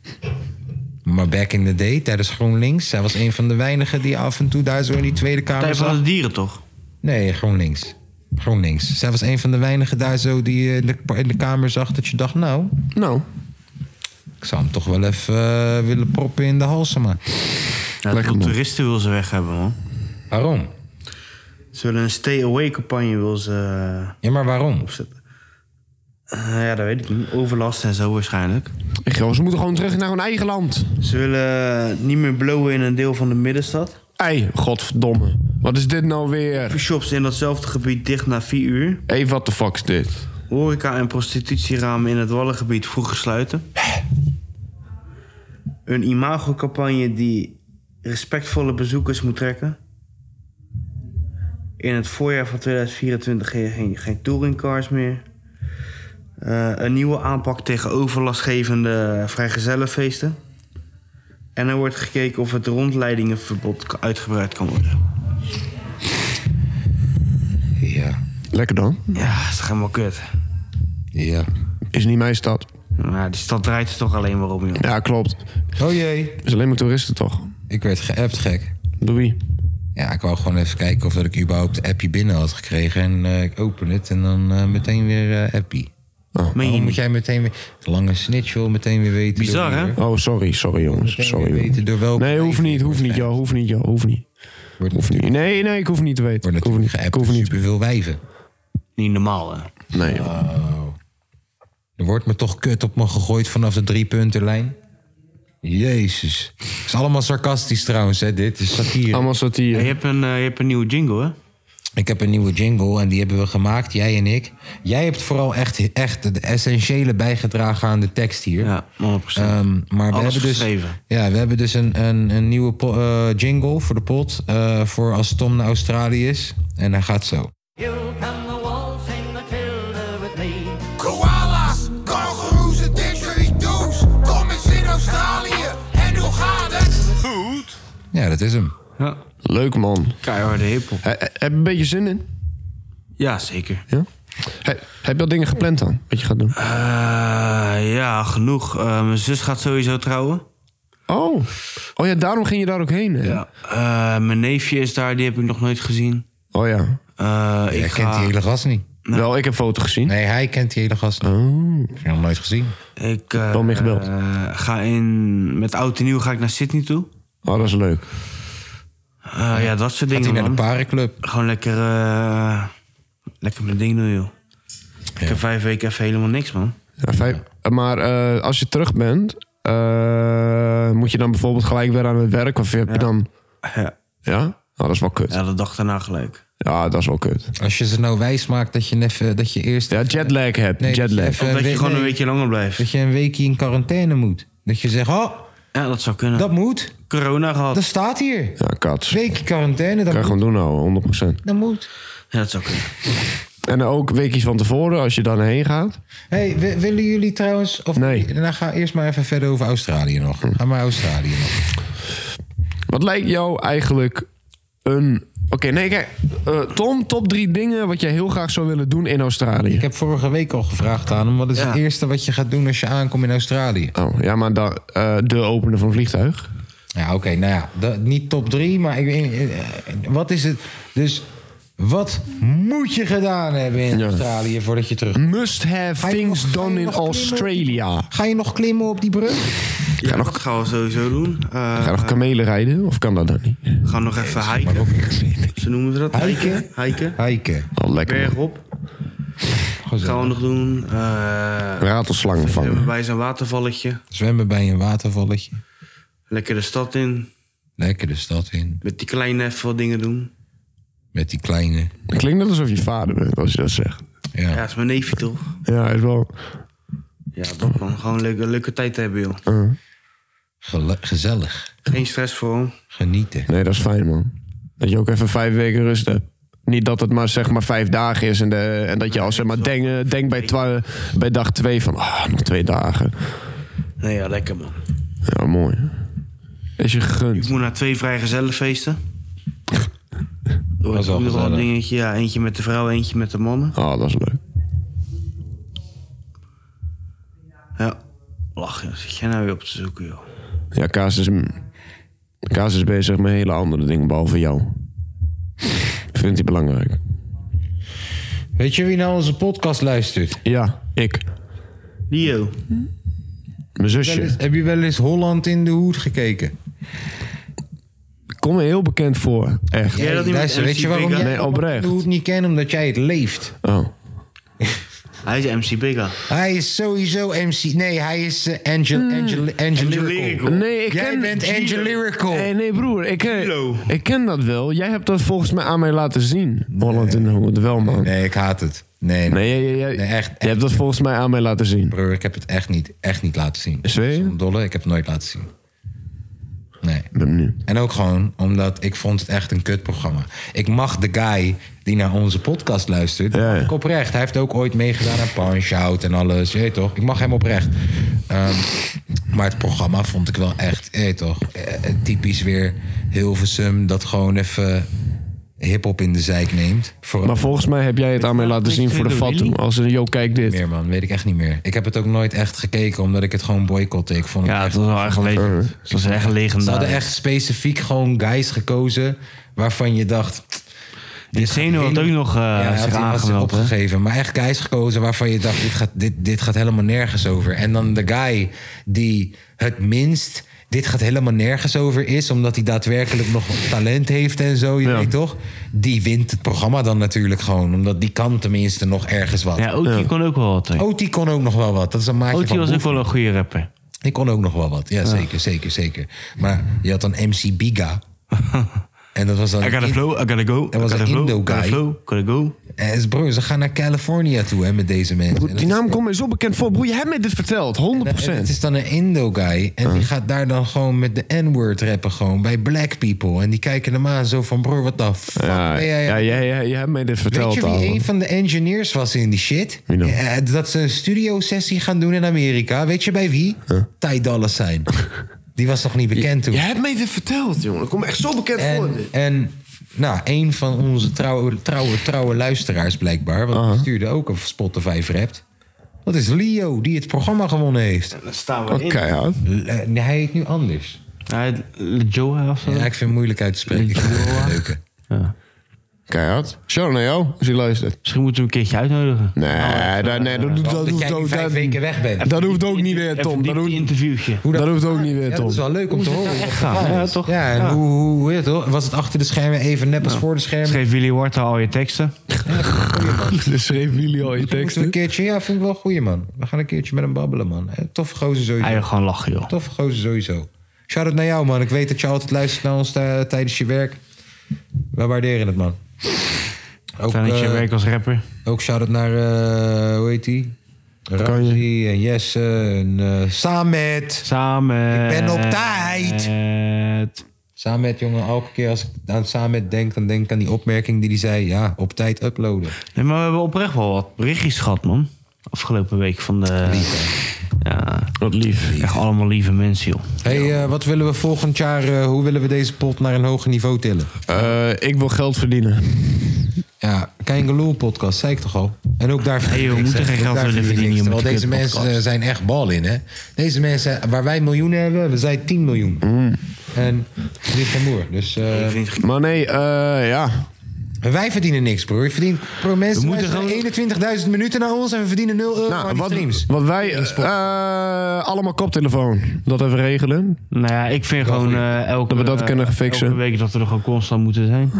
Maar back in the day, tijdens GroenLinks... Zij was een van de weinigen die af en toe daar zo in die Tweede Kamer
Tijd van
zat.
de dieren, toch?
Nee, GroenLinks. GroenLinks. Zij was een van de weinigen daar zo die je in de, in de kamer zag dat je dacht, nou,
Nou,
ik zou hem toch wel even eh, willen proppen in de Halsema.
Ja,
Lekker, man.
toeristen wil ze weg hebben, man.
Waarom?
Ze willen een stay-away-campagne wil ze... eh,
Ja, maar waarom?
opzetten. Eh, ja, dat weet ik niet. Overlast en zo waarschijnlijk.
echt, joh, ze moeten gewoon terug naar hun eigen land.
Ze willen niet meer blowen in een deel van de middenstad.
Ei, godverdomme. Wat is dit nou weer?
Shops in datzelfé gebied dicht na 4 uur.
Hé, hey, wat de fuck is dit?
Horeca- en prostitutieramen in het Wallengebied vroeg gesluiten. Een imagocampagne die respectvolle bezoekers moet trekken. In het voorjaar van 2024 geen, geen, geen touringcars meer. Eh, een nieuwe aanpak tegen overlastgevende vrijgezellenfeesten. En er wordt gekeken of het rondleidingenverbod ka- uitgebreid kan worden.
Ja,
Lekker dan.
Ja, dat is toch helemaal kut.
ja.
Is niet mijn stad.
Nou, die stad draait er toch alleen maar om, joh.
Ja, klopt.
Oh jee,
Is alleen maar toeristen toch?
ik werd geappt gek.
Louis.
Ja, ik wou gewoon even kijken of dat ik überhaupt de appie binnen had gekregen. En eh, ik open het en dan eh, meteen weer eh, appie.
Oh.
Meen je
Waarom
niet?
moet jij meteen weer... Lange snitch wil meteen weer weten... door
Bizar, hè?
wie-
Oh, sorry, sorry jongens.
Meteen
Sorry.
weer
jongens.
weten door welke
Nee, hoeft
leven
niet,
je
hoeft niet,
wordt
joh, hoeft niet, joh, hoeft niet.
Wordt
Hoeft
natuurlijk,
niet. Nee, nee, ik hoef niet te weten.
wordt
Ik hoef
natuurlijk
niet, ik
geappt dus-
hoef
door
niet.
superveel wijven.
Niet normaal, hè?
Nee, joh.
Er wordt me toch kut op me gegooid vanaf de driepuntenlijn. Jezus. Het is allemaal sarcastisch trouwens, hè. Dit is satire.
allemaal satire.
Ja, je, hebt een, eh, je hebt een nieuwe jingle, hè?
Ik heb een nieuwe jingle en die hebben we gemaakt, jij en ik. Jij hebt vooral echt, echt de essentiële bijgedragen aan de tekst hier.
Ja, 100%.
Ehm, maar we
Alles
hebben dus,
geschreven.
ja, we hebben dus een, een, een nieuwe po- eh, jingle voor de pot. eh, voor als Tom naar Australië is. En hij gaat zo.
Koala's, kangoeroes en dictionary doos. Kom eens in Australië en hoe gaat het? Goed.
Ja, dat is hem.
ja.
Leuk man.
Keiharde hiphop.
He- he- Heb je een beetje zin in?
Ja, zeker.
Ja? He- heb je al dingen gepland dan? Wat je gaat doen?
Eh, ja, genoeg. Eh, mijn zus gaat sowieso trouwen.
Oh. Oh ja, daarom ging je daar ook heen. Hè?
Eh, mijn neefje is daar, die heb ik nog nooit gezien.
Oh ja.
Eh
Hij
ik
kent
ga,
die hele gast niet.
Wel, ik heb foto gezien. Oh,
Nee, hij kent die hele gast niet. Ik heb hem nog nooit gezien.
ik eh,
Wel mee gebeld.
eh, ga in, met oud en nieuw ga ik naar Sydney toe.
Oh, dat is leuk.
Eh, ja, dat soort
Gaat hij
dingen,
naar de
man.
parenclub?
Gewoon lekker, eh, lekker mijn ding doen, joh. Ik heb vijf weken even helemaal niks, man.
Ja, vijf- Maar eh, als je terug bent, eh, moet je dan bijvoorbeeld gelijk weer aan het werk? Of heb je dan...
Ja.
Ja? Oh, dat is wel kut.
Ja, de dag daarna gelijk.
Eh,
Ja, dat is wel kut.
Als je ze nou wijs maakt dat je, even, dat je eerst...
Ja, jetlag hebt.
Nee,
jetlag.
even-
Omdat je
weet-
gewoon
nee.
een weekje langer blijft.
Dat je een weekje in quarantaine moet. Dat je zegt, oh,
Ja, dat zou kunnen.
dat moet.
Corona gehad.
Dat staat hier.
Ja, kats. Kan
Weekje quarantaine, dat
je
moet.
gewoon doen nou, 100%.
Dat moet.
Ja, dat zou kunnen.
En ook weekjes van tevoren, als je dan heen gaat.
hey, wi- willen jullie trouwens... Of
Nee.
Nou, ga eerst maar even verder over Australië nog. Ga maar Australië nog.
Wat lijkt jou eigenlijk een... Oké, nee, kijk. eh, Tom, top drie dingen wat jij heel graag zou willen doen in Australië.
Ik heb vorige week al gevraagd aan hem... wat is
Ja.
het eerste wat je gaat doen als je aankomt in Australië?
Oh, ja, maar da, eh, de openen van een vliegtuig.
Ja, oké, nou ja, dat, niet top drie, maar ik, eh, eh, wat is het? Dus wat moet je gedaan hebben in
Ja.
Australië voordat je terug...
Must have
Ga je nog-
things
ga je
done in
nog klimmen?
Australia.
Ga je nog klimmen op die brug?
Ja, dat gaan we sowieso doen. Eh,
Ga je nog kamelen rijden? Of kan dat dan niet?
we gaan nog even hiken. Ze noemen ze dat?
Hiken?
Hiken.
Hiken.
Oh, lekker.
Berg
man.
op. Gaan we
Gezellig.
nog doen. Eh,
Ratelslangen
even
vangen.
bij zo'n watervalletje.
Zwemmen bij een watervalletje.
Lekker de stad in.
Lekker de stad in.
Met die kleine even wat dingen doen.
Met die kleine.
Klinkt net alsof je vader bent als je dat zegt.
Ja.
Ja, dat is mijn neefje toch?
Ja, is wel.
Ja, dat man. Gewoon een leuke, leuke tijd hebben, joh.
Gele- gezellig.
Geen stress voor hem.
Genieten.
Nee, dat is fijn, man. Dat je ook even vijf weken rust hebt. Niet dat het maar zeg maar vijf dagen is en, de, en dat je al zeg maar denkt denk bij, twa- bij dag twee van ah, nog twee dagen.
Nee, ja, lekker man.
Ja, mooi. Is je
Ik
gegund.
moet naar twee vrijgezellenfeesten. Dat
is wel
een
gezellig.
dingetje. Ja, eentje met de vrouw, eentje met de mannen.
Ah, dat is leuk.
Ja. Lachen. Wat Zit jij nou weer op te zoeken, joh?
Ja, Kaas is, Kaas is bezig met hele andere dingen behalve jou. Vindt hij belangrijk.
Weet je wie nou onze podcast luistert?
Ja, ik.
Leo.
Mijn
Wel eens-
zusje.
heb je wel eens Holland in de hoed gekeken?
Kom me heel bekend voor. Echt.
Jij dat niet met
luister,
MC
weet je waarom
Bigga?
jij
Nee,
Holland in de
oprecht.
hoed niet kent? Omdat jij het leeft.
Oh.
Hij is MC Bigga.
Hij is sowieso MC. Nee, hij is eh, Angel, Angel, Angelical.
Nee, ik
Jij
ken...
bent Angelical.
Hey, nee, broer. Ik, eh, ik ken dat wel. Jij hebt dat volgens mij aan mij laten zien. Holland in de Hoed. Wel, man. Nee,
Nee, ik haat het. Nee, nee.
jij- jij- jij-
Nee, echt, echt.
Je hebt dat volgens mij aan mij laten zien.
Broer, ik heb het echt niet, echt niet laten zien.
Zweer je?
Zonder dolle, ik heb het nooit laten zien. Nee.
Ben nu.
En ook gewoon omdat ik vond het echt een kutprogramma. Ik mag de guy die naar onze podcast luistert,
Ja, ja.
mag ik oprecht. Hij heeft ook ooit meegedaan aan Punch Out en alles. Je weet toch? Ik mag hem oprecht. Ehm, maar het programma vond ik wel echt, je weet toch? eh, typisch weer Hilversum dat gewoon even hip-hop in de zijk neemt. Voor
Maar volgens mij heb jij het aan mij laten zien voor de Fatou. Als een, yo, kijk dit.
meer man, weet ik echt niet meer. Ik heb het ook nooit echt gekeken omdat ik het gewoon boycotte. Ik vond het
Ja,
echt
het was wel echt legend. Het was echt
Ze hadden
legendarisch.
echt specifiek gewoon guys gekozen waarvan je dacht.
Die Zeno had ook nog eh
hij had
zich
iemand zich
aangemeld. hè?
opgegeven. Maar echt guys gekozen waarvan je dacht: dit gaat, dit, dit gaat helemaal nergens over. En dan de guy die het minst. Dit gaat helemaal nergens over is, omdat hij daadwerkelijk nog talent heeft en zo, je weet toch? Die wint het programma dan natuurlijk gewoon, omdat die kan tenminste nog ergens wat.
Ja, Oti kon ook wel wat. hè.
Oti kon ook nog wel wat. Dat is een maatje
Oti
van
was ook
Boef.
wel een goede rapper.
Die kon ook nog wel wat.
Ah.
Ja, zeker, zeker, zeker. Maar je had dan MC Biga. en dat was dan...
I gotta
in-
flow, I gotta go.
was
I gotta
een
flow,
Indo
I gotta
guy.
flow, gotta go.
Eh, ze- broer, ze gaan naar California toe hè, met deze mensen. En
Broer,
dat
Die nou
is-
naam komt mij zo bekend voor. Broer, jij hebt mij dit verteld. 100%.
en Het is dan een Indo-guy. En
Ah.
die gaat daar dan gewoon met de N-word rappen. Gewoon bij black people. En die kijken hem aan zo van... Broer, wat de fuck
Ja,
ben jij
ja, jij, jij, jij hebt mij dit
Weet
verteld
je wie
al.
een van de engineers was in die shit?
Wie dan?
Eh, dat ze een studiosessie gaan doen in Amerika. Weet je bij wie? Ty Dolla Sign. Die was nog niet bekend toen.
Jij hebt mij dit verteld, jongen. Ik kom echt zo bekend voor.
En,
dit.
en nou, een van onze trouwe, trouwe, trouwe luisteraars blijkbaar... want die stuurde ook een Spotify Wrapped. Dat is Leo, die het programma gewonnen heeft.
Dan staan we
Oké, ja.
L- eh, nee, hij heet nu anders.
Hij, Joa of zo?
Ja, ik vind het moeilijk uit te spreken. Ik vind het wel een leuke.
Keihard. Shout naar jou, als je luistert.
Misschien moeten we hem een keertje uitnodigen.
Nee, dat, nee, dat, dat,
Oh, Dat
hoeft
jij die
ook,
vijf
dat,
weken weg bent.
dat hoeft ook niet weer, Tom. Dat
een
hoeft,
interviewtje.
Hoe
dat hoeft ook niet weer,
Ja, dat
Tom.
is wel leuk om te horen.
gaan? Ja, toch?
Ja, en hoe, hoe, hoe heet het, hoor? was het achter de schermen even net als voor de schermen?
Schreef Willy Warta al je teksten?
Dus schreef jullie al je
Moeten we
teksten.
een keertje, ja, vind ik wel een goeie man. We gaan een keertje met hem babbelen man. Eh, Toffe gozer sowieso.
Hij wil gewoon lachen, joh.
Toffe gozer sowieso. Shout-out naar jou man. Ik weet dat je altijd luistert naar ons eh, tijdens je werk. Wij waarderen het man. Ook,
Tijdens je
eh,
werk als rapper.
Ook shout-out naar, eh, hoe heet die? Ramzi en Jesse en eh, Samet.
Samen. Eh,
Ik ben op tijd.
met-
Samet, jongen, elke keer als ik aan Samet denk... dan denk ik aan die opmerking die hij zei. Ja, op tijd uploaden.
Nee, maar we hebben oprecht wel wat berichtjes gehad, man. Afgelopen week van de... Ja,
Wat lief.
echt allemaal lieve mensen, joh.
hey, eh, wat willen we volgend jaar... eh, hoe willen we deze pot naar een hoger niveau tillen?
Eh, ik wil geld verdienen.
Ja, Kein Geloel podcast, zei ik toch al? En ook daar...
Nee, joh, we
Ik zeg,
moeten geen
ook
geld
daar
willen
verdien ik niks.
verdienen
Terwijl
met
deze
de
mensen
kutpodcast.
eh, zijn echt bal in, hè? Deze mensen, waar wij miljoenen hebben... hebben zij 10 miljoen.
Mm.
En dit van Moer. Dus... eh,
Maar nee, eh, ja.
Maar Wij verdienen niks, broer. Je verdient, bro mensen luisteren 21.000 minuten naar ons en we verdienen 0 euro aan
Nou,
die
wat,
streams.
wat wij... eh, allemaal koptelefoon. Dat even regelen.
Nou ja, ik vind gewoon eh, elke,
Dat we dat kunnen
eh,
fixen.
elke week dat we er gewoon constant moeten zijn.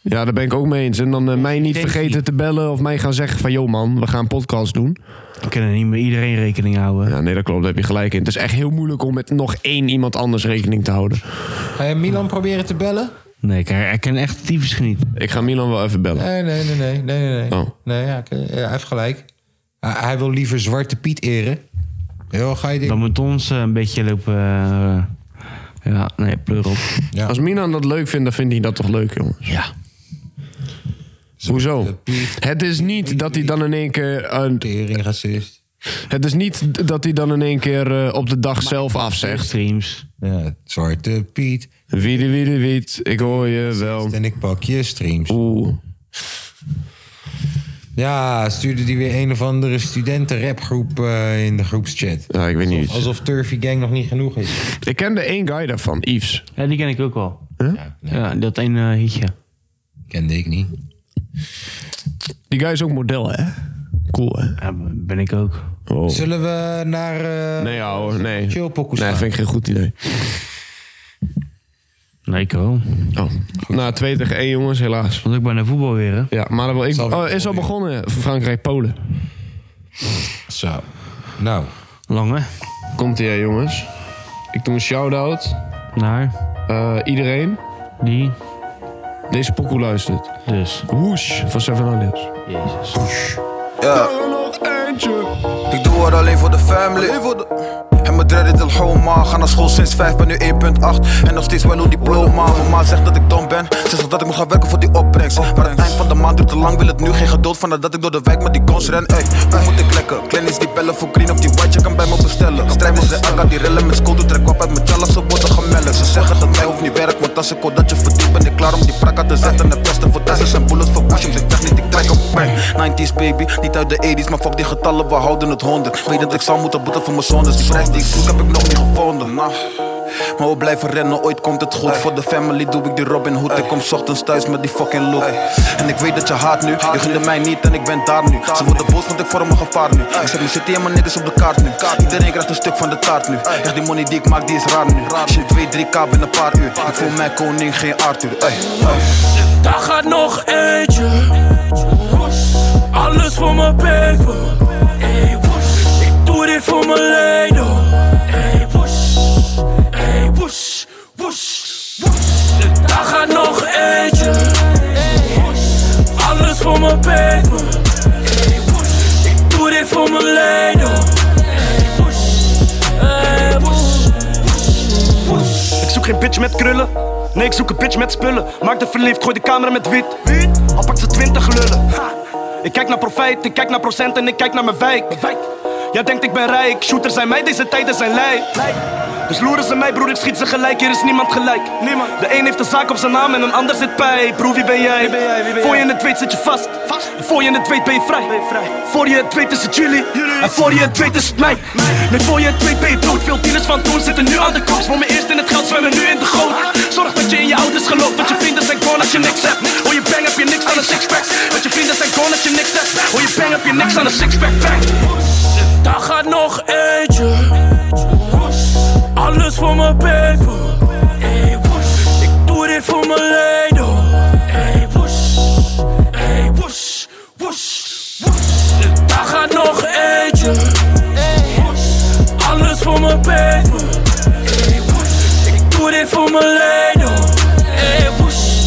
Ja, daar ben ik ook mee eens. En dan eh, mij niet
denk
vergeten
niet.
te bellen of mij gaan zeggen van... joh man, we gaan een podcast doen.
We kunnen niet met iedereen rekening houden.
Ja, nee, dat klopt. Daar heb je gelijk in. Het is echt heel moeilijk om met nog één iemand anders rekening te houden.
Ga je Milan proberen te bellen?
Nee, ik herken echt tyfus genieten.
Ik ga Milan wel even bellen.
Nee, nee, nee, nee. nee, nee, nee.
Oh.
nee ja, ik- ja, hij heeft gelijk. Hij, hij wil liever Zwarte Piet eren. Heel ga je
Dan
ding.
moet ons eh, een beetje lopen... eh, ja, nee, pleur op.
Ja.
Als Milan dat leuk vindt, dan vindt hij dat toch leuk, jongens.
Ja.
Hoezo? Het is niet dat hij dan in één keer... eh,
Tering, racist.
het is niet dat hij dan in één keer eh, op de dag zelf afzegt.
Streams.
Ja, Zwarte Piet.
Wiede, wiede, wiet. Ik hoor je wel.
En ik pak je streams.
Oeh.
Ja, stuurde die weer een of andere studentenrapgroep eh in de groepschat.
Ja, ik weet niet.
Alsof Turfy Gang nog niet genoeg is.
Ik kende één guy daarvan, Yves.
Ja, die ken ik ook wel.
Ja, nee,
Ja, dat ene eh, hitje.
kende ik niet.
Die guy is ook model, hè? Cool, hè?
Ja, ben ik ook.
Oh.
Zullen we naar... eh,
Nee, ouwe, nee.
Chill pokoes
Nee,
gaan.
vind ik geen goed idee.
Nee, Ko.
Oh. Nou, 2 tegen 1, jongens, helaas.
Want ik ben naar voetbal weer, hè?
Ja, maar dan wil ik...
Zal weer
Oh, is al begonnen. Frankrijk-Polen.
Zo. Nou,
Lang, hè?
Komt ie, hè, jongens. Ik doe een shout-out.
Naar
Eh, iedereen.
die.
Deze pokoe luistert.
Dus.
Whoosh van Seven Aliens.
Ja,
Oh, nog eentje.
ik doe het alleen voor de family. En mijn dreaded al homa. Ga naar school sinds 5, ben nu 1.8. En nog steeds wel een diploma. Mijn ma zegt dat ik dom ben. Ze zegt dat ik moet gaan werken voor die opbrengst. Maar het eind van de maand duurt te lang. Wil het nu geen geduld van nadat ik door de wijk met die cons ren. Ey, hoe moet ik lekken? Kleinies die bellen voor green of die white. Je kan bij me bestellen. Strijd is de akka die rillen met school. Doe trek op uit mijn tjallas. Ze worden gemeld. Ze zeggen dat mij hoeft niet werk. Want als ik hoor dat je verdient, ben ik klaar om die prakka te zetten. Het kosten voor tassels en bullets voor bushems. Ik dacht niet, ik trek op pijn. 90s baby, niet uit de 80s, maar fuck die getallen, we houden het 100. Weet dat ik zal moeten boeten voor mijn zondes. Die prijs die ik zoek heb ik nog niet gevonden. Nou, Maar we blijven rennen, ooit komt het goed. Voor de family doe ik die Robin Hood. Ik kom 's ochtends thuis met die fucking look. En ik weet dat je haat nu. Je gunde mij niet en ik ben daar nu. Ze worden boos, want ik vorm een gevaar nu. Ik zet mijn city en mijn niggas op de kaart nu. Iedereen krijgt een stuk van de taart nu. Echt die money die ik maak, die is raar nu. Shit, 2, 3k binnen een paar uur. Ik voel mij koning, geen Arthur. Ey, ey.
Daar gaat nog eentje. Alles voor mijn paper. Ey, woes. Ik doe dit voor mijn leden. Ey, woes. Ey, woes. Woes. Woes. Daar gaat nog eentje. Alles voor mijn paper. Ey, woes. Ik doe dit voor mijn leden. Ey, woes. Ey, woes.
Ik zoek geen bitch met krullen. Nee, ik zoek een bitch met spullen. Maak de verliefd, gooi de camera met wit. Al pak ze twintig lullen. Ha. Ik kijk naar profijt, ik kijk naar procent en ik kijk naar mijn wijk. Jij denkt ik ben rijk, shooters zijn mij, deze tijden zijn lijp. Dus loeren ze mij, broer, ik schiet ze gelijk, hier is niemand gelijk. Niemand. De een heeft een zaak op zijn naam en een ander zit bij. Broer, wie ben jij? Voor je het weet zit je vast. En Voor je het weet ben je vrij. Voor je het weet is het jullie. En voor je het weet is het mij. Nee, voor je het weet ben je dood. Veel dealers van toen zitten nu aan de koop. Voor me eerst in het geld zwemmen, nu in de goot. Zorg dat je in je ouders gelooft, want je vrienden zijn gone als je niks hebt. Hoor je bang heb je niks aan een sixpack. Want je vrienden zijn gone als je niks hebt. Hoor je bang heb je niks aan een sixpack. Bang.
Daar gaat nog eentje. Alles voor mijn paper. Ey, woes. Ik doe dit voor mijn leden. Ey, woes. Ey, woes. Woes. Woes. Daar gaat nog eentje. Alles voor mijn paper. Ey, woes. Ik doe dit voor mijn leden. Ey, woes.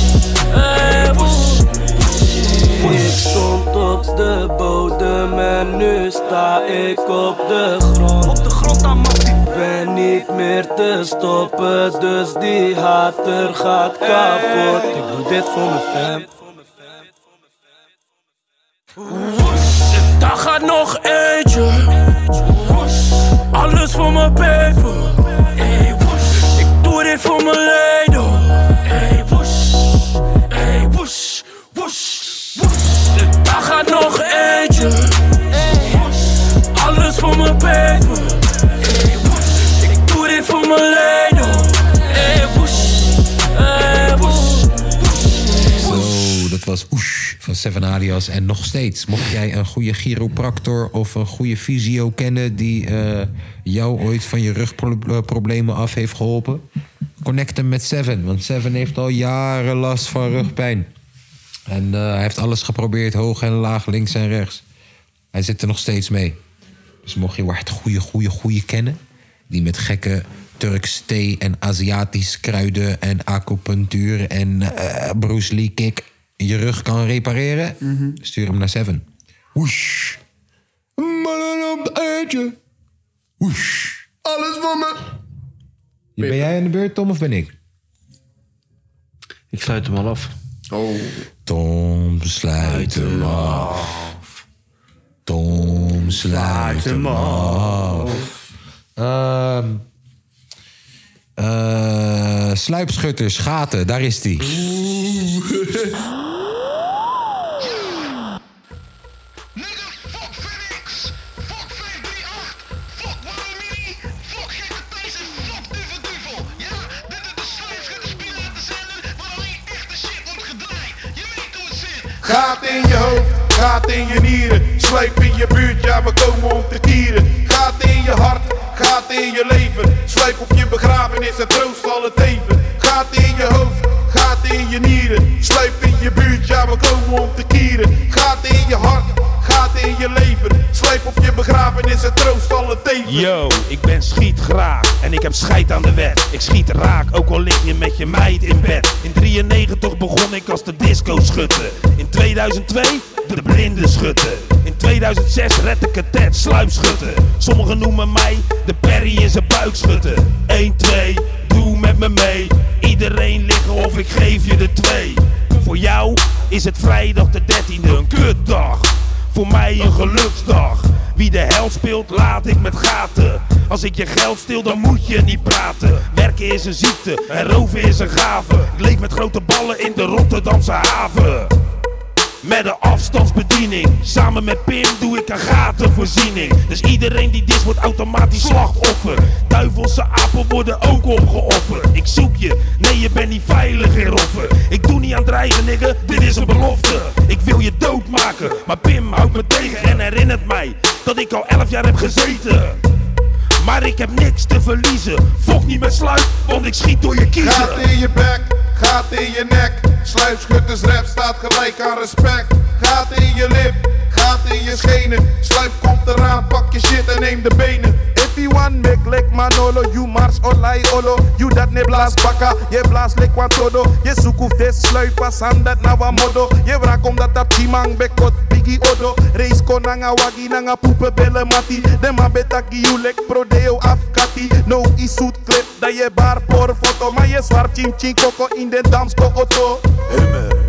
Ey, woes.
Ik stond op de bodem en nu sta ik op de grond. Op de grond aan Ik ben niet meer te stoppen, dus die hater gaat kapot. Ik doe dit voor mijn fam.
Daar gaat nog eentje. Alles voor mijn paper. Ey, woes. Ik doe dit voor mijn leden. Ey, woes. Ey, woes. Woes. Woes. Daar gaat nog eentje. Alles voor mijn paper. Ey, woes. Ik doe dit voor mijn leden. Ey, woes. Ey, woes.
Zo, Oh, dat was Oesh van Seven Alias. En nog steeds, mocht jij een goede chiropractor of een goede fysio kennen... die eh, jou ooit van je rugproblemen af heeft geholpen... connect hem met Seven, want Seven heeft al jaren last van rugpijn. En eh, hij heeft alles geprobeerd, hoog en laag, links en rechts. Hij zit er nog steeds mee. Dus mocht je echt goede, goede, goede kennen... die met gekke Turks thee en Aziatisch kruiden en acupunctuur... en eh, Bruce Lee kick je rug kan repareren... stuur hem naar Seven. Woesh. Mannen op het eitje. Woesh.
Alles voor me.
Ben jij aan de beurt, Tom, of ben ik?
Ik sluit hem al af.
Oh.
Tom, sluit hem af. Tom,
Ah,
Ah,
sluit hem af. Ehm eh, sluipschutters, gaten, daar is die.
Nigga, fuck FedEx, fuck 538, fuck Wallomini, fuck Gekke Thijs en fuck Duvel Duvel. Ja, dit is de sluisgutterspiraten zender waar alleen echte shit wordt gedraaid. Je weet hoe het zit.
Gaat in je hoofd,
Gaat in je nieren, slijp in je buurt, ja we komen om te tieren. Gaat in je hart, gaat in je leven. Slijp op je begrafenis en troost al het even. Gaat in je hoofd, gaat in je nieren. Slijp in je buurt, ja we komen om te kieren. Gaat in je hart, gaat in je leven. Slijp op je begrafenis en troost al het even.
Yo, ik ben schietgraag en ik heb scheid aan de wet. Ik schiet raak, ook al lig je met je meid in bed. In 93 begon ik als de disco schutter. In 2002 de blinde schutter. In 2006 red ik het tet, sluipschutter. Sommigen noemen mij de Perry in zijn buik schutter. 1, 2, doe met me mee. Iedereen liggen of ik geef je de twee. Voor jou is het vrijdag de 13e een kutdag. Voor mij een geluksdag. Wie de hel speelt, laat ik met gaten. Als ik je geld steel, dan moet je niet praten. Werken is een ziekte en roven is een gave. Ik leef met grote ballen in de Rotterdamse haven. Met een afstandsbediening. Samen met Pim doe ik een gatenvoorziening. Dus iedereen die dis wordt automatisch slachtoffer. Duivelse apen worden ook opgeofferd. Ik zoek je, nee je bent niet veilig in roffen. Ik doe niet aan dreigen, nigga, dit is een belofte. Ik wil je doodmaken, maar Pim houdt me tegen en herinnert mij dat ik al 11 jaar heb gezeten. Maar ik heb niks te verliezen. Fok niet met sluit, want ik schiet door je kiezen.
Gaat in je bek, gaat in je nek. Sluipschutters rap staat gelijk aan respect. Gaat in je lip, gaat in je schenen. Sluip komt eraan, pak je shit en neem de benen.
If you want make like Manolo, you mars olai olo. You dat ne blaas bakka, je blaas lek wat todo. Je zoek of des sluipa sandat na wa modo. Je wrak omdat dat timang bekot biggie odo. Race kon nanga wagi nanga poepen bellen mati. De ma betaki you lek prodeo afkati. No isut clip dat je bar por foto. Maar je zwart chim chim koko in de damsko auto.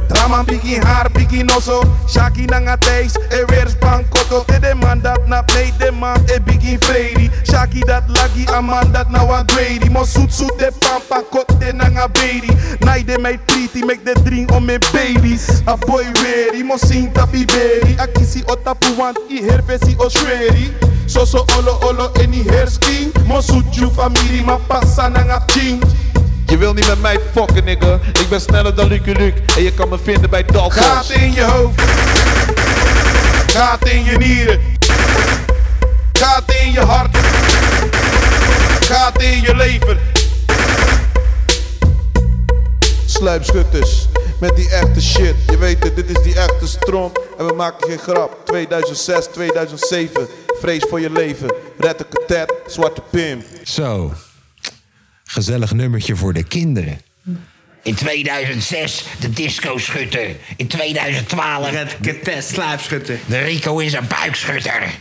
Drama biggie haar biggie nozo. Shaki nanga thuis, e weer bankoto. E de man dat na play, de man e biggie vredi. Shaki dat lagi, a man dat na wa grady. Mo zoet zoet de pampa kot de nanga baby. Nai de mij treaty, make de drink om me babies. A boy ready, mo sing tapi baby. A kisi otapu want, i hervesi o shredi. Soso olo olo eni hersking. Mo zoet you family, ma passa nanga ching.
Je wil niet met mij fokken, nigga. Ik ben sneller dan Lucky Luke. En je kan me vinden bij Dalton. Gaat in je hoofd. Gaat in je nieren. Gaat in je hart. Gaat in je lever. Sluipschutters. Met die echte shit. Je weet het, dit is die echte stromp. En we maken geen grap. 2006, 2007. Vrees voor je leven. Red een tet, zwarte pim.
Zo. Gezellig nummertje voor de kinderen.
In 2006 de disco-schutter. In 2012... Red Ketes sluipschutter. De Rico is een buikschutter.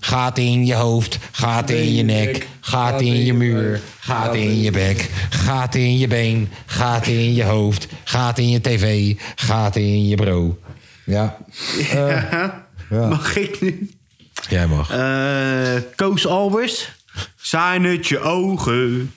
Gaat in je hoofd, gaat in je nek, gaat in je muur, gaat in je bek, gaat in je been, gaat in je hoofd, gaat in je tv, gaat in je bro. Ja.
Eh,
Mag ik nu?
Jij mag.
Eh, Koos Albers. Zijn het je ogen?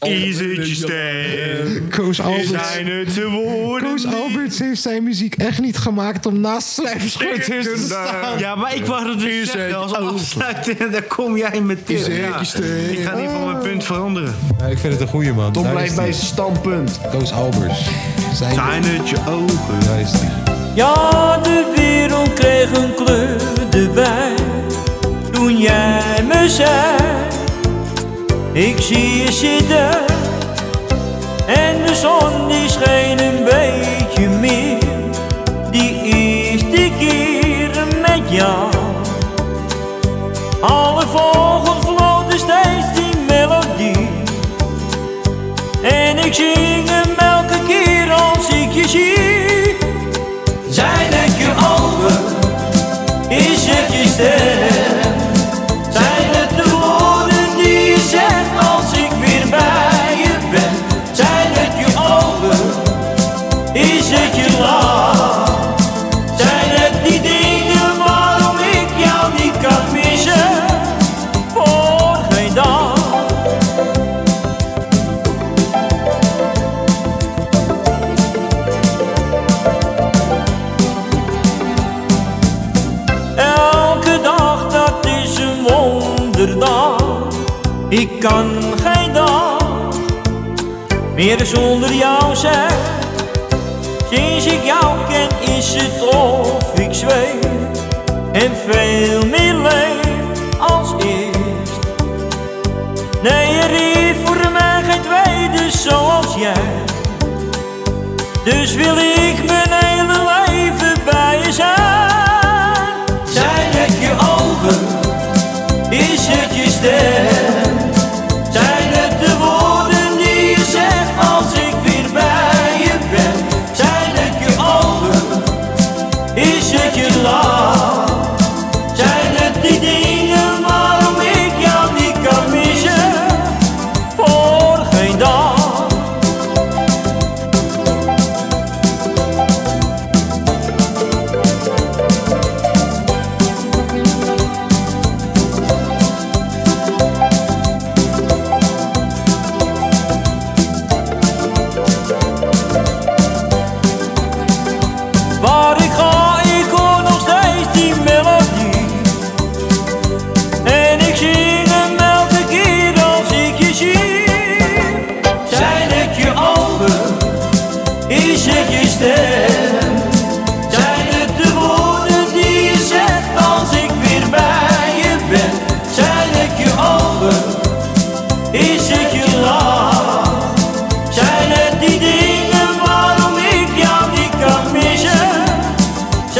Is het je stem?
Koos Alberts.
Zijn het de woorden?
Koos Alberts heeft zijn muziek echt niet gemaakt om naast slijpschutters te staan.
Ja, maar ik wou het dus zeggen. Als afsluiten en dan kom jij met dit.
Is het
Ja.
je stem?
Ik ga niet van mijn punt veranderen.
Ja, ik vind het een goeie man.
Tom
Daar
blijft
is
bij
die.
zijn
standpunt.
Koos Albers. Zijn,
het je ogen?
Ja, de wereld kreeg een kleur erbij toen jij me zei: Ik zie je zitten en de zon die scheen een beetje meer. Die eerste keren met jou, alle vogels floten steeds die melodie. En ik zing hem elke keer als ik je zie. Zijn het je ogen? Is het je stem? Zijn het de woorden die je zegt als ik weer bij je ben? Zijn het je ogen? Is het je lach? Zijn het die dingen waarom ik jou niet kan missen? Voor geen dag. Elke dag dat is een wonderdag. Ik kan geen dag meer zonder jou zijn. Sinds ik jou ken is het of ik zweef. en veel meer leeft als eerst. Nee, er is voor mij geen tweede zoals jij. Dus wil ik mijn hele leven bij je zijn. Zijn het je ogen? Is het je stem? Zijn het de woorden die je zegt als ik weer bij je ben? Zijn het je ogen? Is het je lach? Zijn het die dingen waarom ik jou niet kan missen? Voor geen dag. Waar ik ga, ik hoor nog steeds die melodie. En ik zing hem elke keer als ik je zie. Zijn het je ogen? Is het je stem? Zijn het de woorden die je zegt als ik weer bij je ben? Zijn het je ogen? Is het je lach? Zijn het die dingen waarom ik jou niet kan missen?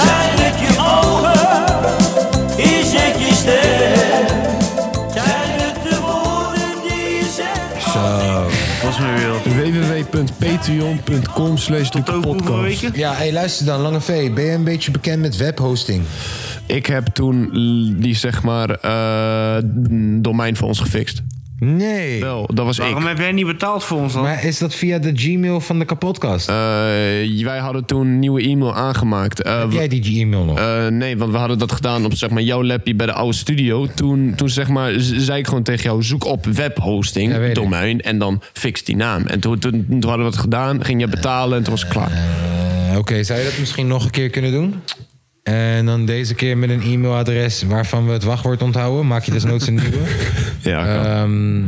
Zijn het je ogen? Is het je stem? Zijn het de woorden die je zegt?
Zo.
Was mijn wereld. www.patreon.com slash de podcast.
Ja, hey, luister dan, Lange V. Ben je een beetje bekend met webhosting?
Ik heb toen l- die zeg maar eh domein voor ons gefixt.
Nee.
Wel, dat was ik.
heb jij niet betaald voor ons dan? Maar is dat via de Gmail van de kapotkast?
Eh, wij hadden toen een nieuwe e-mail aangemaakt. heb jij
die e-mail nog?
nee, want we hadden dat gedaan op zeg maar, jouw lapje bij de oude studio. Toen, toen zeg maar, z- zei ik gewoon tegen jou, zoek op webhosting, domein, en dan fix die naam. En toen, toen, toen hadden we dat gedaan, ging je betalen en toen was het klaar.
Eh, Oké, zou je dat misschien nog een keer kunnen doen? En dan deze keer met een e-mailadres waarvan we het wachtwoord onthouden. Maak je desnoods een nieuwe. Eh,
ja,
Ehm,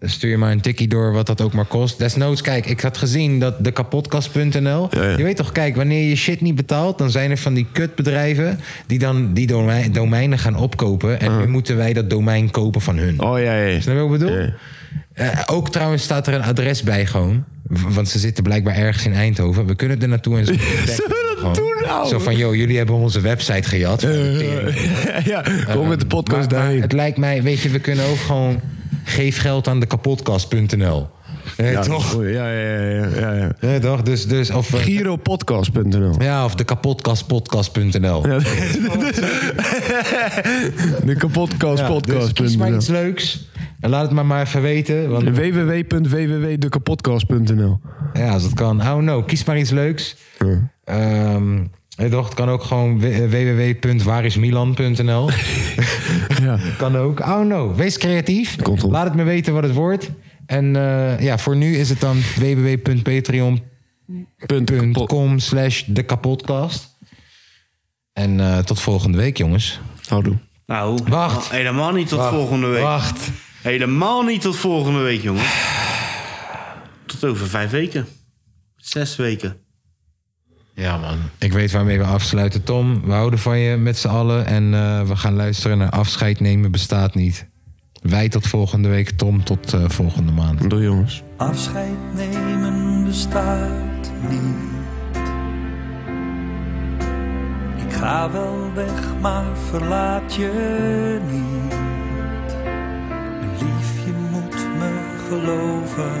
stuur je maar een tikkie door wat dat ook maar kost. Desnoods, kijk, ik had gezien dat de kapotkast.nl... Je weet toch, kijk, wanneer je shit niet betaalt... dan zijn er van die kutbedrijven die dan die domein- domeinen gaan opkopen. En nu moeten wij dat domein kopen van hun.
Ah. Oh ja, ja.
Snap je wat ik bedoel? Eh, ook trouwens staat er een adres bij gewoon. W- Want ze zitten blijkbaar ergens in Eindhoven. We kunnen er naartoe en zo.
nou?
Zo van, joh, jullie hebben onze website gejat.
ja, kom met de podcast
daarheen. het lijkt mij, weet je, we kunnen ook gewoon... geef geld aan de kapotkast.nl. Eh,
Ja,
toch?
goeie. Ja, ja, ja. ja, ja.
Eh, toch? Dus, dus, of, eh,
Giropodcast.nl.
Ja, of de kapotkastpodcast.nl.
De kapotkast
dus
podcast.
kies maar iets leuks. En laat het maar maar even weten. Want...
www.www.dekapodcast.nl
Ja, als dat kan. Oh no, kies maar iets leuks. Ehm, eh, toch, het kan ook gewoon w- eh, www.waarismilan.nl. Kan ook. Oh no, wees creatief. Laat het me weten wat het wordt. En eh, ja, voor nu is het dan www.patreon.com slash de kapotkast. En eh, tot volgende week, jongens.
Houdoe.
Nou, wacht. Helemaal niet tot volgende week.
Wacht.
Helemaal niet tot volgende week, jongen. Tot over vijf weken. Zes weken.
Ja, man. Ik weet waarmee we afsluiten. Tom, we houden van je met z'n allen. En eh, we gaan luisteren naar Afscheid Nemen Bestaat Niet. Wij tot volgende week. Tom, tot eh, volgende maand.
Doei, jongens.
Afscheid nemen bestaat niet. Ik ga wel weg, maar verlaat je niet. Mijn lief, je moet me geloven.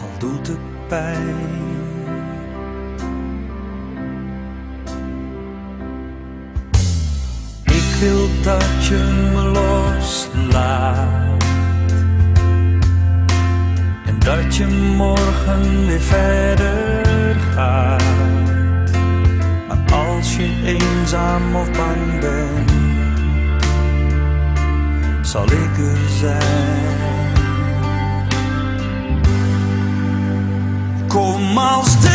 Al doet het pijn. Ik wil dat je me loslaat. En dat je morgen weer verder gaat. Maar als je eenzaam of bang bent, zal ik er zijn. Kom als